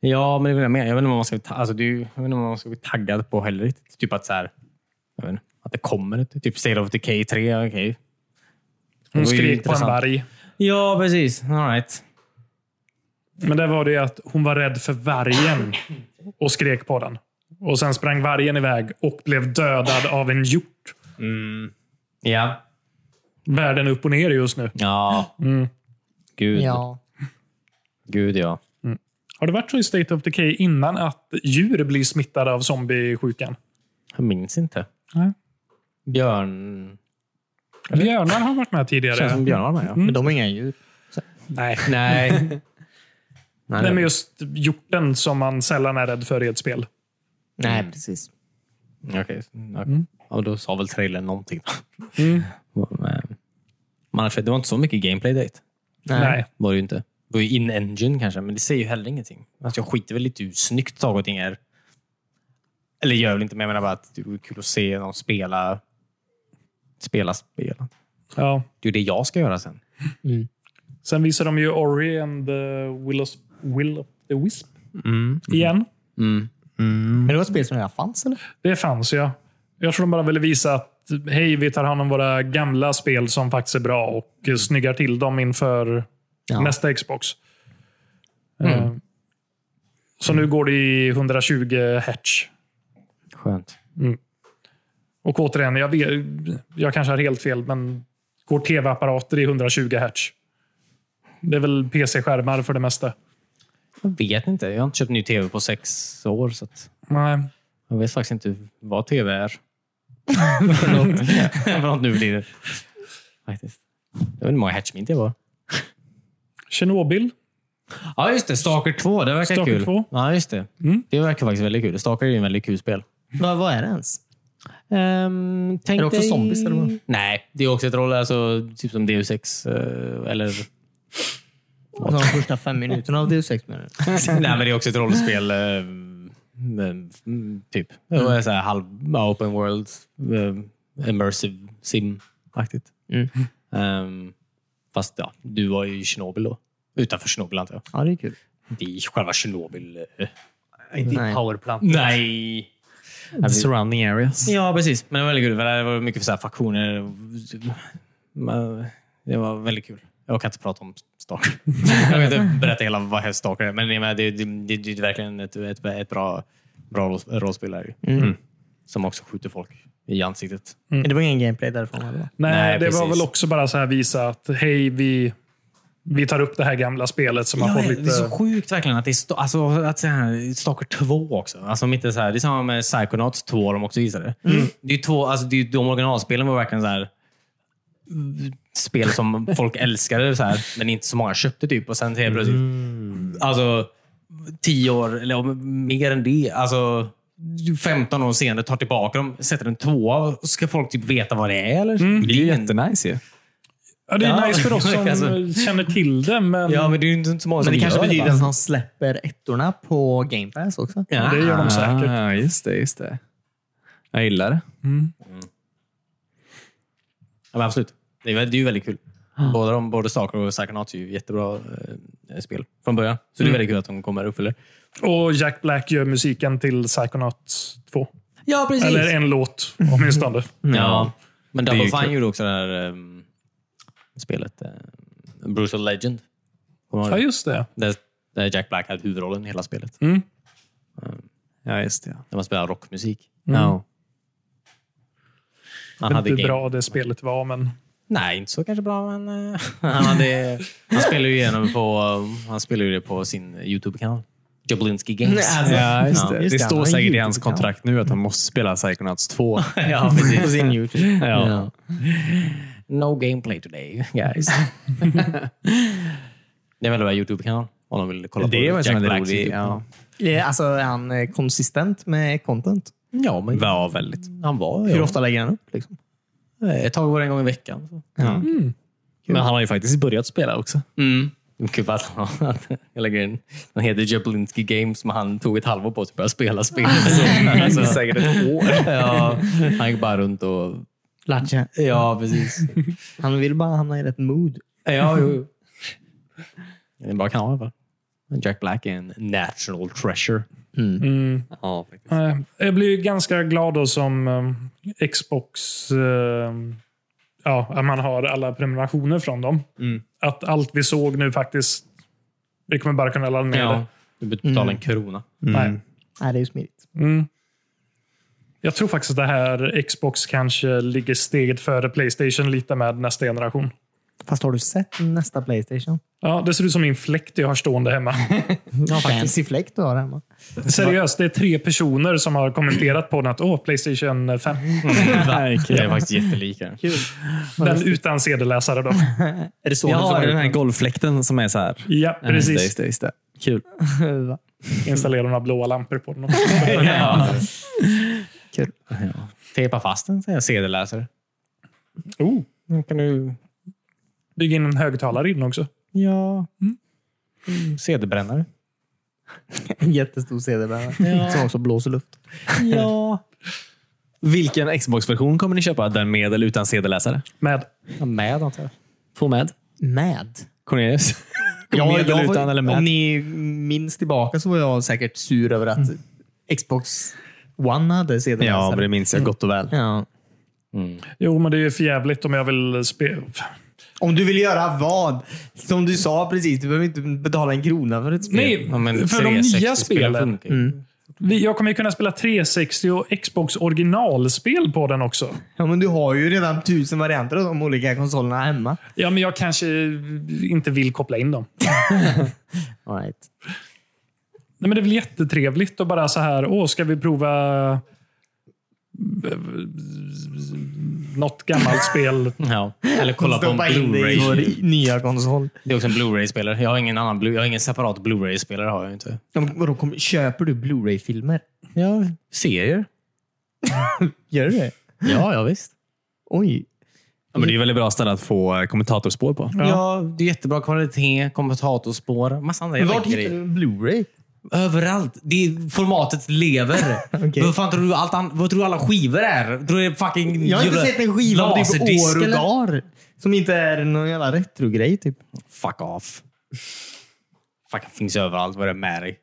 [SPEAKER 4] Ja, men det vill jag med. Jag vet inte vad man ska bli, ta- alltså, det är ju- jag vet inte vad man ska bli taggad på heller. riktigt. Typ att, så här, jag vet inte, att det kommer ett. Typ State of Decay 3. Okej.
[SPEAKER 1] Hon
[SPEAKER 4] Det var ju
[SPEAKER 1] skrek på en
[SPEAKER 4] intressant.
[SPEAKER 1] berg.
[SPEAKER 4] Ja, precis. All right.
[SPEAKER 1] Men där var det att hon var rädd för vargen och skrek på den. Och sen sprang vargen iväg och blev dödad av en hjort.
[SPEAKER 4] Ja.
[SPEAKER 1] Världen upp och ner just nu.
[SPEAKER 4] Ja. Gud.
[SPEAKER 3] Ja.
[SPEAKER 4] Gud, ja.
[SPEAKER 1] Har det varit så i State of Decay innan att djur blir smittade av zombiesjukan?
[SPEAKER 4] Jag minns inte.
[SPEAKER 1] Nej.
[SPEAKER 4] Björn...
[SPEAKER 1] Björnar har varit med tidigare.
[SPEAKER 4] Känns som björn var med, ja.
[SPEAKER 3] Men de är inga djur.
[SPEAKER 1] Nej.
[SPEAKER 4] Mm. [laughs] Nej.
[SPEAKER 1] Nej, men just hjorten som man sällan är rädd för i ett spel.
[SPEAKER 3] Nej, precis.
[SPEAKER 4] Okej. okej. Mm. Ja, då sa väl trailern någonting. [laughs]
[SPEAKER 1] Mm.
[SPEAKER 4] Men- Man, för det var inte så mycket gameplay date.
[SPEAKER 1] Nej.
[SPEAKER 4] Var det ju inte. Det var ju in-engine kanske, men det säger ju heller ingenting. Alltså, jag skiter väl lite i hur snyggt saker och ting är. Eller gör väl inte, men jag menar bara att det vore kul att se någon spela spela spelet.
[SPEAKER 1] Ja.
[SPEAKER 4] Det är ju det jag ska göra sen.
[SPEAKER 1] Sen visar de ju Ori and the Will of, Will of the Wisp Mm. igen.
[SPEAKER 3] Men det var ett spel som redan fanns, eller?
[SPEAKER 1] Det fanns ja. Jag tror de bara ville visa att hej, vi tar hand om våra gamla spel som faktiskt är bra och
[SPEAKER 4] Mm.
[SPEAKER 1] eh, snyggar till dem inför nästa Xbox.
[SPEAKER 4] Mm.
[SPEAKER 1] Eh, Så nu går det i 120 hertz.
[SPEAKER 4] Skönt.
[SPEAKER 1] Och återigen, jag, vet, jag kanske har helt fel, men går tv-apparater i 120 hertz? Det är väl PC-skärmar för det mesta?
[SPEAKER 4] Jag vet inte. Jag har inte köpt ny tv på sex år, så att
[SPEAKER 1] Nej.
[SPEAKER 4] jag vet faktiskt inte vad tv är. [laughs] för, något, [laughs] för något nu blir det. Faktiskt. Jag vet inte hur många hertz min tv var.
[SPEAKER 1] Tjernobyl?
[SPEAKER 4] Ja, just det. Stalker 2. Det verkar
[SPEAKER 1] Stalker
[SPEAKER 4] kul. Mm.
[SPEAKER 1] 2.
[SPEAKER 4] Ja, just det. Det verkar faktiskt väldigt kul. Stalker är ju en väldigt kul spel.
[SPEAKER 3] Vad, vad är det ens?
[SPEAKER 4] Um, tänk
[SPEAKER 3] Är det också
[SPEAKER 4] dig...
[SPEAKER 3] zombies, eller vad?
[SPEAKER 4] Nej, det är också ett roll. Alltså, typ som Deus Ex. eh, Eller...
[SPEAKER 3] De första fem minuterna av Deus Ex, menar du?
[SPEAKER 4] [laughs] Nej, men det är också ett rollspel. eh, mm, Typ. Mm. Så här, halv open world. eh, Immersive sim-aktigt.
[SPEAKER 3] Mm.
[SPEAKER 4] Ehm, fast ja, du var ju i Tjernobyl då. Utanför Tjernobyl antar jag.
[SPEAKER 3] Ja, det är kul.
[SPEAKER 4] Det är ju själva Tjernobyl. eh,
[SPEAKER 3] Inte Nej.
[SPEAKER 4] Nej! Alltså-
[SPEAKER 2] Surrounding areas.
[SPEAKER 4] Ja, precis. Men det var väldigt kul. För det var mycket så här faktioner. Men Det var väldigt kul. Jag kan inte prata om Stalker. [laughs] Jag kan inte berätta hela vad här Stalker är. Men jag menar, det, det, det, det är verkligen ett, ett, ett bra, bra roll- rollspel. Här, ju. Mm. Som också skjuter folk i ansiktet.
[SPEAKER 3] Men Det var ingen gameplay därifrån, eller?
[SPEAKER 1] Nej,
[SPEAKER 4] Nej,
[SPEAKER 1] det var
[SPEAKER 4] precis.
[SPEAKER 1] väl också bara så här visa att hej, vi, vi tar upp det här gamla spelet som har
[SPEAKER 4] Ja,
[SPEAKER 1] fått
[SPEAKER 4] det är så
[SPEAKER 1] lite...
[SPEAKER 4] sjukt verkligen att det är sta- alltså, att så här, Stalker 2 också. Alltså, de inte så här, det är samma med Psychonauts 2 de också visade. Det är ju två, alltså, det är ju, de originalspelen var verkligen så här, mm, spel som folk älskade, så här, men inte så många köpte. typ. Och sen helt plötsligt, alltså, tio år, eller om- mer än det, alltså 15 år senare tar tillbaka dem, sätter en tvåa. och Ska folk typ veta vad det är? Eller?
[SPEAKER 2] Det är ju jättenice ju.
[SPEAKER 1] Ja, det är
[SPEAKER 4] Ja,
[SPEAKER 1] nice för oss som
[SPEAKER 4] [laughs] alltså.
[SPEAKER 1] känner till det, men
[SPEAKER 4] Ja, men det är ju inte så många
[SPEAKER 3] Men
[SPEAKER 4] som
[SPEAKER 3] det kanske
[SPEAKER 4] gör
[SPEAKER 3] betyder
[SPEAKER 4] va?
[SPEAKER 3] att de släpper ettorna på Game Pass också? [laughs]
[SPEAKER 4] Ja.
[SPEAKER 1] det gör de säkert.
[SPEAKER 2] Ah, just det, just det. Jag gillar det.
[SPEAKER 4] Ja, men absolut. Det är, ju- det är ju väldigt kul. Både, de, både Stalker och Psychonauts är ju jättebra eh, spel från början. Så det är väldigt kul att de kommer och uppfyller.
[SPEAKER 1] Och Jack Black gör musiken till Psychonauts 2.
[SPEAKER 4] Ja, precis.
[SPEAKER 1] Eller en låt
[SPEAKER 4] Mm.
[SPEAKER 1] åtminstone.
[SPEAKER 4] ja. Men
[SPEAKER 2] är ju
[SPEAKER 4] Double Fine
[SPEAKER 2] kul.
[SPEAKER 4] gjorde också det här eh, spelet eh, Brutal Legend. Kommer du ihåg
[SPEAKER 1] Ja,
[SPEAKER 4] det?
[SPEAKER 1] just det. Mm.
[SPEAKER 4] Där, där Jack Black hade huvudrollen i hela spelet.
[SPEAKER 2] Ja, just det. Ja. Mm.
[SPEAKER 4] Där man spelar rockmusik.
[SPEAKER 2] Ja.
[SPEAKER 4] Han
[SPEAKER 1] Jag vet
[SPEAKER 4] hade
[SPEAKER 1] inte hur
[SPEAKER 4] game.
[SPEAKER 1] bra det spelet var, men...
[SPEAKER 4] Nej, inte så kanske bra, men eh, [laughs] han, hade, han spelar ju igenom på, han spelar ju det på sin YouTube-kanal. Jablinski Games.
[SPEAKER 3] Nej, alltså.
[SPEAKER 2] Ja, liksom. just
[SPEAKER 3] Ja,
[SPEAKER 2] det.
[SPEAKER 3] just
[SPEAKER 2] det
[SPEAKER 3] det. Han
[SPEAKER 2] står
[SPEAKER 3] har
[SPEAKER 2] säkert i
[SPEAKER 3] YouTube-kanal.
[SPEAKER 2] hans kontrakt nu att han måste spela Psychonauts [laughs] 2.
[SPEAKER 4] ja, precis.
[SPEAKER 3] På sin YouTube.
[SPEAKER 4] Ja. No gameplay today, guys. [laughs] det är väl vår YouTube-kanal om de vill kolla
[SPEAKER 2] Det
[SPEAKER 4] på
[SPEAKER 2] var en sån här
[SPEAKER 4] Blacks
[SPEAKER 2] rolig...
[SPEAKER 4] YouTube-kanal.
[SPEAKER 2] Ja.
[SPEAKER 3] Det är- Alltså, är han eh, konsistent med content?
[SPEAKER 4] Ja, men
[SPEAKER 2] ja, väldigt.
[SPEAKER 4] han var
[SPEAKER 3] Hur
[SPEAKER 4] ju...
[SPEAKER 3] ofta lägger han upp? [laughs] Liksom?
[SPEAKER 4] Eh, Ett tag var det en gång i veckan. Så.
[SPEAKER 2] Men han har ju faktiskt börjat spela också. [laughs]
[SPEAKER 4] Mm. Kul att han- att jag lägger in... Den heter Jablinski Games, men han tog ett halvår på sig att börja spela spel. [laughs] Så, alltså,
[SPEAKER 2] Säkert ett år.
[SPEAKER 4] ja, han gick bara runt och...
[SPEAKER 3] Latcha.
[SPEAKER 4] Ja, precis.
[SPEAKER 3] Han vill bara hamna i rätt mood.
[SPEAKER 4] Ja, jo. jo. Det är en bra kanal i alla fall. Jack Black är en national treasure.
[SPEAKER 1] Mm.
[SPEAKER 4] Ja, faktiskt.
[SPEAKER 1] Eh, Jag blir ju ganska glad då som eh, Xbox... eh,
[SPEAKER 4] Mm.
[SPEAKER 1] Ja, att man har alla prenumerationer från dem. Att allt vi såg nu faktiskt Vi kommer bara kunna ladda ner
[SPEAKER 4] Ja. Mm. Du betalar en krona.
[SPEAKER 1] det. Nej.
[SPEAKER 3] Nej, det är ju smidigt.
[SPEAKER 1] Mm. Jag tror faktiskt att det här Xbox kanske ligger steget före Playstation lite med nästa generation.
[SPEAKER 3] Fast har du sett nästa Playstation?
[SPEAKER 1] Ja, Det ser ut som min fläkt jag har stående
[SPEAKER 4] [laughs]
[SPEAKER 1] hemma.
[SPEAKER 3] Ja, Fancy fläkt du har hemma.
[SPEAKER 1] Seriöst, det är tre personer som har kommenterat på den att åh, Playstation 5.
[SPEAKER 2] Verkligen.
[SPEAKER 4] Det är faktiskt jättelika.
[SPEAKER 1] Den utan CD-läsare
[SPEAKER 4] [laughs]
[SPEAKER 1] då.
[SPEAKER 3] Är det så
[SPEAKER 2] Jag
[SPEAKER 3] du sa
[SPEAKER 2] har den här
[SPEAKER 3] det?
[SPEAKER 2] golvfläkten som är så här.
[SPEAKER 1] Ja,
[SPEAKER 2] Just det,
[SPEAKER 1] precis.
[SPEAKER 2] just det, just det. [laughs] Kul.
[SPEAKER 3] Va?
[SPEAKER 1] Installera några blåa lampor på den.
[SPEAKER 4] [laughs]
[SPEAKER 3] Kul.
[SPEAKER 2] Ja.
[SPEAKER 4] Tejpa fast den, säger jag. CD-läsare.
[SPEAKER 1] Oh,
[SPEAKER 4] kan du...
[SPEAKER 1] bygga in en högtalare in också.
[SPEAKER 4] Ja.
[SPEAKER 3] mm.
[SPEAKER 2] Mm,
[SPEAKER 4] CD-brännare.
[SPEAKER 3] En jättestor CD-bärare som också blåser luft.
[SPEAKER 2] ja. Vilken Xbox-version kommer ni köpa? Den med eller utan CD-läsare?
[SPEAKER 1] Med.
[SPEAKER 3] Ja, med antar jag.
[SPEAKER 2] Få med.
[SPEAKER 3] Med?
[SPEAKER 2] Cornelius. med eller
[SPEAKER 3] var-
[SPEAKER 2] utan eller med?
[SPEAKER 3] Om ni minns tillbaka så var jag säkert sur över att Xbox One hade CD-läsare.
[SPEAKER 2] [laughs] Ja, det minns jag gott och väl.
[SPEAKER 3] Ja.
[SPEAKER 1] Jo, men det är ju för jävligt om jag vill spela.
[SPEAKER 3] Om du vill göra vad? Som du sa precis, du behöver inte betala en krona för ett spel.
[SPEAKER 1] Nej,
[SPEAKER 4] Ja, men
[SPEAKER 1] för de
[SPEAKER 4] 360
[SPEAKER 1] nya
[SPEAKER 4] spelen
[SPEAKER 1] spelen.
[SPEAKER 4] funkar ju.
[SPEAKER 2] Mm.
[SPEAKER 1] Vi- Jag kommer ju kunna spela 360 och Xbox originalspel på den också.
[SPEAKER 3] Ja, men du har ju redan tusen varianter av de olika konsolerna hemma.
[SPEAKER 1] Ja, men jag kanske inte vill koppla in dem.
[SPEAKER 3] Right.
[SPEAKER 1] Nej, men det är väl jättetrevligt att bara så här, åh, ska vi prova eh, något gammalt spel?
[SPEAKER 4] Ja. Eller kolla på en
[SPEAKER 3] Stoppa in det i
[SPEAKER 4] Blu-ray.
[SPEAKER 3] vår nya konsol.
[SPEAKER 4] Det är också en Blu-ray-spelare. Jag har ingen annan Blu- jag har ingen separat Blu-ray-spelare. har jag inte.
[SPEAKER 3] Ja, men vadå, kom, köper du Blu-ray-filmer?
[SPEAKER 4] Ja, serier.
[SPEAKER 3] Gör du det?
[SPEAKER 4] Ja, ja visst.
[SPEAKER 3] Oj.
[SPEAKER 2] Ja, men det är ju väldigt bra ställe att få eh, kommentatorspår på.
[SPEAKER 4] Ja. det är jättebra kvalitet, kommentatorspår, massa andra
[SPEAKER 3] Men
[SPEAKER 4] jävla
[SPEAKER 3] vart hittar
[SPEAKER 4] grejer.
[SPEAKER 3] du Blu-ray?
[SPEAKER 4] Överallt. Det är, formatet lever.
[SPEAKER 3] [laughs] Okej.
[SPEAKER 4] vad, fan tror du allt an- vad tror du alla skivor är? Tror du det är fucking
[SPEAKER 3] Jag har inte
[SPEAKER 4] jävla
[SPEAKER 3] sett en skiva om det på typ
[SPEAKER 4] laserdisk,
[SPEAKER 3] år och
[SPEAKER 4] eller?
[SPEAKER 3] dagar. Som inte är någon jävla retrogrej typ.
[SPEAKER 4] Fuck off. Fucking finns överallt. Vad är det med dig?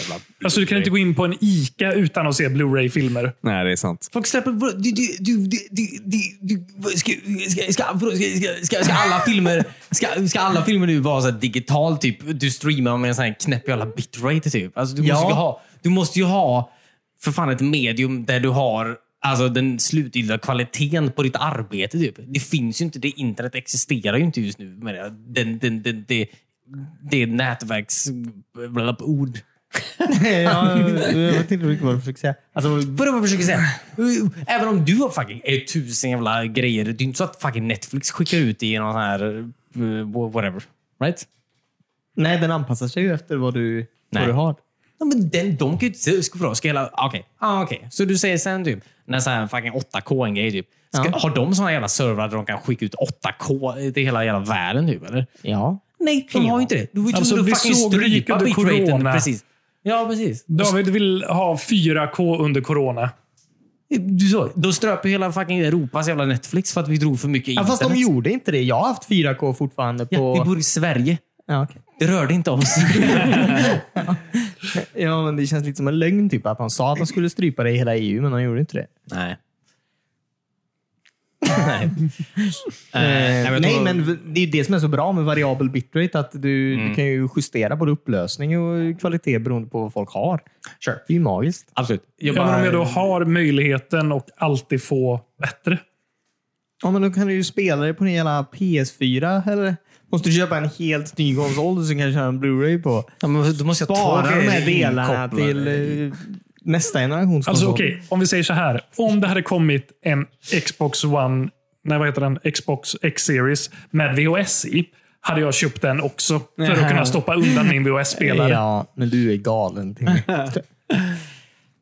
[SPEAKER 4] Jävla-
[SPEAKER 1] Alltså, du kan inte gå in på en ICA utan att se Blu-ray-filmer.
[SPEAKER 2] Nej, det är sant.
[SPEAKER 4] Folk släpper... vadå, Du, du, du, du, du, du, du, vad, ska, ska, ska, vadå, ska, ska, ska alla filmer ska, ska alla filmer nu vara så här digital? Typ? Du streamar med en sån här knäpp jävla bitrate. Typ. Alltså, du, måste
[SPEAKER 3] Ja.
[SPEAKER 4] ju ha, du måste ju ha för fan ett medium där du har alltså, den slutgiltiga kvaliteten på ditt arbete. Typ. Det finns ju inte. Det internet existerar ju inte just nu. Med det, den, den, den, det, det är nätverks... ord.
[SPEAKER 3] [laughs] ja, jag vet inte riktigt vad du försöker säga. Alltså,
[SPEAKER 4] Vadå vad försöker säga? Även om du har fucking eh, tusen jävla grejer. Det är inte så att fucking Netflix skickar ut det i någon sån här... eh, Whatever. Right?
[SPEAKER 3] nej, den anpassar sig ju efter vad du, vad
[SPEAKER 4] Nej.
[SPEAKER 3] du har.
[SPEAKER 4] Ja, men den, de kan ju inte... Ska, vadå, ska hela... Okej. Ah, okej. Så du säger sen typ, när sån här fucking 8K är en grej typ. Ska,
[SPEAKER 3] Ja.
[SPEAKER 4] Har de såna jävla servrar där de kan skicka ut 8K till hela jävla världen typ? Eller?
[SPEAKER 3] Ja.
[SPEAKER 4] Nej, de har ju inte det. Du får ju
[SPEAKER 1] Alltså, vi
[SPEAKER 4] tvungen att fucking
[SPEAKER 1] såg hur det gick
[SPEAKER 4] strypa
[SPEAKER 1] under
[SPEAKER 4] bitraten.
[SPEAKER 1] corona.
[SPEAKER 4] Precis. Ja, precis.
[SPEAKER 1] David vill ha 4K under corona.
[SPEAKER 4] Du såg, de ströp ju hela fucking Europas jävla Netflix för att vi drog för mycket
[SPEAKER 3] Ja,
[SPEAKER 4] internet.
[SPEAKER 3] fast de gjorde inte det. Jag har haft 4K fortfarande på...
[SPEAKER 4] Ja, vi bor i Sverige.
[SPEAKER 3] Ja, okej.
[SPEAKER 4] Det rörde inte oss.
[SPEAKER 3] ja, men det känns lite som en lögn typ. Att de sa att de skulle strypa det i hela EU, men de gjorde inte det.
[SPEAKER 4] Nej. Nej. Nej, men jag
[SPEAKER 3] Eh, Nej,
[SPEAKER 4] tror-
[SPEAKER 3] men v- det är ju det som är så bra med variabel bitrate. Att du, du kan ju justera både upplösning och kvalitet beroende på vad folk har.
[SPEAKER 4] Sure.
[SPEAKER 3] Det är ju magiskt.
[SPEAKER 4] Absolut. Jag
[SPEAKER 1] Ja,
[SPEAKER 4] bara,
[SPEAKER 1] men om jag då har möjligheten och alltid få bättre. Alltså,
[SPEAKER 3] Ja, men då kan du ju spela det på din jävla PS4. Eller måste du köpa en helt ny konsol som kan köra en Blu-ray på.
[SPEAKER 4] ja, men då måste jag ta
[SPEAKER 3] Spara de här
[SPEAKER 4] grejer
[SPEAKER 3] delarna
[SPEAKER 4] inkopplade.
[SPEAKER 3] till eh, nästa generations
[SPEAKER 1] Alltså
[SPEAKER 3] konsol.
[SPEAKER 1] okej, om vi säger så här. Om det hade kommit en Xbox One, nej vad heter den? Xbox X-Series med VHS i, hade jag köpt den också. För att kunna stoppa undan min VHS-spelare.
[SPEAKER 3] Ja, men du är galen. Timmy.
[SPEAKER 2] Det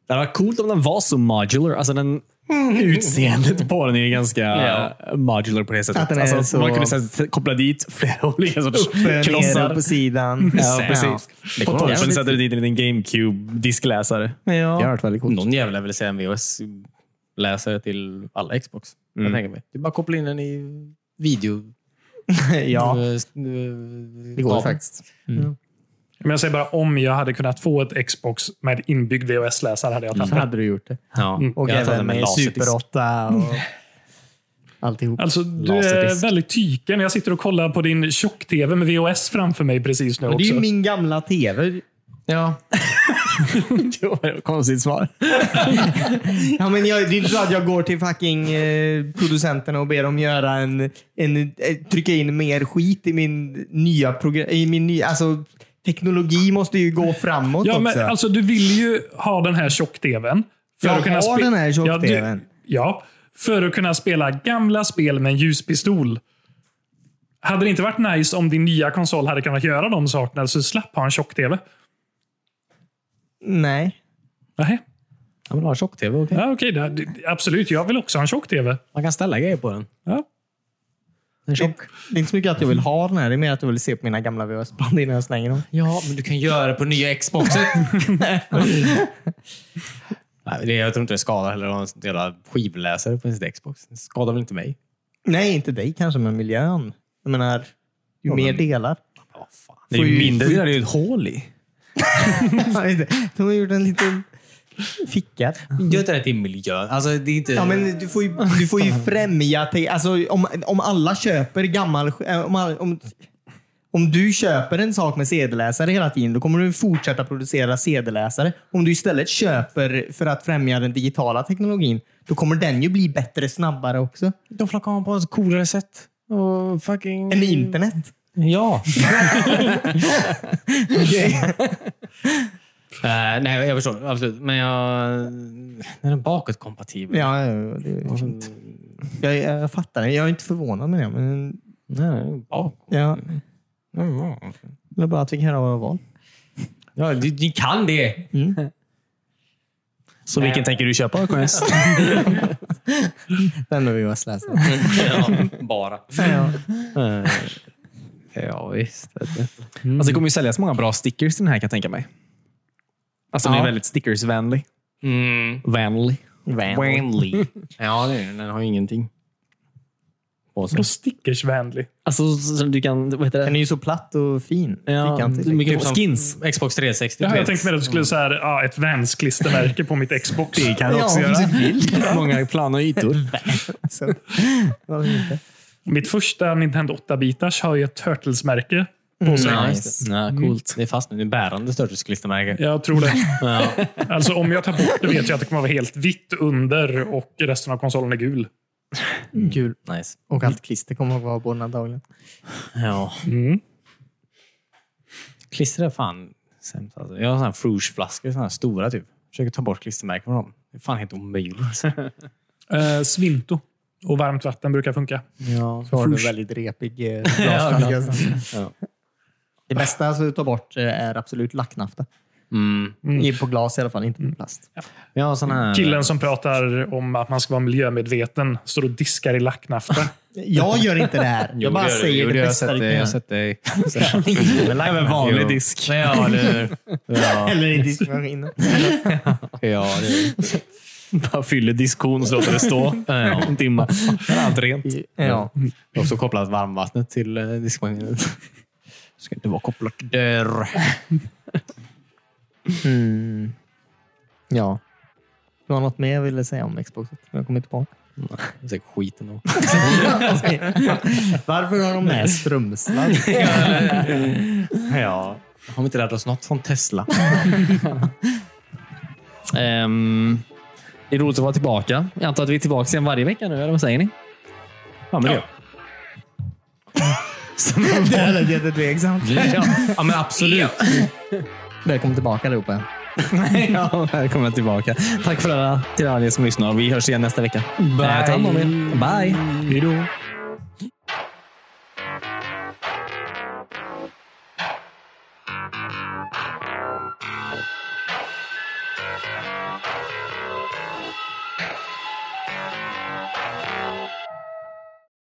[SPEAKER 2] hade varit coolt om den var så modular. Alltså den,
[SPEAKER 3] Mm.
[SPEAKER 2] utseendet på den är ju ganska eh,
[SPEAKER 4] Ja.
[SPEAKER 2] modular på det sättet.
[SPEAKER 3] Att den är
[SPEAKER 2] alltså,
[SPEAKER 3] så-
[SPEAKER 2] Man kunde så här, koppla dit flera [laughs] olika sorters
[SPEAKER 3] Klossar
[SPEAKER 2] klossar.
[SPEAKER 3] på sidan.
[SPEAKER 2] Ja, precis. Det kommer
[SPEAKER 3] Och
[SPEAKER 2] vara- Sen
[SPEAKER 3] torsen
[SPEAKER 2] sätter du dit en liten GameCube-diskläsare.
[SPEAKER 3] Det har varit väldigt coolt.
[SPEAKER 4] Någon jävla vill säga en VHS-läsare till alla Xbox. Jag tänker mig. Du bara kopplar in den i video.
[SPEAKER 3] Ja,
[SPEAKER 4] Eh, s- eh,
[SPEAKER 3] det går
[SPEAKER 4] kabeln.
[SPEAKER 3] faktiskt.
[SPEAKER 1] Men jag säger bara om jag hade kunnat få ett Xbox med inbyggd VHS-läsare hade jag tagit
[SPEAKER 3] Så
[SPEAKER 1] den.
[SPEAKER 3] hade du gjort det.
[SPEAKER 4] Ja.
[SPEAKER 3] Och
[SPEAKER 4] Jag tar den
[SPEAKER 3] även
[SPEAKER 4] med
[SPEAKER 3] med
[SPEAKER 4] laserdisk.
[SPEAKER 3] Super 8. Och... alltihop.
[SPEAKER 1] Alltså, du är
[SPEAKER 2] Laserdisk.
[SPEAKER 1] väldigt tyken. Jag sitter och kollar på din tjock-tv med VHS framför mig precis nu
[SPEAKER 3] Men eh, det är
[SPEAKER 1] också.
[SPEAKER 3] ju min gamla tv.
[SPEAKER 4] Ja.
[SPEAKER 2] det var ett konstigt svar.
[SPEAKER 3] Ja, men jag, det är inte så att jag går till fucking eh, producenterna och ber dem göra en, en, eh, trycka in mer skit i min nya program. I min nya, alltså, teknologi måste ju gå framåt
[SPEAKER 1] Ja,
[SPEAKER 3] också.
[SPEAKER 1] men alltså, du vill ju ha den här tjock-tvn. för
[SPEAKER 3] Jag
[SPEAKER 1] att kunna
[SPEAKER 3] har
[SPEAKER 1] spe-
[SPEAKER 3] den här
[SPEAKER 1] Ja, du-
[SPEAKER 3] tjock-TV:n.
[SPEAKER 1] Ja, för att kunna spela gamla spel med en ljuspistol. Hade det inte varit nice om din nya konsol hade kunnat göra de sakerna så slapp ha en tjock-tv?
[SPEAKER 3] Nej.
[SPEAKER 1] Nej.
[SPEAKER 2] Ja, men du har tjock-tv. okej.
[SPEAKER 1] Ja, okej. det- det- Absolut, jag vill också ha en tjock-tv.
[SPEAKER 2] Man kan ställa grejer på den.
[SPEAKER 1] Ja.
[SPEAKER 2] Den är
[SPEAKER 3] Det, det är inte så mycket att jag vill ha den här. Det är mer att jag vill se på mina gamla VHS-band innan jag slänger dem.
[SPEAKER 4] ja, men du kan göra det på nya [laughs] Xboxet. Nej, det, jag tror inte det skadar heller att ha en sån jävla skivläsare på sin Xbox. Det skadar väl inte mig?
[SPEAKER 3] Nej, inte dig kanske, men miljön. Jag menar, ju mer delar.
[SPEAKER 4] Ja, fan.
[SPEAKER 2] Det är ju
[SPEAKER 3] [laughs]
[SPEAKER 2] mindre. Det är ju ett hål i.
[SPEAKER 3] De har gjort en liten ficka.
[SPEAKER 4] Gör inte det till miljön. Alltså, det är inte...
[SPEAKER 3] Ja, men du får ju, du får ju främja... Te- alltså, om, om alla köper gammal... sk- eh, Om, all- om, om du köper en sak med sedeläsare hela tiden, då kommer du fortsätta producera sedeläsare. Om du istället köper för att främja den digitala teknologin, då kommer den ju bli bättre snabbare också.
[SPEAKER 2] De flackar om på ett coolare sätt. Och fucking...
[SPEAKER 3] Än internet.
[SPEAKER 2] [laughs] Ja.
[SPEAKER 4] [laughs] Eh, nej, jag förstår. Absolut. Men jag... Den är bakåtkompatibel.
[SPEAKER 3] Ja, det är fint. Jag, jag fattar det. Jag är inte förvånad med det. Men
[SPEAKER 4] Nej, bak.
[SPEAKER 3] jag
[SPEAKER 2] Mm.
[SPEAKER 3] vill bara att vi kan höra vad jag val.
[SPEAKER 4] Ja, du, du kan det!
[SPEAKER 2] Så vilken tänker du
[SPEAKER 4] [laughs]
[SPEAKER 2] köpa? KS?
[SPEAKER 3] Den behöver jag läsa.
[SPEAKER 4] ja, [laughs] bara.
[SPEAKER 3] Ja.
[SPEAKER 4] Ja, visst. Mm.
[SPEAKER 2] Alltså, det kommer ju säljas många bra stickers till den här kan jag tänka mig. Alltså, den
[SPEAKER 4] Ja.
[SPEAKER 2] är väldigt stickersvänlig.
[SPEAKER 4] Mm.
[SPEAKER 2] Vänlig.
[SPEAKER 4] Wanley. ja, det är den. Den har ju ingenting. På sig.
[SPEAKER 1] Och stickersvänlig.
[SPEAKER 2] Alltså, som du kan... Vad heter
[SPEAKER 3] Den
[SPEAKER 2] det?
[SPEAKER 3] är ju så platt och fin.
[SPEAKER 2] Ja,
[SPEAKER 3] Fyrkantig.
[SPEAKER 2] mycket
[SPEAKER 4] Typ som
[SPEAKER 2] skins.
[SPEAKER 4] Xbox 360.
[SPEAKER 1] Ja,
[SPEAKER 4] du
[SPEAKER 1] jag
[SPEAKER 4] vet.
[SPEAKER 1] tänkte mer att du skulle säga ja, ett Vans-klistermärke på mitt Xbox.
[SPEAKER 2] kan
[SPEAKER 3] du också
[SPEAKER 4] [laughs]
[SPEAKER 3] göra.
[SPEAKER 2] [laughs] Många plana ytor.
[SPEAKER 4] Mm.
[SPEAKER 3] Så. Varför inte?
[SPEAKER 1] Mitt första Nintendo 8-bitars har ju ett Turtles-märke.
[SPEAKER 4] Ja,
[SPEAKER 3] Nice.
[SPEAKER 4] just det. Ja, coolt. Det är fast nu. Det är bärande Sturges-klistermärke.
[SPEAKER 1] Jag tror det.
[SPEAKER 4] Ja.
[SPEAKER 1] Alltså om jag tar bort det vet jag att det kommer vara helt vitt under och resten av konsolen är gul.
[SPEAKER 3] Kul.
[SPEAKER 4] Nice.
[SPEAKER 3] Och allt klister kommer att vara på den antagligen.
[SPEAKER 4] Ja.
[SPEAKER 1] Mm.
[SPEAKER 4] Klister är fan sämst. Alltså. Jag har såna här Fruge-flaskor, såna här stora typ. Försöker ta bort klistermärken från dem. Det är fan helt omöjligt.
[SPEAKER 1] Eh, svinto och varmt vatten brukar funka.
[SPEAKER 3] Ja, så har du en väldigt repig eh, glasflaska.
[SPEAKER 4] Ja.
[SPEAKER 3] Det bästa att ta bort eh, är absolut lacknafta.
[SPEAKER 4] Mm.
[SPEAKER 3] I- På glas i alla fall, inte på plast.
[SPEAKER 4] [laughs] Jag har såna här...
[SPEAKER 1] Killen som pratar om att man ska vara miljömedveten står och diskar i lacknafta.
[SPEAKER 3] Jag gör inte det här. Jag bara
[SPEAKER 4] det gör du.
[SPEAKER 3] säger
[SPEAKER 4] [laughs] Jo,
[SPEAKER 3] det
[SPEAKER 4] jag har
[SPEAKER 3] bästa
[SPEAKER 4] sett
[SPEAKER 3] du kan
[SPEAKER 4] det. Jag har
[SPEAKER 3] göra.
[SPEAKER 4] sett dig. [laughs]
[SPEAKER 3] [laughs]
[SPEAKER 2] Även vanlig
[SPEAKER 4] Jo.
[SPEAKER 2] disk.
[SPEAKER 4] Nej, Ja, eller hur? [laughs] Ja,
[SPEAKER 3] Eller i diskmaskinen.
[SPEAKER 4] ja, det är
[SPEAKER 2] Bara fyller diskon och så låter det
[SPEAKER 4] [laughs]
[SPEAKER 2] stå
[SPEAKER 4] Ja.
[SPEAKER 2] en timme. Det är allt rent.
[SPEAKER 3] Ja.
[SPEAKER 4] Jag har också kopplat varmvattnet till eh, diskmaskinen. Ska inte vara kopplat där.
[SPEAKER 3] Mm. Ja. Det var något mer jag ville säga om Xboxet. men Jag
[SPEAKER 4] [laughs]
[SPEAKER 3] kommer inte på.
[SPEAKER 4] Det är skiten då.
[SPEAKER 3] Varför har de
[SPEAKER 4] [laughs]
[SPEAKER 3] med [laughs] strömsladd?
[SPEAKER 4] Ja. Har vi inte lärt oss något från Tesla?
[SPEAKER 2] Ehm, det är roligt att vara tillbaka. Jag antar att vi är tillbaka igen varje vecka nu, eller vad säger ni? Ja, men det
[SPEAKER 1] Ja.
[SPEAKER 3] Det lät jättetveksamt.
[SPEAKER 2] ja. ja, men absolut.
[SPEAKER 3] Välkommen tillbaka allihopa.
[SPEAKER 2] Ja, välkomna tillbaka. Tack för alla, till alla er som lyssnar. Vi hörs igen nästa vecka. Bye. Bye.
[SPEAKER 1] Hej då.